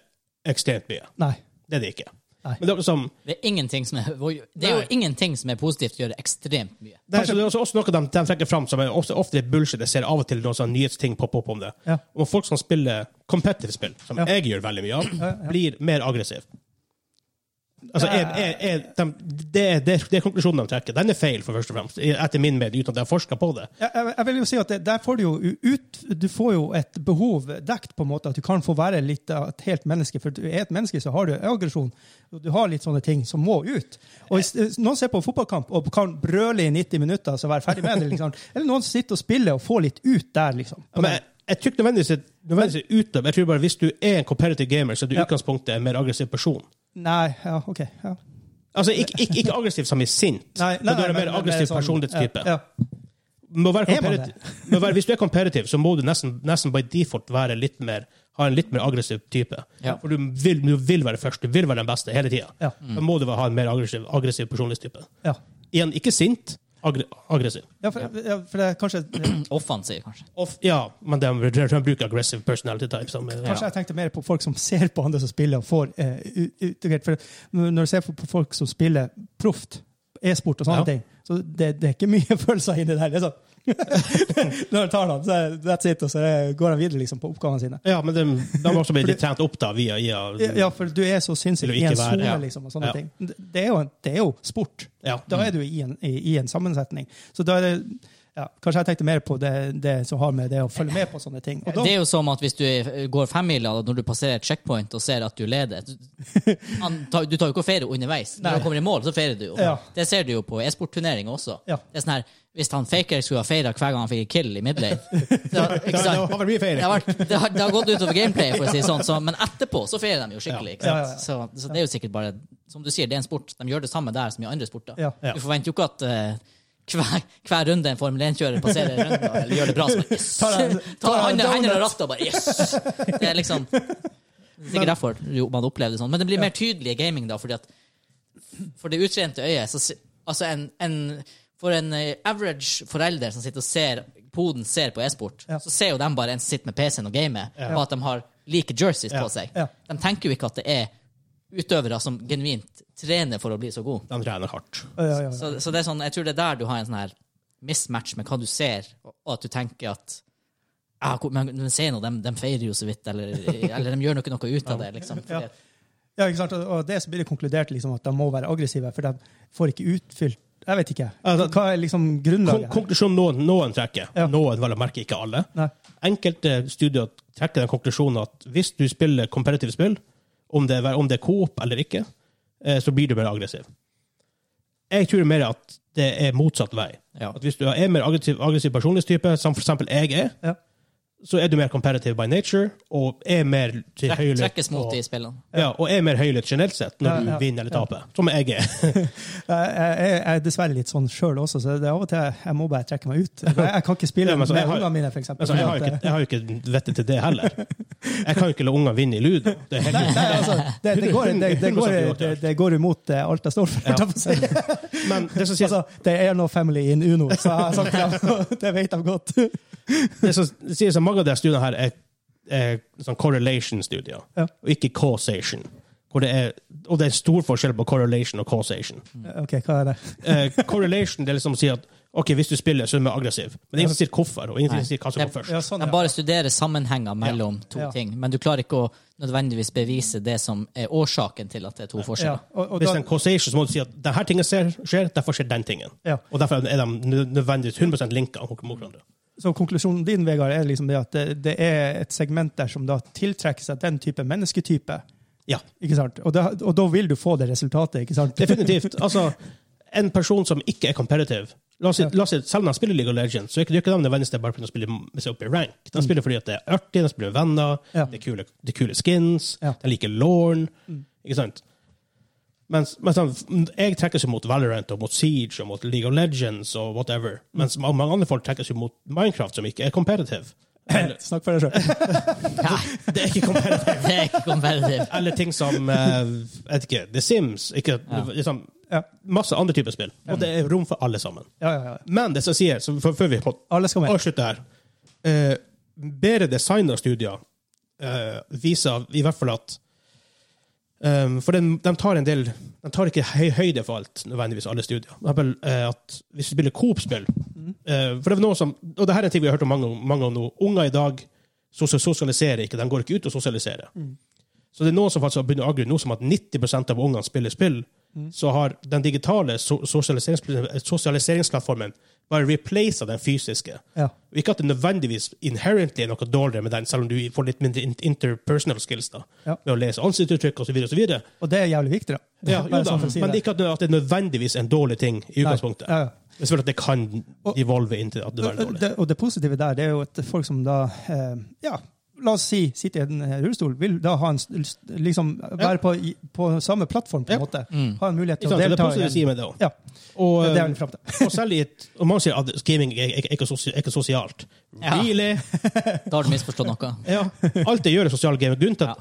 [SPEAKER 1] ekstremt mye.
[SPEAKER 3] Nei.
[SPEAKER 1] Det er det ikke.
[SPEAKER 3] Nei.
[SPEAKER 1] Men det er liksom,
[SPEAKER 2] Det er, ingenting som er, det er jo
[SPEAKER 1] Nei.
[SPEAKER 2] ingenting som er positivt å gjøre ekstremt mye.
[SPEAKER 1] det er, så det er også, også noe de, de trekker fram som er også, ofte litt bullshit. Jeg ser av og til noen sånne nyhetsting poppe opp om det.
[SPEAKER 3] Ja.
[SPEAKER 1] Om folk som spiller competitive spill, som
[SPEAKER 3] Ja.
[SPEAKER 1] jeg gjør veldig mye av, blir mer aggressiv. Altså, er, er, er, de, det, er- det, er- det er konklusjonen de trekker. Den er feil, for først og fremst, etter min mening, uten at jeg har forska på det.
[SPEAKER 3] Jeg, jeg, jeg vil jo si at det, der får du jo ut Du får jo et behov dekt, på en måte. At du kan få være litt av et helt menneske. For du er et menneske, så har du aggresjon. Du har litt sånne ting som må ut. Og hvis, hvis noen ser på en fotballkamp og kan brøle i 90 minutter, så være ferdig med det. Liksom. Eller noen sitter og spiller og får litt ut der, liksom.
[SPEAKER 1] Ja, men jeg, jeg tror ikke nødvendigvis, nødvendigvis ut av, jeg tror bare hvis du er en competitive gamer, så er du i
[SPEAKER 3] Ja.
[SPEAKER 1] utgangspunktet en mer aggressiv person.
[SPEAKER 3] Nei, ja, OK. Ja.
[SPEAKER 1] Altså, ikke, ikke, ikke aggressiv som i sint,
[SPEAKER 3] Nei,
[SPEAKER 1] men du er en
[SPEAKER 3] men-
[SPEAKER 1] mer
[SPEAKER 3] men-
[SPEAKER 1] aggressiv
[SPEAKER 3] sånn-
[SPEAKER 1] personlighetstype.
[SPEAKER 3] Ja, ja.
[SPEAKER 1] Må være
[SPEAKER 3] Er man det?
[SPEAKER 1] competitive- må være, hvis du er competitive, så må du nesten, nesten by default være litt mer, ha en litt mer aggressiv type.
[SPEAKER 2] Ja.
[SPEAKER 1] For du vil, du vil være først, du vil være den beste hele tida.
[SPEAKER 3] Ja.
[SPEAKER 1] Da må du ha en mer aggressiv, aggressiv personlighetstype.
[SPEAKER 3] Ja.
[SPEAKER 1] Igjen, ikke sint, aggre, aggressiv.
[SPEAKER 3] Ja, for, ja, for det er kanskje, kanskje
[SPEAKER 2] Offensiv, kanskje.
[SPEAKER 1] Of, ja, men de, de bruker aggressive personality type. Som, ja.
[SPEAKER 3] jeg tenkte mer på folk som ser på andre som spiller og får eh, ut- utgreiert. For når du ser på folk som spiller proft, e-sport og sånne
[SPEAKER 1] Ja.
[SPEAKER 3] ting, så det, det er ikke mye følelser inni der. Det er sånn Når han tar den, så er- that's it, og så er- går han videre liksom, på oppgavene sine.
[SPEAKER 1] Ja, men de, de har også blitt litt trent opp da, via, via
[SPEAKER 3] Ja, for du er så sinnssyk
[SPEAKER 1] Eller
[SPEAKER 3] i en
[SPEAKER 1] ikke være,
[SPEAKER 3] sone,
[SPEAKER 1] ja.
[SPEAKER 3] liksom, og sånne
[SPEAKER 1] Ja.
[SPEAKER 3] ting. Det det er, jo en, det er jo sport.
[SPEAKER 1] Ja.
[SPEAKER 3] Da er du i en, i, i en sammensetning. Så da er det ja, Kanskje jeg tenkte mer på det, det som har med det å følge med på sånne ting. Og da,
[SPEAKER 2] Det er jo som at hvis du er- går femmila og når du passerer et checkpoint og ser at du leder du- an- ta- Du tar jo ikke og feirer underveis. Når
[SPEAKER 3] Nei.
[SPEAKER 2] du kommer i mål, så feirer du jo.
[SPEAKER 3] Ja.
[SPEAKER 2] Det ser du jo på e-sportturneringer også.
[SPEAKER 3] Ja.
[SPEAKER 2] Det er sånn her, Hvis han faker skulle ha feira hver gang han fikk en kill i midlane Det har-
[SPEAKER 1] Det har-
[SPEAKER 2] ikke
[SPEAKER 1] det
[SPEAKER 2] sant?
[SPEAKER 1] har vært mye
[SPEAKER 2] Det
[SPEAKER 1] feiring.
[SPEAKER 2] har, vært, det, har, det har gått utover gameplay, for å si det sånn, så, men etterpå så feirer de jo skikkelig. Ikke
[SPEAKER 3] Ja, ja, ja.
[SPEAKER 2] sant? Så, så det er jo sikkert bare Som du sier, det er en sport. De gjør det samme der som i andre sporter.
[SPEAKER 3] Ja.
[SPEAKER 1] Ja.
[SPEAKER 2] Du forventer jo ikke at eh, hver, hver runde en Formel 1-kjører passerer runden eller gjør det bra, så bare yes!
[SPEAKER 3] Tar
[SPEAKER 2] Tar
[SPEAKER 3] en- tar en
[SPEAKER 2] handa-
[SPEAKER 3] donut.
[SPEAKER 2] hendene av rattet og bare yes! Det er liksom det er Sikkert derfor jo, man opplever det sånn. Men det blir mer tydelig i gaming, da, fordi at for det utrente øyet så, si- Altså, en, en for en eh, average forelder som sitter og ser poden ser på e-sport,
[SPEAKER 3] Ja.
[SPEAKER 2] så ser jo de bare en som sitter med PC-en og gamer,
[SPEAKER 1] Ja.
[SPEAKER 2] og at de har like jerseys
[SPEAKER 1] Ja.
[SPEAKER 2] på seg.
[SPEAKER 3] Ja.
[SPEAKER 2] De tenker jo ikke at det er utøvere som genuint trener for å bli så god.
[SPEAKER 1] De trener hardt.
[SPEAKER 3] ja, ja, ja.
[SPEAKER 2] Så, så det er sånn, jeg tror det er der du har en sånn her mismatch med hva du ser, og og at du tenker at ah, hvor- men, men se nå, de, feirer jo så vidt, eller, eller de gjør nok noe ut av det. liksom. Fordi
[SPEAKER 3] Ja.
[SPEAKER 2] at-
[SPEAKER 3] Ja, ikke sant? Og- Og det så blir det konkludert liksom, at de må være aggressive, for de får ikke utfylt Jeg vet ikke.
[SPEAKER 1] Altså,
[SPEAKER 3] Hva er liksom
[SPEAKER 1] Kon
[SPEAKER 3] grunnlaget? her?
[SPEAKER 1] konklusjonen noen, noen trekker.
[SPEAKER 3] Ja.
[SPEAKER 1] Noen vel å merke ikke alle.
[SPEAKER 3] Nei.
[SPEAKER 1] Enkelte studier trekker den konklusjonen at hvis du spiller kompetitive spill, om det, er- om det er coop eller ikke, eh, så blir du mer aggressiv. Jeg tror mer at det er motsatt vei.
[SPEAKER 2] Ja.
[SPEAKER 1] At hvis du er mer aggressiv, aggressiv personlighetstype, som for eksempel jeg er,
[SPEAKER 3] Ja.
[SPEAKER 1] så er du mer competitive by nature, og er mer til
[SPEAKER 2] Trekk,
[SPEAKER 1] høylytt.
[SPEAKER 2] trekkes mot
[SPEAKER 1] og-
[SPEAKER 2] de spillene.
[SPEAKER 1] Ja, og er mer høylytt generelt sett når
[SPEAKER 3] Ja,
[SPEAKER 1] du
[SPEAKER 3] ja,
[SPEAKER 1] vinner eller taper. Som jeg er.
[SPEAKER 3] Jeg, jeg, jeg er dessverre litt sånn sjøl også, så det er av og til jeg- jeg må bare trekke meg ut. Jeg, jeg kan ikke spille
[SPEAKER 1] Ja, men så
[SPEAKER 3] med
[SPEAKER 1] jeg har-
[SPEAKER 3] ungene mine, for eksempel. sånn
[SPEAKER 1] Altså,
[SPEAKER 3] eh,
[SPEAKER 1] jeg har jo ikke, jeg har jo ikke vettet til det heller. Jeg kan jo ikke la ungene vinne i ludo. Det er helt
[SPEAKER 3] Nei, altså, det, det, går, det, det, går, det, det går imot eh, alt jeg står for. holdt jeg på å si.
[SPEAKER 1] Men det som, sies,
[SPEAKER 3] Altså, det er no family in Uno, så jeg har sagt til dem, og det vet de godt.
[SPEAKER 1] det som sies at mange av de studiene her er, er sånn correlation-studier,
[SPEAKER 3] Ja.
[SPEAKER 1] og ikke causation. Hvor det er, og det er stor forskjell på correlation og causation.
[SPEAKER 3] OK, hva er det?
[SPEAKER 1] Eh, correlation det er liksom å si at ok, hvis du spiller, så er du mer aggressiv. Men det er ingen som sier hvorfor, og ingen
[SPEAKER 2] Nei.
[SPEAKER 1] som sier hva som kom først.
[SPEAKER 3] Ja, sånn,
[SPEAKER 2] De
[SPEAKER 3] ja.
[SPEAKER 2] bare studerer sammenhenger mellom to
[SPEAKER 3] Ja.
[SPEAKER 2] ting, men du klarer ikke å nødvendigvis bevise det som er årsaken til at det er to
[SPEAKER 3] Ja,
[SPEAKER 2] forskjeller.
[SPEAKER 3] og, og
[SPEAKER 1] Hvis det
[SPEAKER 3] da,
[SPEAKER 1] er en causation, så må du si at denne tingen ser, skjer, derfor skjer den tingen.
[SPEAKER 3] Ja.
[SPEAKER 1] Og derfor er de nø- nødvendigvis 100 linka mot hverandre.
[SPEAKER 3] så konklusjonen din, Vegard, er liksom det at det, det er et segment der som da tiltrekker seg den type mennesketype.
[SPEAKER 1] Ja.
[SPEAKER 3] Ikke sant? Og da, og da vil du få det resultatet, ikke sant?
[SPEAKER 1] Definitivt. Altså, en person som ikke er competitive La oss, si, la oss si, Selv om de spiller League of Legends, så er ikke, det er ikke de nødvendigvis det er bare for å spille med seg opp i rank. De spiller fordi at det er artig, de spiller med venner,
[SPEAKER 3] Mm. Ja.
[SPEAKER 1] det, er kule, det er kule skins,
[SPEAKER 3] Ja. Mm.
[SPEAKER 1] de liker Lorne. Ikke sant? Mens, mens de, jeg trekkes jo mot Valorant og mot Siege og mot League of Legends og whatever. Mens ma- mange andre folk trekkes jo mot Minecraft, som ikke er competitive. Eller,
[SPEAKER 3] Snakk for deg sjøl.
[SPEAKER 2] Nei,
[SPEAKER 1] det er ikke competitive.
[SPEAKER 2] det er ikke kompetitivt.
[SPEAKER 1] Eller ting som eh, jeg vet ikke, The Sims. Ikke, liksom,
[SPEAKER 3] Ja.
[SPEAKER 1] Masse andre typer spill. Og det er rom for alle sammen.
[SPEAKER 3] Ja, ja, ja.
[SPEAKER 1] Men det som sier, så før, før vi må
[SPEAKER 3] Alle skal med.
[SPEAKER 1] avslutte her eh, Bedre designerstudier eh, viser i hvert fall at eh, For den, de tar en del De tar ikke høy, høyde for alt, nødvendigvis, alle studier. For eksempel, eh, at hvis du spiller Coop-spill eh, For det er noe som Og det her er en ting vi har hørt om mange, mange om nå. Unger i dag sos- sosialiserer ikke. De går ikke ut og sosialiserer. Så det er noen som faktisk har begynt å agre nå som at 90 av ungene spiller spill, så har den digitale so sosialiserings sosialiseringsplattformen bare replacet den fysiske.
[SPEAKER 3] Ja.
[SPEAKER 1] Og Ikke at det nødvendigvis inherently er noe dårligere med den, selv om du får litt mindre in- interpersonal skills da,
[SPEAKER 3] Ja.
[SPEAKER 1] med å lese ansiktsuttrykk osv. videre
[SPEAKER 3] Og det er jævlig viktig, da.
[SPEAKER 1] Ja, jo
[SPEAKER 3] Bare
[SPEAKER 1] da,
[SPEAKER 3] sånn for å si
[SPEAKER 1] men det er ikke at det- at det er nødvendigvis en dårlig ting i utgangspunktet.
[SPEAKER 3] Ja, ja.
[SPEAKER 1] Men selvfølgelig at det kan
[SPEAKER 3] Og-
[SPEAKER 1] evolve inn til at det er
[SPEAKER 3] Og- og
[SPEAKER 1] dårlig.
[SPEAKER 3] Det, og det positive der det er jo at folk som da eh, ja, La oss si sitter i en eh, rullestol, vil da ha en, s- s- liksom være på, i- på samme plattform, på
[SPEAKER 1] Ja.
[SPEAKER 3] en
[SPEAKER 1] Mm.
[SPEAKER 3] måte. Ha en mulighet
[SPEAKER 1] Ikke
[SPEAKER 3] til å
[SPEAKER 1] sant? Det er
[SPEAKER 3] delta.
[SPEAKER 1] positivt å si
[SPEAKER 3] i en-
[SPEAKER 1] med det også.
[SPEAKER 3] ja,
[SPEAKER 1] Og, eh,
[SPEAKER 3] det er vel fram til.
[SPEAKER 1] og selv i et, og mange sier at gaming er er- er ikke sosi- er ikke sosialt.
[SPEAKER 2] Ja.
[SPEAKER 1] Really?
[SPEAKER 2] Da har du misforstått noe.
[SPEAKER 1] Ja. Alt jeg gjør, er sosial game. Grunnen til at,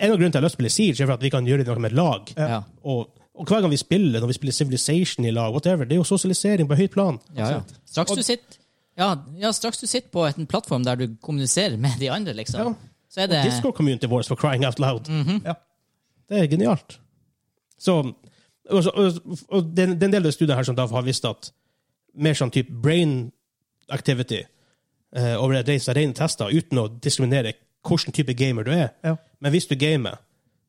[SPEAKER 1] En av grunnene til at jeg har lyst til å spille Siege, er for at vi kan gjøre noe med lag.
[SPEAKER 2] Ja.
[SPEAKER 1] Og, og hver gang vi spiller, når vi spiller Civilization i lag, whatever, det er jo sosialisering på høyt plan.
[SPEAKER 2] Ja, ja. Straks du sitter ja, ja, straks du sitter på en plattform der du kommuniserer med de andre, liksom,
[SPEAKER 1] Ja.
[SPEAKER 2] så er det
[SPEAKER 1] Discord-community vår for crying out loud.
[SPEAKER 3] Ja.
[SPEAKER 1] Det er genialt. Så, og, så- og, og den, den delen av studien her som da har vist at mer sånn type brain activity eh, over en reise av rene tester, uten å diskriminere hvilken type gamer du er.
[SPEAKER 3] Ja.
[SPEAKER 1] Men hvis du gamer,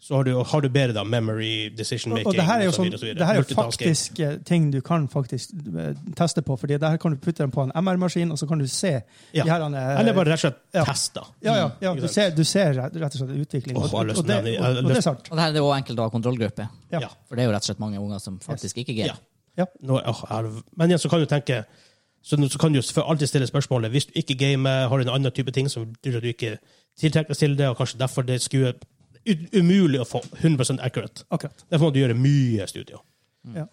[SPEAKER 1] så har du, har du bedre da, memory, decision
[SPEAKER 3] Og,
[SPEAKER 1] making
[SPEAKER 3] og det her er jo,
[SPEAKER 1] og så
[SPEAKER 3] sånn,
[SPEAKER 1] videre, og så videre.
[SPEAKER 3] det her er jo
[SPEAKER 1] Multitasking.
[SPEAKER 3] faktisk eh, ting du kan faktisk eh, teste på, fordi det her kan du putte den på en MR-maskin, og så kan du se
[SPEAKER 1] Ja.
[SPEAKER 3] de her, eh,
[SPEAKER 1] Eller bare rett og slett
[SPEAKER 3] Ja.
[SPEAKER 1] tester.
[SPEAKER 3] Ja, ja, ja
[SPEAKER 1] Ikke
[SPEAKER 3] du,
[SPEAKER 1] sant?
[SPEAKER 3] ser, du ser rett rett og slett utvikling.
[SPEAKER 1] Åh,
[SPEAKER 3] og,
[SPEAKER 1] jeg har
[SPEAKER 3] og,
[SPEAKER 1] lyst
[SPEAKER 3] og,
[SPEAKER 1] til
[SPEAKER 3] det,
[SPEAKER 1] å nevne- jeg
[SPEAKER 3] og,
[SPEAKER 1] har
[SPEAKER 3] og det
[SPEAKER 1] lyst-
[SPEAKER 3] er sant.
[SPEAKER 2] Og det her er jo enkelt å ha kontrollgruppe.
[SPEAKER 3] Ja.
[SPEAKER 1] Ja.
[SPEAKER 2] For det er jo rett og slett mange unger som faktisk ikke
[SPEAKER 1] Ja.
[SPEAKER 2] gamer.
[SPEAKER 3] Ja.
[SPEAKER 1] Nå, åh, er- men igjen så kan du tenke så, nå- så kan du jo for alltid stille spørsmålet hvis du ikke gamer, har en annen type ting som du, du ikke tiltrekkes til det, og kanskje derfor det skulle u- umulig å få 100 accurate.
[SPEAKER 3] Akkurat.
[SPEAKER 1] Derfor må du gjøre mye studier.
[SPEAKER 3] Ja.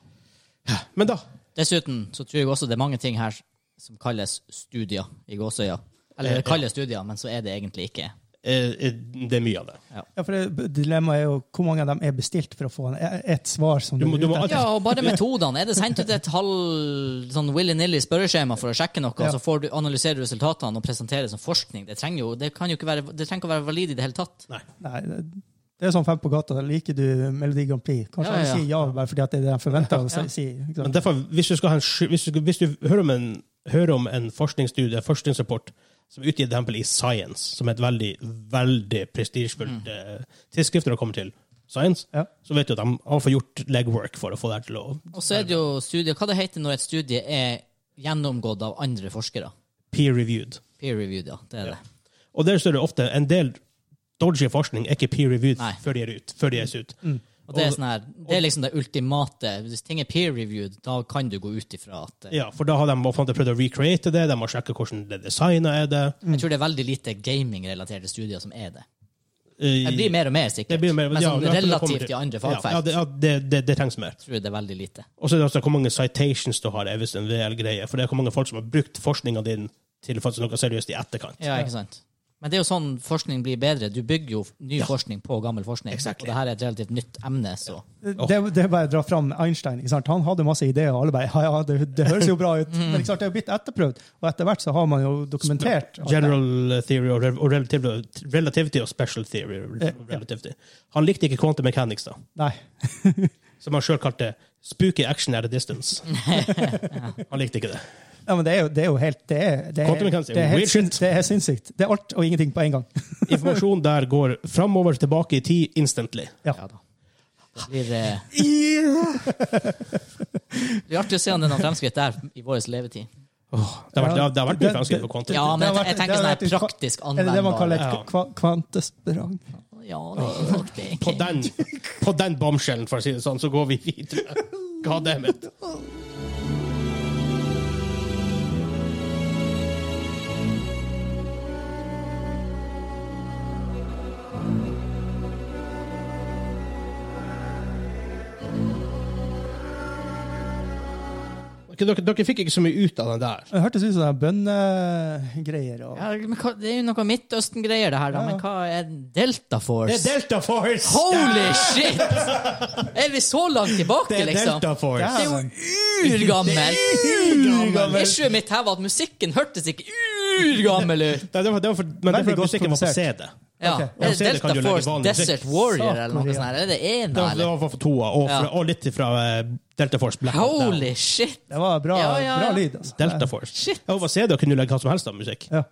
[SPEAKER 1] Men da
[SPEAKER 2] Dessuten så tror jeg også det er mange ting her som kalles studier i gåsøya. Eller det kalles studier, men så er det egentlig ikke.
[SPEAKER 1] eh, eh, Det er mye av det.
[SPEAKER 3] Ja, for det- Dilemmaet er jo hvor mange av dem er bestilt for å få en, et svar som
[SPEAKER 1] Du må-
[SPEAKER 3] er
[SPEAKER 1] du må alltid-
[SPEAKER 3] ute etter.
[SPEAKER 2] Ja, og bare metodene. Er det sendt ut et halv sånn willy-nilly spørreskjema for å sjekke noe, og så får du analysere resultatene og presentere som forskning? Det trenger jo, det kan jo ikke være, det trenger ikke å være valid i det hele tatt.
[SPEAKER 1] Nei.
[SPEAKER 3] Nei, det- det er sånn fem på gata. Liker du Melodi Grand Prix? Kanskje
[SPEAKER 2] Ja, ja,
[SPEAKER 3] han sier ja bare fordi at det er det han forventer å si. si, ikke
[SPEAKER 1] Men
[SPEAKER 3] sant?
[SPEAKER 1] derfor, hvis du, skal ha en, sky- hvis du, skal- hvis du hører, om en, hører om en forskningsstudie, en forskningsrapport, som er utgitt for eksempel i Science, som er et veldig veldig prestisjefullt
[SPEAKER 2] Mm.
[SPEAKER 1] eh, tidsskrift når det kommer til science,
[SPEAKER 3] Ja.
[SPEAKER 1] så vet du at de har fått gjort legwork for å få det her til å
[SPEAKER 2] Og så er det jo studier Hva det heter når et studie er gjennomgått av andre forskere?
[SPEAKER 1] peer-reviewed.
[SPEAKER 2] Peer-reviewed, ja. Det er det.
[SPEAKER 1] Og der står det ofte en del dodgy forskning er ikke peer-reviewed
[SPEAKER 2] Nei.
[SPEAKER 1] før de er ut. Før de er ut.
[SPEAKER 2] Og det er, sånn her, det er liksom det ultimate. Hvis ting er peer-reviewed, da kan du gå ut ifra at eh,
[SPEAKER 1] Ja, For da har de på en måte prøvd å recreate det, de har sjekka hvordan det designa er det.
[SPEAKER 2] Jeg tror det er veldig lite gaming-relaterte studier som er det.
[SPEAKER 1] Eh,
[SPEAKER 2] Det blir mer og mer, sikkert.
[SPEAKER 1] det blir mer-
[SPEAKER 2] men
[SPEAKER 1] ja,
[SPEAKER 2] sånn
[SPEAKER 1] det er akkurat det kommer
[SPEAKER 2] relativt til andre fagfelt
[SPEAKER 1] Ja, ja, det, ja det, det, det trengs mer.
[SPEAKER 2] tror jeg det er veldig lite.
[SPEAKER 1] Og så er det altså hvor mange citations du har, er visst en reell greie. For det er hvor mange folk som har brukt forskninga din til faktisk noe seriøst i etterkant.
[SPEAKER 2] Ja, ikke sant? Men det er jo sånn forskning blir bedre. Du bygger jo ny forskning på gammel forskning.
[SPEAKER 1] Exactly.
[SPEAKER 2] Og det her er et relativt nytt emne, så
[SPEAKER 3] Det, det er bare å dra fram Einstein. Ikke sant? Han hadde masse ideer, og alle bare ja, ja, det, det høres jo bra ut. Men ikke sant? det er jo blitt etterprøvd, og etter hvert så har man jo dokumentert. at-
[SPEAKER 1] General theory og, re- og relativ- relativity og special theory. og re- Relativity. Han likte ikke quantum mechanics, da,
[SPEAKER 3] Nei.
[SPEAKER 1] som han sjøl kalte 'spooky action at a distance'. Han likte ikke det.
[SPEAKER 3] Ja, men det er jo, det er jo helt Det er, det er,
[SPEAKER 1] Quantum mechanics er
[SPEAKER 3] det er,
[SPEAKER 1] weird
[SPEAKER 3] helt,
[SPEAKER 1] shit.
[SPEAKER 3] sin- det er sinnssykt. Det er alt og ingenting på en gang.
[SPEAKER 1] Informasjon der går framover, tilbake i tid, instantly.
[SPEAKER 2] ja da. Det blir, eh, det blir artig å se om det er noen fremskritt der i vår levetid.
[SPEAKER 1] Det har vært,
[SPEAKER 3] Ja.
[SPEAKER 1] det har vært mye fremskritt på quantum.
[SPEAKER 2] Ja, men
[SPEAKER 3] Det har
[SPEAKER 2] jeg, jeg
[SPEAKER 3] vært-
[SPEAKER 2] tenker
[SPEAKER 3] det
[SPEAKER 2] sånn
[SPEAKER 3] har
[SPEAKER 2] her
[SPEAKER 3] vært-
[SPEAKER 2] praktisk
[SPEAKER 3] Er det det man kaller
[SPEAKER 2] anvendbar.
[SPEAKER 1] Ja.
[SPEAKER 3] et kva, kvantesprang?
[SPEAKER 2] Ja, det er nok det.
[SPEAKER 1] På den, på den bombshellen, for å si det sånn, så går vi videre. God damn it. Ok, Dere, dere fikk ikke så mye ut av den der.
[SPEAKER 3] Det hørtes ut som det er bønnegreier. Og...
[SPEAKER 2] Ja, men hva, det er jo noe Midtøsten-greier, det her. Da. Men hva er Delta Force?
[SPEAKER 1] Det er Delta Force!
[SPEAKER 2] Holy shit! Er vi så langt tilbake,
[SPEAKER 1] det er
[SPEAKER 2] liksom?
[SPEAKER 1] Delta Force!
[SPEAKER 2] Det er jo urgammel!
[SPEAKER 1] urgammel.
[SPEAKER 2] Issue mitt her var at musikken hørtes ikke urgammel ut.
[SPEAKER 1] Det var, det var for, men
[SPEAKER 3] Veldig
[SPEAKER 1] derfor
[SPEAKER 3] godt
[SPEAKER 1] musikken var på
[SPEAKER 3] produsert.
[SPEAKER 1] CD.
[SPEAKER 2] Ja.
[SPEAKER 3] Ok.
[SPEAKER 1] Ja,
[SPEAKER 2] Er det
[SPEAKER 1] CD kan
[SPEAKER 2] Delta
[SPEAKER 1] du legge
[SPEAKER 2] Force
[SPEAKER 1] vanlig musikk.
[SPEAKER 2] Desert Warrior eller noe
[SPEAKER 3] Satan,
[SPEAKER 2] sånt? her? Er det det
[SPEAKER 1] Det
[SPEAKER 2] ene,
[SPEAKER 1] var, det
[SPEAKER 2] eller?
[SPEAKER 1] var for toa, og, fra,
[SPEAKER 2] Ja.
[SPEAKER 1] og litt fra eh, Delta Force. Black Hawk Down.
[SPEAKER 2] Holy shit!
[SPEAKER 3] Det var bra,
[SPEAKER 2] Ja, ja, ja.
[SPEAKER 3] bra lyd. Altså.
[SPEAKER 1] Delta Force.
[SPEAKER 2] Shit.
[SPEAKER 1] Ja, hva ser du? Kunne du legge hva som helst av musikk?
[SPEAKER 3] Ja.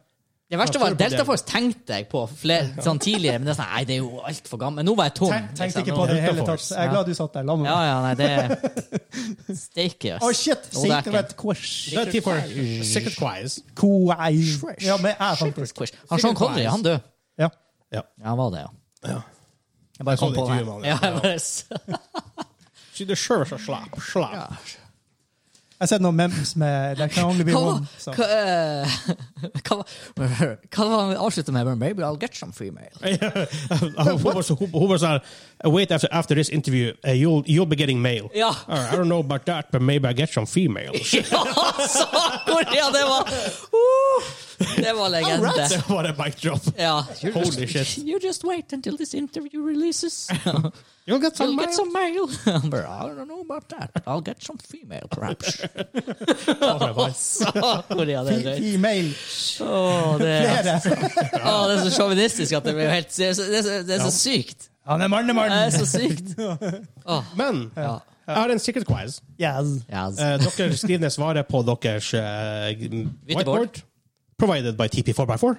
[SPEAKER 2] Det verste
[SPEAKER 1] Ja, for
[SPEAKER 2] var at
[SPEAKER 1] det-
[SPEAKER 2] Delta Force tenkte jeg på flere, sånn tidligere, men det er sånn, nei, det er jo altfor gammelt. Nå var jeg tom.
[SPEAKER 3] Tenk, tenkte
[SPEAKER 2] liksom.
[SPEAKER 3] ikke på det i
[SPEAKER 1] Delta
[SPEAKER 3] hele tatt.
[SPEAKER 1] Force.
[SPEAKER 3] Jeg er glad du satt der. La meg
[SPEAKER 2] Ja, ja, nei, det Steike, ass.
[SPEAKER 3] Å, shit!
[SPEAKER 2] Jo, det er ikke-
[SPEAKER 3] Secret Quish.
[SPEAKER 1] Det er tid for Secret Choirs.
[SPEAKER 3] Quish. Ja, men jeg, faktisk.
[SPEAKER 2] Quiz. Han Sean Connery, han døde.
[SPEAKER 3] Ja.
[SPEAKER 1] Ja.
[SPEAKER 2] Ja, han var det, ja. Jeg bare kom
[SPEAKER 1] så
[SPEAKER 3] Sånn
[SPEAKER 1] det
[SPEAKER 2] på det.
[SPEAKER 1] intervjuet med han,
[SPEAKER 2] Ja,
[SPEAKER 1] ja.
[SPEAKER 2] jeg bare s-
[SPEAKER 1] She deserves a slap. Slap.
[SPEAKER 3] Jeg har sett noen memes med There can only be
[SPEAKER 2] Hva
[SPEAKER 3] one. Så.
[SPEAKER 2] var- hva, eh, hva var- hva var han avsluttet med? Maybe I'll get some free mail.
[SPEAKER 1] hun, var så, hun, hun var sånn Wait after, after this interview, eh, you'll, you'll be getting mail.
[SPEAKER 2] Ja.
[SPEAKER 1] I don't know about that, but maybe I get some female.
[SPEAKER 2] Ja, altså! Korea, det var uh, Det var legende.
[SPEAKER 1] Det var en mic drop.
[SPEAKER 2] Ja.
[SPEAKER 1] Holy shit.
[SPEAKER 2] You just wait until this interview releases.
[SPEAKER 1] You'll get some
[SPEAKER 2] You'll get
[SPEAKER 1] mail.
[SPEAKER 2] some mail. But I don't know about that. I'll get some female, perhaps. Så, Korea, det er drøyt.
[SPEAKER 3] I, I mail.
[SPEAKER 2] Åh, det, er-
[SPEAKER 3] Flere.
[SPEAKER 2] Åh, det er så sjåvinistisk at det blir jo helt Det er så, det er så, det er så sykt.
[SPEAKER 3] Han er
[SPEAKER 2] Det er
[SPEAKER 3] mannemann!
[SPEAKER 2] så sykt.
[SPEAKER 1] Men
[SPEAKER 2] Ja.
[SPEAKER 1] Jeg har en secret quiz.
[SPEAKER 3] Yes.
[SPEAKER 2] Yes.
[SPEAKER 1] Eh, dere skriver ned svaret på deres eh, whiteboard. Provided by TP4x4.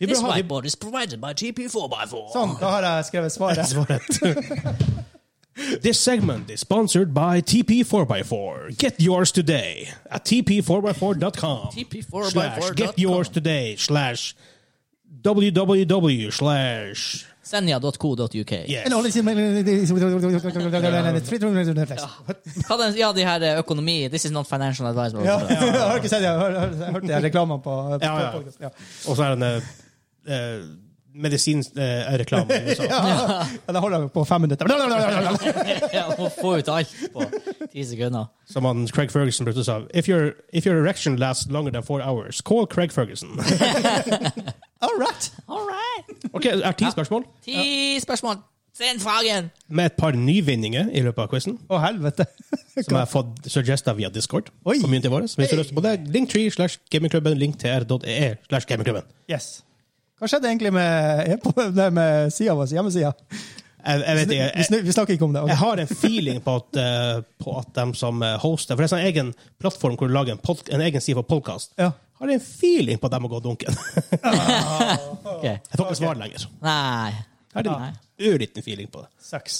[SPEAKER 1] Vi bør
[SPEAKER 2] This
[SPEAKER 1] ha- vi-
[SPEAKER 2] whiteboard is provided by GP4x4.
[SPEAKER 3] Sånn, da har jeg skrevet svaret.
[SPEAKER 1] This segment is sponsored by TP4x4. Get yours today at tp4x4.com.
[SPEAKER 2] TP4x4.com.
[SPEAKER 1] Slash get yours today slash www slash
[SPEAKER 2] Senja.co.uk.
[SPEAKER 1] yes.
[SPEAKER 3] And all this-
[SPEAKER 2] Hva den- Ja, de her eh, økonomi This is not financial advice. bla, bla,
[SPEAKER 3] Ja,
[SPEAKER 2] bla.
[SPEAKER 3] jeg har ikke sett det. Jeg har- jeg har hørt de her reklamene på, på
[SPEAKER 1] Ja, ja.
[SPEAKER 3] podcast. Ja.
[SPEAKER 1] Og så er det en eh, medisinsk eh, reklame i USA.
[SPEAKER 3] Ja, da holder jeg på fem minutter.
[SPEAKER 2] Ja, Må få ut alt på ti sekunder.
[SPEAKER 1] Som han Craig Ferguson brukte og sa if, your- if your erection lasts longer than four hours, call Craig Ferguson.
[SPEAKER 3] All right!
[SPEAKER 2] All right.
[SPEAKER 1] Ok, er ti spørsmål
[SPEAKER 2] Ti spørsmål. Send fragen!
[SPEAKER 1] med et par nyvinninger i løpet av quizen.
[SPEAKER 3] Å, helvete.
[SPEAKER 1] Som jeg har fått suggesta via Discord.
[SPEAKER 3] Oi.
[SPEAKER 1] Community vår. Hvis du har lyst på det, linktree slash gamingklubben, linktr.ee slash gamingklubben.
[SPEAKER 3] Yes. Hva skjedde egentlig med, e-po- nei, med sida vår, hjemmesida?
[SPEAKER 1] Jeg, jeg vet ikke,
[SPEAKER 3] Vi,
[SPEAKER 1] jeg,
[SPEAKER 3] snu- vi snakker ikke om det. ok.
[SPEAKER 1] jeg har en feeling på at, eh, på at de som eh, hoster For det er en sånn egen plattform hvor du lager en, pod- en egen side for podkast.
[SPEAKER 3] Ja.
[SPEAKER 1] Har en feeling på at de har gått dunken. Jeg
[SPEAKER 3] Ah.
[SPEAKER 2] Ok.
[SPEAKER 1] får ikke svar lenger.
[SPEAKER 2] Nei.
[SPEAKER 1] Jeg har
[SPEAKER 2] Nei.
[SPEAKER 1] en ørliten feeling på det.
[SPEAKER 3] Sucks.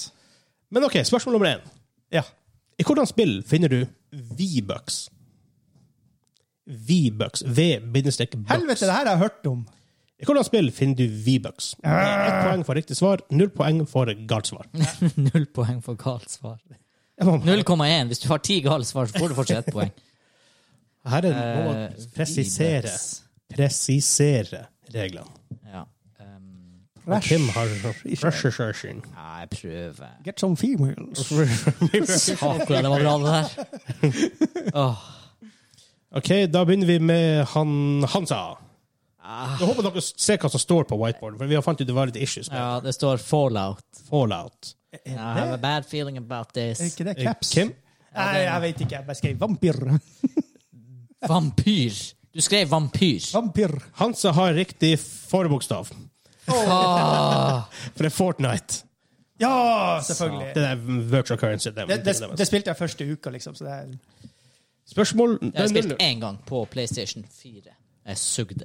[SPEAKER 1] Men OK, spørsmål nummer én.
[SPEAKER 3] Ja.
[SPEAKER 1] I hvordan spill finner du V-bucks? V-bucks.
[SPEAKER 3] Helvete,
[SPEAKER 1] V-bucks.
[SPEAKER 3] det her har jeg hørt om.
[SPEAKER 1] I hvordan spill finner du V-bucks? Det
[SPEAKER 3] Ah.
[SPEAKER 1] er Ett poeng for riktig svar, null poeng for galt svar.
[SPEAKER 2] Null poeng for galt svar. 0,1. Hvis du har ti gale svar, så får du fortsatt ett poeng.
[SPEAKER 1] Her er det noe
[SPEAKER 2] Eh,
[SPEAKER 1] å presisere. Presisere reglene.
[SPEAKER 2] Ja. Um,
[SPEAKER 1] Og Kim har Rusheshershin.
[SPEAKER 2] ja, jeg prøver.
[SPEAKER 3] Get some females.
[SPEAKER 2] Akkurat, det var bra, det der. Åh.
[SPEAKER 1] OK, da begynner vi med han Hansa.
[SPEAKER 2] Ah.
[SPEAKER 1] Jeg håper dere ser hva som står på whiteboard, for vi har fant ut det var litt issues med
[SPEAKER 2] Ja, det står fallout.
[SPEAKER 1] fallout.
[SPEAKER 2] I have a bad feeling about
[SPEAKER 3] Er
[SPEAKER 2] this.
[SPEAKER 3] ikke det
[SPEAKER 1] Eh,
[SPEAKER 3] caps?
[SPEAKER 1] Kim?
[SPEAKER 3] Nei, jeg vet ikke. Jeg bare skrev vampyr.
[SPEAKER 2] Vampyr. Du skrev vampyr.
[SPEAKER 3] Vampyr.
[SPEAKER 1] Hansa har riktig forbokstav.
[SPEAKER 2] Ah.
[SPEAKER 1] For det er Fortnite.
[SPEAKER 3] Ja, selvfølgelig.
[SPEAKER 1] Det er virtual currency. Det,
[SPEAKER 3] Det,
[SPEAKER 1] er-
[SPEAKER 3] det, det spilte jeg første uka, liksom. Så det er
[SPEAKER 1] Spørsmål
[SPEAKER 2] Jeg har spilt
[SPEAKER 1] Nei,
[SPEAKER 2] én gang på PlayStation 4. Jeg sugde.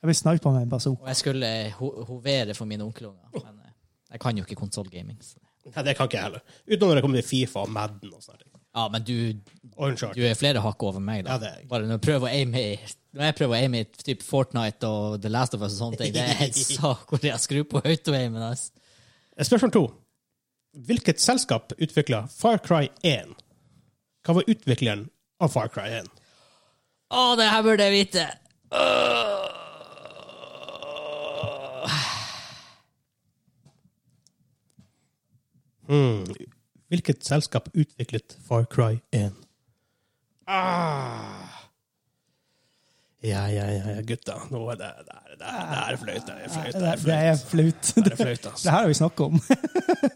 [SPEAKER 3] Jeg blir snipet med en bazooka.
[SPEAKER 2] Og jeg skulle ho hovere for mine onkelunger,
[SPEAKER 1] Oh.
[SPEAKER 2] men eh, jeg kan jo ikke konsollgaming.
[SPEAKER 1] det kan ikke jeg heller. Utenom når det kommer til Fifa og Madden og sånne ting.
[SPEAKER 2] Ja, men du,
[SPEAKER 1] Og
[SPEAKER 2] Du
[SPEAKER 1] Uncharted.
[SPEAKER 2] er flere hakk over meg, da.
[SPEAKER 1] Ja, det er jeg.
[SPEAKER 2] Bare når jeg prøver å aime i når jeg prøver å aime i typ Fortnite og The Last of Us og sånne ting, det er helt sak hvor jeg skrur på autoaimen. ass.
[SPEAKER 1] Eh, Spørsmål to. Hvilket selskap utvikla Far Cry 1? Hva var utvikleren av Far Cry 1?
[SPEAKER 2] Å, det her burde jeg vite! Øh.
[SPEAKER 1] Hvilket selskap utviklet Far Cry 1? Ja, ja, ja, ja, gutta. Nå er det Der, der, der er fløyt. Der er fløyt.
[SPEAKER 3] Det,
[SPEAKER 1] Der er
[SPEAKER 3] det
[SPEAKER 1] fløyt.
[SPEAKER 3] er flaut.
[SPEAKER 1] Der er fløyt
[SPEAKER 3] Det
[SPEAKER 1] altså.
[SPEAKER 3] her har vi snakket om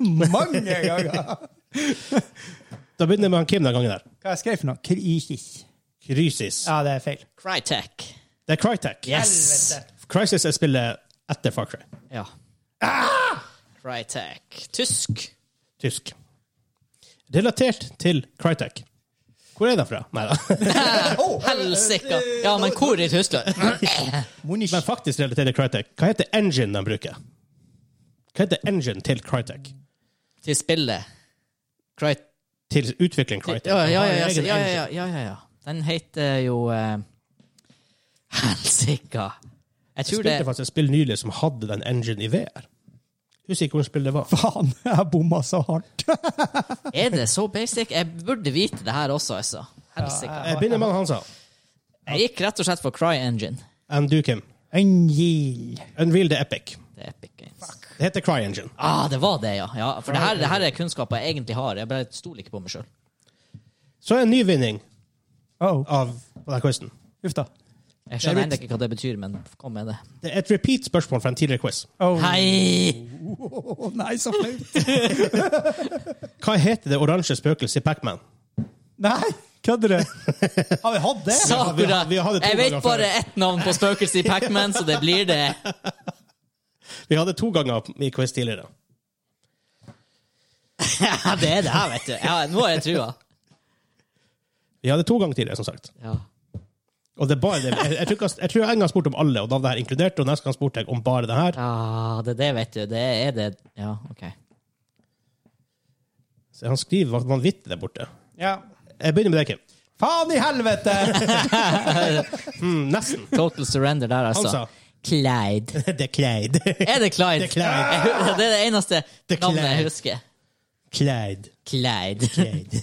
[SPEAKER 3] mange ganger.
[SPEAKER 1] Da begynner vi med han Kim den gangen der.
[SPEAKER 3] Hva jeg skrev for noe? Krisis.
[SPEAKER 1] Krysis.
[SPEAKER 3] Ja, det er feil.
[SPEAKER 2] Crytek.
[SPEAKER 1] Det er Crytek.
[SPEAKER 2] Yes!
[SPEAKER 1] Crisis er spillet etter Far Cry.
[SPEAKER 2] Ja.
[SPEAKER 1] Ah!
[SPEAKER 2] Crytek. Tysk.
[SPEAKER 1] Tysk. Relatert til Crytek. Hvor er den fra? Nei da.
[SPEAKER 2] Helsike! Ja, men hvor i Tyskland?
[SPEAKER 1] Men faktisk relatert til Crytek. Hva heter engine de bruker? Hva heter engine til Crytek?
[SPEAKER 2] Til spillet. Crytek.
[SPEAKER 1] Til utvikling
[SPEAKER 2] Ja,
[SPEAKER 1] Crytek.
[SPEAKER 2] ja,
[SPEAKER 1] De
[SPEAKER 2] ja,
[SPEAKER 1] har en egen
[SPEAKER 2] ja, ja,
[SPEAKER 1] engine.
[SPEAKER 2] ja, ja, ja, ja. Den heter jo eh, Helsika. Jeg
[SPEAKER 1] Jeg
[SPEAKER 2] tror det
[SPEAKER 1] spilte faktisk et spill nylig som hadde den engine i VR. Husker ikke hvor spillet det var.
[SPEAKER 3] Faen, jeg bomma så hardt.
[SPEAKER 2] Er det så basic? Jeg burde vite det her også, altså. Helsika.
[SPEAKER 1] Jeg begynner med han Hansa.
[SPEAKER 2] Jeg gikk rett og slett for Cry Engine.
[SPEAKER 1] Enn du, Kim.
[SPEAKER 3] Angel.
[SPEAKER 1] Unreal the Epic.
[SPEAKER 2] Det er Epic Games.
[SPEAKER 1] Det heter Cry Engine.
[SPEAKER 2] Ah, det var det, ja. ja for det her, det her er kunnskaper jeg egentlig har. Jeg bare stoler ikke på meg sjøl.
[SPEAKER 1] Så er en ny vinning
[SPEAKER 3] Oh,
[SPEAKER 1] av denne quizen.
[SPEAKER 3] uff da.
[SPEAKER 2] Jeg skjønner ennå ikke hva det betyr, men kom med det.
[SPEAKER 1] Det er et repeat-spørsmål fra en tidligere quiz.
[SPEAKER 3] Oh.
[SPEAKER 2] Hei!
[SPEAKER 3] Oh, nei, så flaut.
[SPEAKER 1] Hva heter det oransje spøkelset i Pacman?
[SPEAKER 3] Nei, kødder du? Har vi hatt det?
[SPEAKER 2] Sakura!
[SPEAKER 1] vi hadde to
[SPEAKER 2] Jeg vet
[SPEAKER 1] ganger før.
[SPEAKER 2] bare ett navn på spøkelset i Pacman, så det blir det.
[SPEAKER 1] Vi hadde to ganger i quiz tidligere.
[SPEAKER 2] Ja, det er det her, vet du. Ja, nå har jeg trua.
[SPEAKER 1] Vi hadde to ganger tidligere, som sagt.
[SPEAKER 2] Ja.
[SPEAKER 1] Og det er bare det. Jeg, jeg, tror ikke han- jeg tror en gang spurte om alle, og da var det her inkludert. Og neste gang spurte jeg om bare det her.
[SPEAKER 2] Ah, det er det, vet du. Det er det Ja, OK.
[SPEAKER 1] Så han skriver van- vanvittig der borte.
[SPEAKER 3] Ja.
[SPEAKER 1] Jeg begynner med deg, Kim.
[SPEAKER 3] Faen i helvete!
[SPEAKER 1] Mm, nesten.
[SPEAKER 2] Total surrender der, altså.
[SPEAKER 1] Han sa.
[SPEAKER 2] Clyde.
[SPEAKER 1] Det er Clyde.
[SPEAKER 2] Er det
[SPEAKER 1] Det
[SPEAKER 2] Clyde?
[SPEAKER 1] er Clyde.
[SPEAKER 2] Jeg hu- det er det eneste
[SPEAKER 1] Det er
[SPEAKER 2] navnet jeg
[SPEAKER 1] Clyde.
[SPEAKER 2] husker.
[SPEAKER 1] Clyde.
[SPEAKER 2] Clyde.
[SPEAKER 1] Clyde.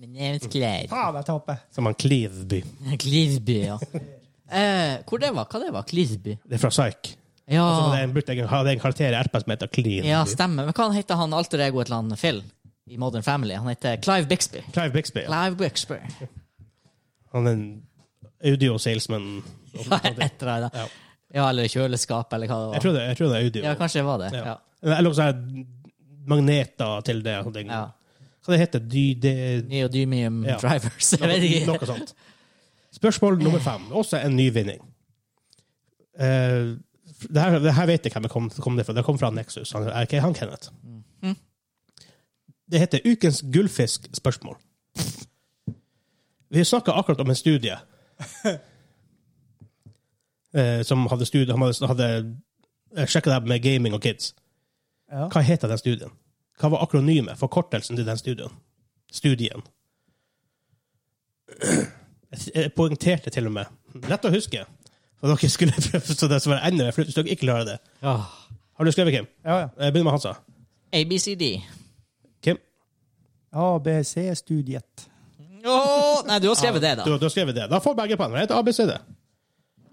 [SPEAKER 2] My name is Clyde.
[SPEAKER 3] Faen, jeg taper.
[SPEAKER 1] Som han Cleaveby.
[SPEAKER 2] Clisby, ja. Eh, hvor det var? Hva det var? Clisby?
[SPEAKER 1] Det er fra Psyche. Så var Altså, det
[SPEAKER 2] Ja,
[SPEAKER 1] en, brukte jeg, hadde jeg en karakter i RP som heter Cleaveby.
[SPEAKER 2] ja, stemmer. Men hva han heter han alter ego et eller annet Phil i Modern Family? Han heter Clive Bixby.
[SPEAKER 1] Clive Bixby. ja.
[SPEAKER 2] Clive Bixby.
[SPEAKER 1] Han er en audio salesman.
[SPEAKER 2] Etter det, da.
[SPEAKER 1] Ja.
[SPEAKER 2] Ja, eller kjøleskap, eller hva det
[SPEAKER 1] Jeg
[SPEAKER 2] var.
[SPEAKER 1] tror det, jeg tror det er audio.
[SPEAKER 2] Ja, kanskje det var det.
[SPEAKER 1] Ja.
[SPEAKER 2] Ja.
[SPEAKER 1] Eller også er det magneter til det. sånne ting.
[SPEAKER 2] ja.
[SPEAKER 1] Hva det heter det? det
[SPEAKER 2] Neodymium
[SPEAKER 1] Ja.
[SPEAKER 2] drivers. Jeg vet
[SPEAKER 1] noe,
[SPEAKER 2] ikke.
[SPEAKER 1] noe sånt. Spørsmål nummer fem. Også en nyvinning. Uh, det, her, det her vet jeg hvem det kom, kom det fra. Det kom fra Nexus. Han, er ikke han Kenneth? Det heter Ukens gullfiskspørsmål. Vi snakka akkurat om en studie eh, som hadde, studie, han hadde, hadde sjekka det her med gaming og kids.
[SPEAKER 3] Ja.
[SPEAKER 1] Hva heter den studien? Hva var akronymet, forkortelsen til den studien? Studien. Jeg poengterte til og med. Lett å huske. For dere skulle prøve så det som var enda mer flaut hvis dere ikke klarer det.
[SPEAKER 2] Åh.
[SPEAKER 1] Har du skrevet, Kim?
[SPEAKER 3] Ja, ja.
[SPEAKER 1] Jeg begynner med Hansa.
[SPEAKER 2] ABCD.
[SPEAKER 1] Kim?
[SPEAKER 3] ABC-studiet.
[SPEAKER 2] Åh, nei, du har skrevet det, da.
[SPEAKER 1] Du, du har skrevet det. Da får begge poeng. Det heter ABCD.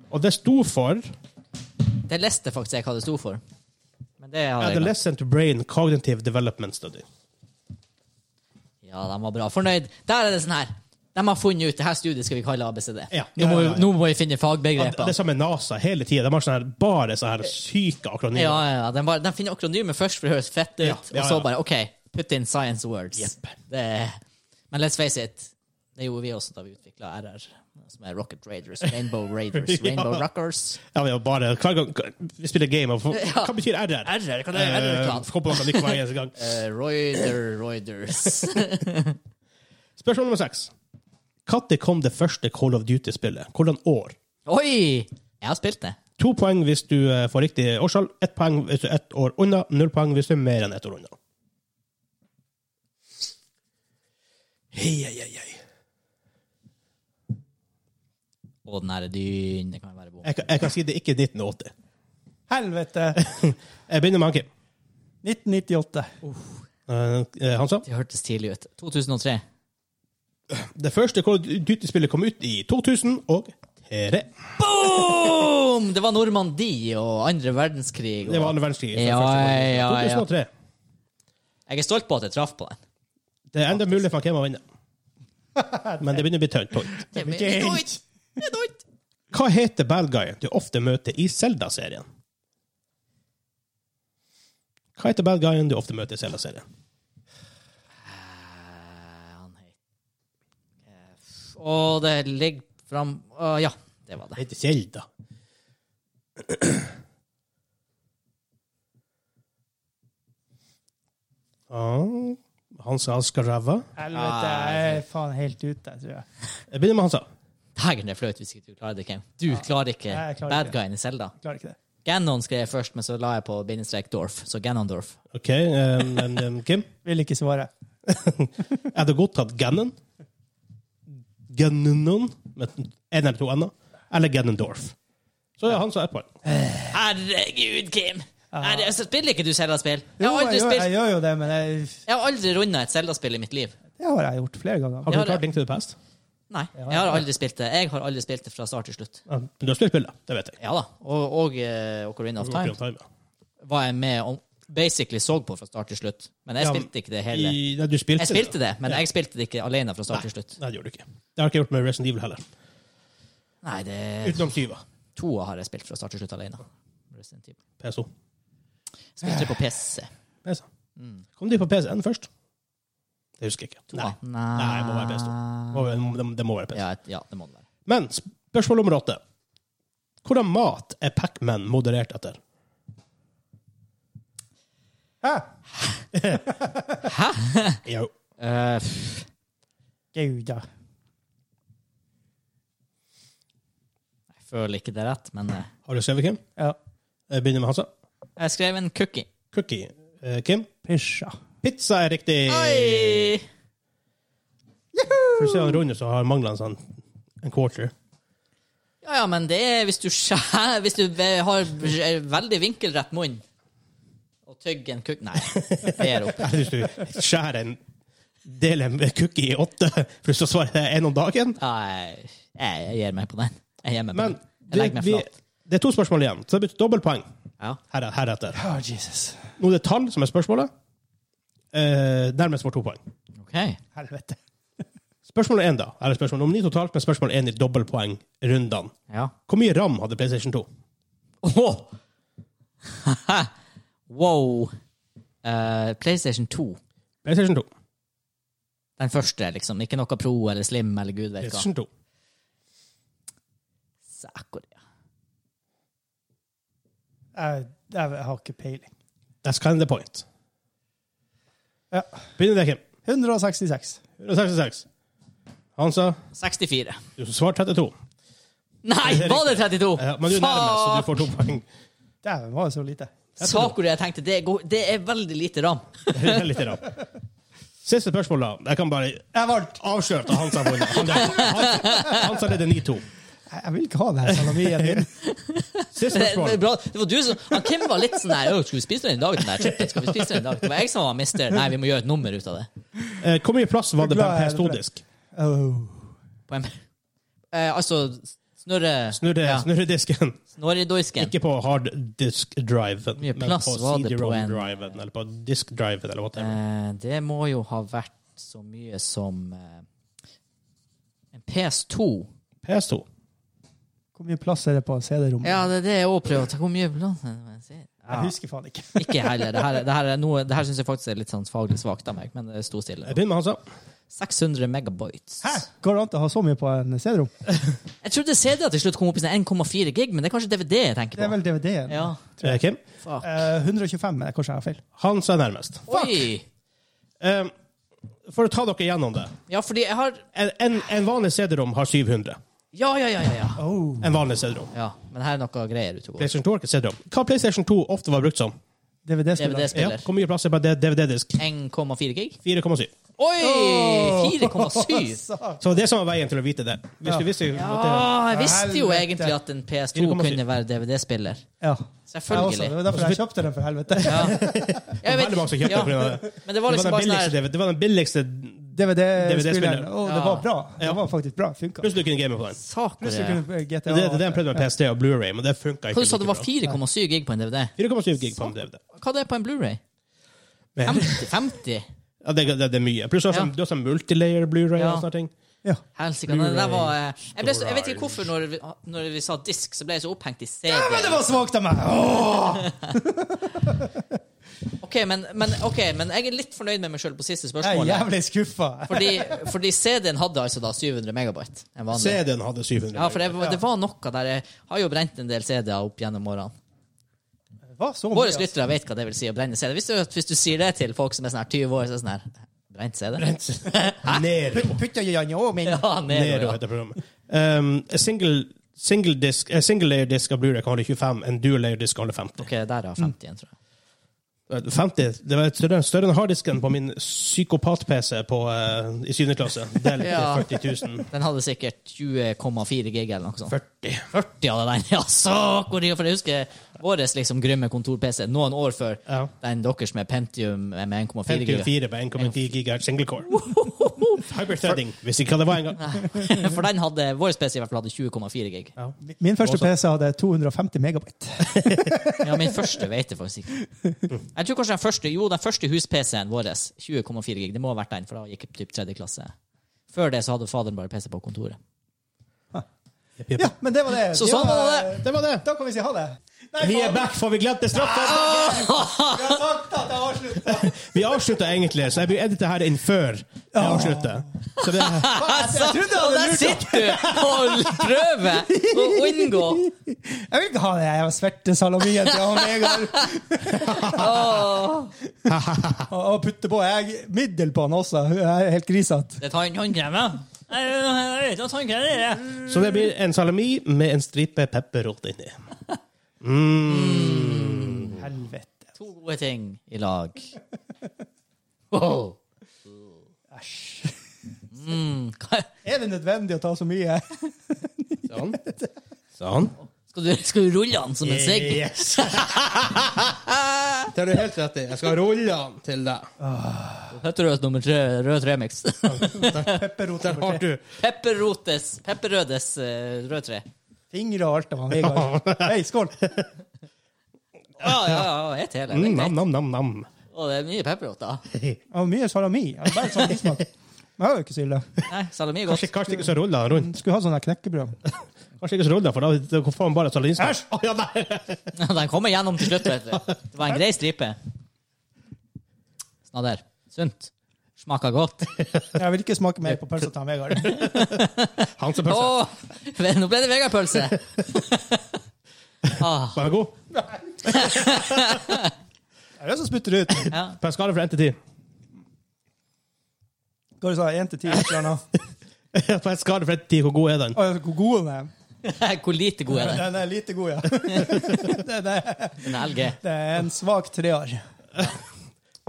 [SPEAKER 1] Og det sto for
[SPEAKER 2] Det leste faktisk jeg hva det sto for. Men det hadde jeg glemt.
[SPEAKER 1] Adolescent Brain Cognitive Development Study.
[SPEAKER 2] Ja, de var bra fornøyd. Der er det sånn her. De har funnet ut det her studiet skal vi kalle ABCD.
[SPEAKER 1] Ja.
[SPEAKER 2] Nå, må
[SPEAKER 1] Ja,
[SPEAKER 2] vi,
[SPEAKER 1] ja, ja.
[SPEAKER 2] nå må vi finne
[SPEAKER 1] Det
[SPEAKER 2] fagbegreper.
[SPEAKER 1] er samme NASA hele tida. De har sånne her, bare sånne her syke akronymer.
[SPEAKER 2] Ja, ja, ja. De, bare, de finner akronymer først for det høres fett ut,
[SPEAKER 1] Ja, ja,
[SPEAKER 2] og så
[SPEAKER 1] ja.
[SPEAKER 2] bare OK, put in science words.
[SPEAKER 1] Jepp.
[SPEAKER 2] Det, men let's face it, det gjorde vi også da vi utvikla RR, som er Rocket Raiders, Rainbow Raiders,
[SPEAKER 1] Ja.
[SPEAKER 2] Rainbow Rockers.
[SPEAKER 1] Ja, vi har bare, hver gang vi spiller game, og
[SPEAKER 2] Ja.
[SPEAKER 1] hva betyr RR?
[SPEAKER 2] RR, hva det er
[SPEAKER 1] Eh,
[SPEAKER 2] RR-klan?
[SPEAKER 1] Kom på noe nytt hver eneste gang.
[SPEAKER 2] Eh, Roider Roiders.
[SPEAKER 1] Spørsmål nummer seks. Når kom det første Call of Duty-spillet? Hvordan år?
[SPEAKER 2] Oi! Jeg har spilt det.
[SPEAKER 1] To poeng hvis du eh, får riktig årstall, ett poeng hvis du er ett år unna, null poeng hvis du er mer enn ett år unna. Hei, hei, hei, hei.
[SPEAKER 2] Å, den her er dyn. Det kan være bom.
[SPEAKER 1] Jeg, kan- jeg kan si det ikke er 1980.
[SPEAKER 3] Helvete!
[SPEAKER 1] Jeg begynner med Anki.
[SPEAKER 3] 1998.
[SPEAKER 1] Uh, Hansa?
[SPEAKER 2] Det hørtes tidlig ut. 2003.
[SPEAKER 1] Det første Call of Duty-spillet kom ut i 2003.
[SPEAKER 2] Boom! Det var Normandie og andre verdenskrig. Og...
[SPEAKER 1] Det var andre verdenskrig.
[SPEAKER 2] Ja, ja, ja.
[SPEAKER 1] 2003.
[SPEAKER 2] Jeg er stolt på at jeg traff på den.
[SPEAKER 1] Det er enda mulig for hvem å vinne. Men det begynner å bli tønt. tønt.
[SPEAKER 2] Det er
[SPEAKER 3] blir ikke
[SPEAKER 2] doit. Det er doit.
[SPEAKER 1] Hva heter bad guyen du ofte møter i Zelda-serien? Hva heter bad guyen du ofte møter i Zelda-serien?
[SPEAKER 2] Eh, Han het- Og det ligger fram Å, Ja, det var det.
[SPEAKER 1] heter Zelda. Ah, Hansa Askarava.
[SPEAKER 3] Helvete, jeg er faen helt ute, tror jeg.
[SPEAKER 1] Jeg begynner med Hansa.
[SPEAKER 2] Dægen, det er flaut hvis ikke du klarer det, Kim. Du klarer ikke
[SPEAKER 3] Nei, jeg klarer
[SPEAKER 2] bad
[SPEAKER 3] ikke.
[SPEAKER 2] guyen i Selda.
[SPEAKER 3] Klarer ikke det.
[SPEAKER 2] Ganon skrev jeg først, men så la jeg på bindestrek Dorf. Så Ganondorf.
[SPEAKER 1] OK, um, um, um, Kim.
[SPEAKER 3] Vil ikke svare.
[SPEAKER 1] Er det godt at Gannon Gannon med en eller to n-er, eller Ganondorf? Så ja, han sa ett poeng.
[SPEAKER 2] Herregud, Kim! Nei, det- så spiller ikke du Selda-spill? Jeg
[SPEAKER 3] Jo,
[SPEAKER 2] har aldri
[SPEAKER 3] jeg, gjør, jeg
[SPEAKER 2] spilt
[SPEAKER 3] gjør jo det, men jeg,
[SPEAKER 2] Jeg har aldri runda et Selda-spill i mitt liv.
[SPEAKER 3] det har jeg gjort flere ganger.
[SPEAKER 1] Har du
[SPEAKER 2] Ja, det-
[SPEAKER 1] klart Link to the Past?
[SPEAKER 2] Nei, jeg har aldri spilt det. Jeg har aldri spilt det fra start til slutt.
[SPEAKER 1] Ja, men du har spilt spillet, det vet jeg.
[SPEAKER 2] Ja da. Og, og eh, Ocarina of Time
[SPEAKER 1] Ocarina of Time, ja.
[SPEAKER 2] var jeg med og basically så på fra start til slutt. Men jeg
[SPEAKER 1] Ja, men
[SPEAKER 2] spilte ikke det hele.
[SPEAKER 1] I, nei, du spilte,
[SPEAKER 2] Jeg spilte det, men jeg spilte det ikke alene fra start til slutt.
[SPEAKER 1] Nei, det gjorde du ikke. Det har jeg ikke gjort med Resident Evil heller.
[SPEAKER 2] Nei, det
[SPEAKER 1] Utenom Syva.
[SPEAKER 2] to har jeg spilt fra start til slutt alene. Resident Evil.
[SPEAKER 1] PSO.
[SPEAKER 2] Spilte det på PC.
[SPEAKER 1] PC.
[SPEAKER 2] Mm.
[SPEAKER 1] Kom de på PSN først? Det husker jeg ikke. Nei, Nei det må være PS2. Det må være- Det, det må være PS2.
[SPEAKER 2] Ja, et- ja, det må det være.
[SPEAKER 1] Men spørsmål nummer åtte. Hvordan mat er Pac-Man moderert etter? Jo.
[SPEAKER 2] Eh, pff.
[SPEAKER 3] Gud, ja.
[SPEAKER 2] jeg føler ikke det er rett, men eh,
[SPEAKER 1] Har du skrevet, Kim?
[SPEAKER 3] ja.
[SPEAKER 1] Jeg begynner med Hansa.
[SPEAKER 2] jeg skrev en cookie.
[SPEAKER 1] Cookie. Eh, Kim?
[SPEAKER 3] Pysja.
[SPEAKER 1] Pizza er riktig.
[SPEAKER 2] Oi!
[SPEAKER 1] For å se han runde, så har han manglet en sånn en quarter.
[SPEAKER 2] Ja, ja, men det er hvis du skjærer Hvis du ve- har v- veldig vinkelrett munn og tygger en kukk Nei, det er opp.
[SPEAKER 1] Jeg synes du skjærer en del en cookie i åtte for så å svare en om dagen.
[SPEAKER 2] Nei, jeg jeg gir meg på den. Jeg gir meg på
[SPEAKER 1] Men
[SPEAKER 2] den. Jeg
[SPEAKER 1] det,
[SPEAKER 2] legger meg
[SPEAKER 1] vi,
[SPEAKER 2] flat.
[SPEAKER 1] det er to spørsmål igjen, så det betyr dobbeltpoeng
[SPEAKER 2] Ja.
[SPEAKER 1] her, heretter.
[SPEAKER 3] Oh, Jesus.
[SPEAKER 1] Nå er det tall som er spørsmålet. Eh, nærmest får to poeng.
[SPEAKER 2] OK.
[SPEAKER 3] Helvete.
[SPEAKER 1] Spørsmål én, da. Her er spørsmål om ni totalt, men spørsmål én i dobbeltpoengrundene.
[SPEAKER 2] Ja.
[SPEAKER 1] Hvor mye ram hadde PlayStation 2?
[SPEAKER 2] Åh! wow. Eh, PlayStation 2.
[SPEAKER 1] PlayStation 2.
[SPEAKER 2] Den første, liksom. Ikke noe Pro eller Slim eller gud vet hva.
[SPEAKER 1] PlayStation 2.
[SPEAKER 2] Sækoria.
[SPEAKER 3] Jeg, jeg har ikke peiling.
[SPEAKER 1] That's kind of the point.
[SPEAKER 3] Ja.
[SPEAKER 1] Begynner deg, Kim.
[SPEAKER 3] 166.
[SPEAKER 1] 166. Han sa
[SPEAKER 2] 64.
[SPEAKER 1] du svarte 32.
[SPEAKER 2] Nei,
[SPEAKER 1] Det er
[SPEAKER 2] var det 32?
[SPEAKER 1] Ja, men du er nærmest, så du får to poeng.
[SPEAKER 3] Dæven, var det så lite?
[SPEAKER 2] Sækoria, jeg tenkte. Det er, go- det er veldig lite ram.
[SPEAKER 1] Det er Litt ram. Siste spørsmål, da. Jeg kan bare
[SPEAKER 3] Jeg vant!
[SPEAKER 1] avsløre at Hans har vunnet. Han- han- Hans har ledet 9-2.
[SPEAKER 3] Jeg, jeg vil ikke ha det her salamien din.
[SPEAKER 1] Siste
[SPEAKER 2] Det, det, er
[SPEAKER 1] spørsmål.
[SPEAKER 2] bra. det var du som han Kim var litt sånn der «Å, Skal vi spise den i dag, den der chipen? Skal vi spise den i dag? Det var jeg som var mister. Nei, vi må gjøre et nummer ut av det.
[SPEAKER 1] Eh, Hvor mye plass var det på en
[SPEAKER 3] Glad jeg er det.
[SPEAKER 1] PS2-disk?
[SPEAKER 3] Oh.
[SPEAKER 2] På en, eh, altså Snurre
[SPEAKER 1] Snurre,
[SPEAKER 2] Ja.
[SPEAKER 1] snurre disken.
[SPEAKER 2] Snorredoisken.
[SPEAKER 1] Ikke på hard disk drive,
[SPEAKER 2] mye
[SPEAKER 1] men
[SPEAKER 2] plass
[SPEAKER 1] på
[SPEAKER 2] var det på en-
[SPEAKER 1] CD-ROM-driven, eller på disk-driven, eller whatever.
[SPEAKER 2] Eh, det må jo ha vært så mye som eh, en PS2.
[SPEAKER 1] PS2.
[SPEAKER 3] Hvor mye plass er det på CD-rommet?
[SPEAKER 2] Ja, det er det jeg òg prøver å ta. Hvor mye plass er det på en CD?
[SPEAKER 3] Jeg husker faen ikke.
[SPEAKER 2] Ikke heller. Det her, det her, er noe- det her syns jeg faktisk er litt sånn faglig svakt av meg, men det sto stille.
[SPEAKER 1] Jeg begynner med Hansa.
[SPEAKER 2] 600 megabytes.
[SPEAKER 3] Hæ? Går det an å ha så mye på en CD-rom?
[SPEAKER 2] Jeg trodde CD-er til slutt kom opp i sånn 1,4 gig, men det er kanskje DVD jeg tenker
[SPEAKER 3] Det er
[SPEAKER 2] på.
[SPEAKER 3] vel DVD-en.
[SPEAKER 2] Ja,
[SPEAKER 1] Eh, Kim.
[SPEAKER 2] fuck.
[SPEAKER 3] Eh, 125, men kanskje jeg har feil.
[SPEAKER 1] Hans er nærmest.
[SPEAKER 2] Oi!
[SPEAKER 1] Eh, For å ta dere gjennom det.
[SPEAKER 2] Ja, fordi jeg har
[SPEAKER 1] En, en, en vanlig CD-rom har 700.
[SPEAKER 2] Ja, ja, ja, ja. ja.
[SPEAKER 3] Oh.
[SPEAKER 1] En vanlig CD-rom.
[SPEAKER 2] ja men her er noe greier ute og går.
[SPEAKER 1] PlayStation 2 har ikke CD-rom. Hva PlayStation 2 ofte var brukt som?
[SPEAKER 3] DVD-spiller.
[SPEAKER 1] Ja,
[SPEAKER 2] DVD-spiller.
[SPEAKER 1] hvor mye plass er på en DVD-disk?
[SPEAKER 2] 1,4 gig?
[SPEAKER 1] 4,7.
[SPEAKER 2] Oi!
[SPEAKER 3] Åh!
[SPEAKER 2] 4,7!
[SPEAKER 1] Så det som var veien til å vite det. Hvis du
[SPEAKER 3] Ja.
[SPEAKER 1] visste at
[SPEAKER 2] Ah, jeg visste jo
[SPEAKER 3] Helvete.
[SPEAKER 2] egentlig at en PS2
[SPEAKER 1] 4,7.
[SPEAKER 2] kunne være DVD-spiller.
[SPEAKER 3] Ja. Jeg også. Det
[SPEAKER 2] Selvfølgelig.
[SPEAKER 3] var derfor
[SPEAKER 1] Altså,
[SPEAKER 3] jeg kjøpte den, for helvete.
[SPEAKER 2] Ja.
[SPEAKER 1] det,
[SPEAKER 2] Jeg
[SPEAKER 1] veldig mange som kjøpte
[SPEAKER 2] ja.
[SPEAKER 1] på grunn av det.
[SPEAKER 2] Men det var
[SPEAKER 1] det,
[SPEAKER 2] liksom
[SPEAKER 1] var
[SPEAKER 2] bare
[SPEAKER 1] den
[SPEAKER 2] sånn
[SPEAKER 1] billigste,
[SPEAKER 2] her
[SPEAKER 1] DVD det var den billigste
[SPEAKER 3] DVD-spilleren.
[SPEAKER 1] DVD-spilleren.
[SPEAKER 3] Å, det
[SPEAKER 2] Ja.
[SPEAKER 3] var bra. Det var faktisk bra. Funka.
[SPEAKER 1] Plutselig kunne game på den.
[SPEAKER 2] Saker ja.
[SPEAKER 3] Plutselig kunne GTA
[SPEAKER 1] Det er det jeg prøvde med PST og Blu-ray, men det funka ikke.
[SPEAKER 2] Hva du sa det
[SPEAKER 1] like
[SPEAKER 2] var
[SPEAKER 1] bra.
[SPEAKER 2] 4,7 gig på en DVD?
[SPEAKER 1] 4,7 gig på en DVD.
[SPEAKER 2] Hva det er på en Blu-ray?
[SPEAKER 1] Men-
[SPEAKER 2] 50-50?
[SPEAKER 1] Ja, det, det, det er mye. Pluss også,
[SPEAKER 2] Ja.
[SPEAKER 1] du har sånn multilayer Blu-ray
[SPEAKER 2] Ja.
[SPEAKER 1] og sånne ting.
[SPEAKER 3] Ja.
[SPEAKER 2] Helsike. nei, det der var, eh, Jeg, ble så, jeg vet ikke hvorfor, når vi, når vi sa disk, så ble jeg så opphengt i CD.
[SPEAKER 3] Men det var svakt av meg!
[SPEAKER 2] Ok, men, men, ok, men jeg er litt fornøyd med meg sjøl på siste
[SPEAKER 3] Jeg er
[SPEAKER 2] spørsmål.
[SPEAKER 3] jævlig skuffa.
[SPEAKER 2] Fordi, fordi CD-en hadde altså da 700 megabyte. En vanlig.
[SPEAKER 1] CD-en hadde 700.
[SPEAKER 2] Ja, for det, var- det var noe der Jeg har jo brent en del CD-er opp gjennom årene.
[SPEAKER 3] Hva så mye?
[SPEAKER 2] Våre lyttere vet hva det vil si å brenne CD. Hvis du, hvis du sier det til folk som er sånn her 20 år, så er det sånn her Brent CD?
[SPEAKER 1] Nero.
[SPEAKER 3] Putta Janne òg min.
[SPEAKER 2] Ja, ned,
[SPEAKER 1] Nero
[SPEAKER 2] ja.
[SPEAKER 1] heter programmet. Um, single, single, disk, eh, single layer disk av Blu-ray kan holde 25, en dual layer disk kan holde 50.
[SPEAKER 2] Ok, der er 50 igjen, tror jeg.
[SPEAKER 1] Eh, 50, det var et større, større enn harddisken på min psykopat-PC på, eh, i 7. klasse. Del til
[SPEAKER 2] Ja.
[SPEAKER 1] 40 000.
[SPEAKER 2] Den hadde sikkert 20,4 gig eller noe sånt.
[SPEAKER 1] 40.
[SPEAKER 2] 40 av den, ja, så hvor For jeg husker vår liksom grymme kontor-PC noen år før
[SPEAKER 1] Ja.
[SPEAKER 2] den deres med Pentium med 1,4 giga.
[SPEAKER 1] 54 på 1,9 gigahertz single core. Hyperthreading. Visste ikke hva det var engang.
[SPEAKER 2] For den hadde, vår PC i hvert fall hadde 20,4 gig.
[SPEAKER 3] Min første PC hadde 250 megabyte.
[SPEAKER 2] Ja, min første vet jeg faktisk ikke. Jeg tror kanskje den første, jo, den første hus-PC-en vår, 20,4 gig, det må ha vært den, for da gikk jeg typ tredje klasse. Før det så hadde faderen bare PC på kontoret.
[SPEAKER 3] Ja, men det var det.
[SPEAKER 2] Så sånn var det.
[SPEAKER 1] Det var det.
[SPEAKER 3] Da kan vi si ha det.
[SPEAKER 1] Vi er back, for vi glemte straffen!
[SPEAKER 3] Vi har sagt at jeg avslutter!
[SPEAKER 1] Vi avslutta egentlig, så jeg blir edita her inn før jeg avslutter. Så det,
[SPEAKER 3] Jeg
[SPEAKER 2] Og Altså, der
[SPEAKER 3] trodde jeg hadde lurt deg!
[SPEAKER 2] sitter du og prøver å unngå!
[SPEAKER 3] Jeg vil ikke ha det, jeg har svertesalamien til han Vegard. Og og putte på. Jeg er middel på han også. Jeg er helt grisete.
[SPEAKER 2] Det tar en håndkrem, ja. Jeg vet ikke hva tannkrem er. jeg.
[SPEAKER 1] så det blir en salami med en stripe pepperrot inni.
[SPEAKER 3] Helvete.
[SPEAKER 2] To gode ting i lag. Wow.
[SPEAKER 3] Æsj.
[SPEAKER 2] Mm. hva-
[SPEAKER 3] Er det nødvendig å ta så mye?
[SPEAKER 1] Sånn. Sånn.
[SPEAKER 2] Skal du, skal du rulle den som en sigg?
[SPEAKER 1] Yes! Det har du helt rett i. Jeg skal rulle den til deg.
[SPEAKER 2] Høtterøs nummer tre, rød tremix.
[SPEAKER 3] Pepperrot
[SPEAKER 1] Der
[SPEAKER 3] nummer
[SPEAKER 1] har
[SPEAKER 3] tre.
[SPEAKER 1] du.
[SPEAKER 2] Pepperrotes, pepperrødes eh, rød tre.
[SPEAKER 3] Fingre og alt av han Vegard. Hei, skål!
[SPEAKER 2] Ja, ja, ja, et hele.
[SPEAKER 1] Mm,
[SPEAKER 2] det er greit.
[SPEAKER 1] nam, nam, nam, nam.
[SPEAKER 2] Å, det er mye pepperroter.
[SPEAKER 3] Det var mye salami. Jeg hadde bare sånn bismak. Jeg har jo ikke så ille.
[SPEAKER 2] Nei, salami er godt.
[SPEAKER 1] Kanskje, kanskje ikke så rulla den rundt.
[SPEAKER 3] Skulle ha sånn her knekkebrød.
[SPEAKER 1] Kanskje ikke så rulla, for da da får man bare salamistapp.
[SPEAKER 3] Æsj!
[SPEAKER 1] Å, ja, nei.
[SPEAKER 2] Den kommer gjennom til slutt, vet du. Det var en grei stripe. Snadder. Sunt. Smaker godt.
[SPEAKER 3] Jeg vil ikke smake mer på pølsa til han Vegard.
[SPEAKER 2] Å!
[SPEAKER 1] Hansepølse.
[SPEAKER 2] Nå ble det Vegard-pølse! Ah,
[SPEAKER 1] Var den god?
[SPEAKER 3] Det er det som spytter ut.
[SPEAKER 2] ja.
[SPEAKER 1] På en skala fra 1 til 10.
[SPEAKER 3] Hva sa du, 1 til 10? et eller annet?
[SPEAKER 1] På en skala fra 1 til 10, hvor god er den?
[SPEAKER 3] Å, Hvor god den er.
[SPEAKER 2] Hvor lite god er den?
[SPEAKER 3] Den er lite god, ja. Det, det,
[SPEAKER 2] Den er LG.
[SPEAKER 3] det er en svak treer.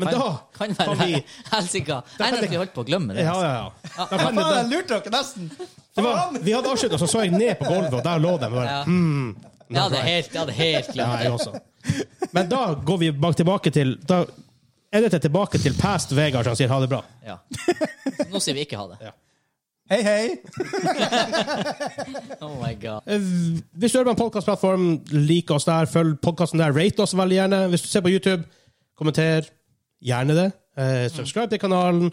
[SPEAKER 1] Men da
[SPEAKER 2] Kan, kan være
[SPEAKER 1] kan vi-
[SPEAKER 2] helsika. Jeg er nødt til å holde på å glemme det.
[SPEAKER 1] Ja, ja, ja. Da
[SPEAKER 3] Hva
[SPEAKER 1] kan
[SPEAKER 3] faen,
[SPEAKER 1] det,
[SPEAKER 3] jeg lurte dere nesten!
[SPEAKER 1] det var, vi hadde avslutta, så så jeg ned på gulvet, og der lå den. Bare,
[SPEAKER 2] Ja.
[SPEAKER 1] mm,
[SPEAKER 2] Jeg hadde helt, jeg hadde helt
[SPEAKER 1] ja,
[SPEAKER 2] glemt det.
[SPEAKER 1] jeg også. Men da går vi bak tilbake til Da er dette tilbake til past Vegard, som sier ha det bra.
[SPEAKER 2] Ja. Nå sier vi ikke ha det.
[SPEAKER 3] Hei, hei!
[SPEAKER 2] Oh my god.
[SPEAKER 1] Eh, Hvis du hører på en podkastplattform, lik oss der, følg podkasten der, rate oss veldig gjerne. Hvis du ser på YouTube, kommenter gjerne det. Eh, subscribe til kanalen.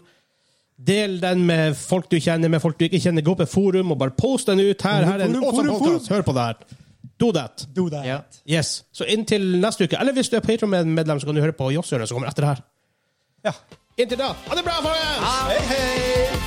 [SPEAKER 1] Del den med folk du kjenner, med folk du ikke kjenner. Gå på forum og bare post den ut. Her, her er en
[SPEAKER 3] Forum,
[SPEAKER 1] awesome
[SPEAKER 3] forum, forum.
[SPEAKER 1] podcast. Hør på det her. Do that.
[SPEAKER 3] Do that.
[SPEAKER 2] Ja.
[SPEAKER 1] Yes. Så inntil neste uke, eller hvis du er Patron-medlem, så kan du høre på Jåssøren som kommer etter det her.
[SPEAKER 3] Ja.
[SPEAKER 1] Inntil da, ha det bra, folkens!
[SPEAKER 3] Hei, hei!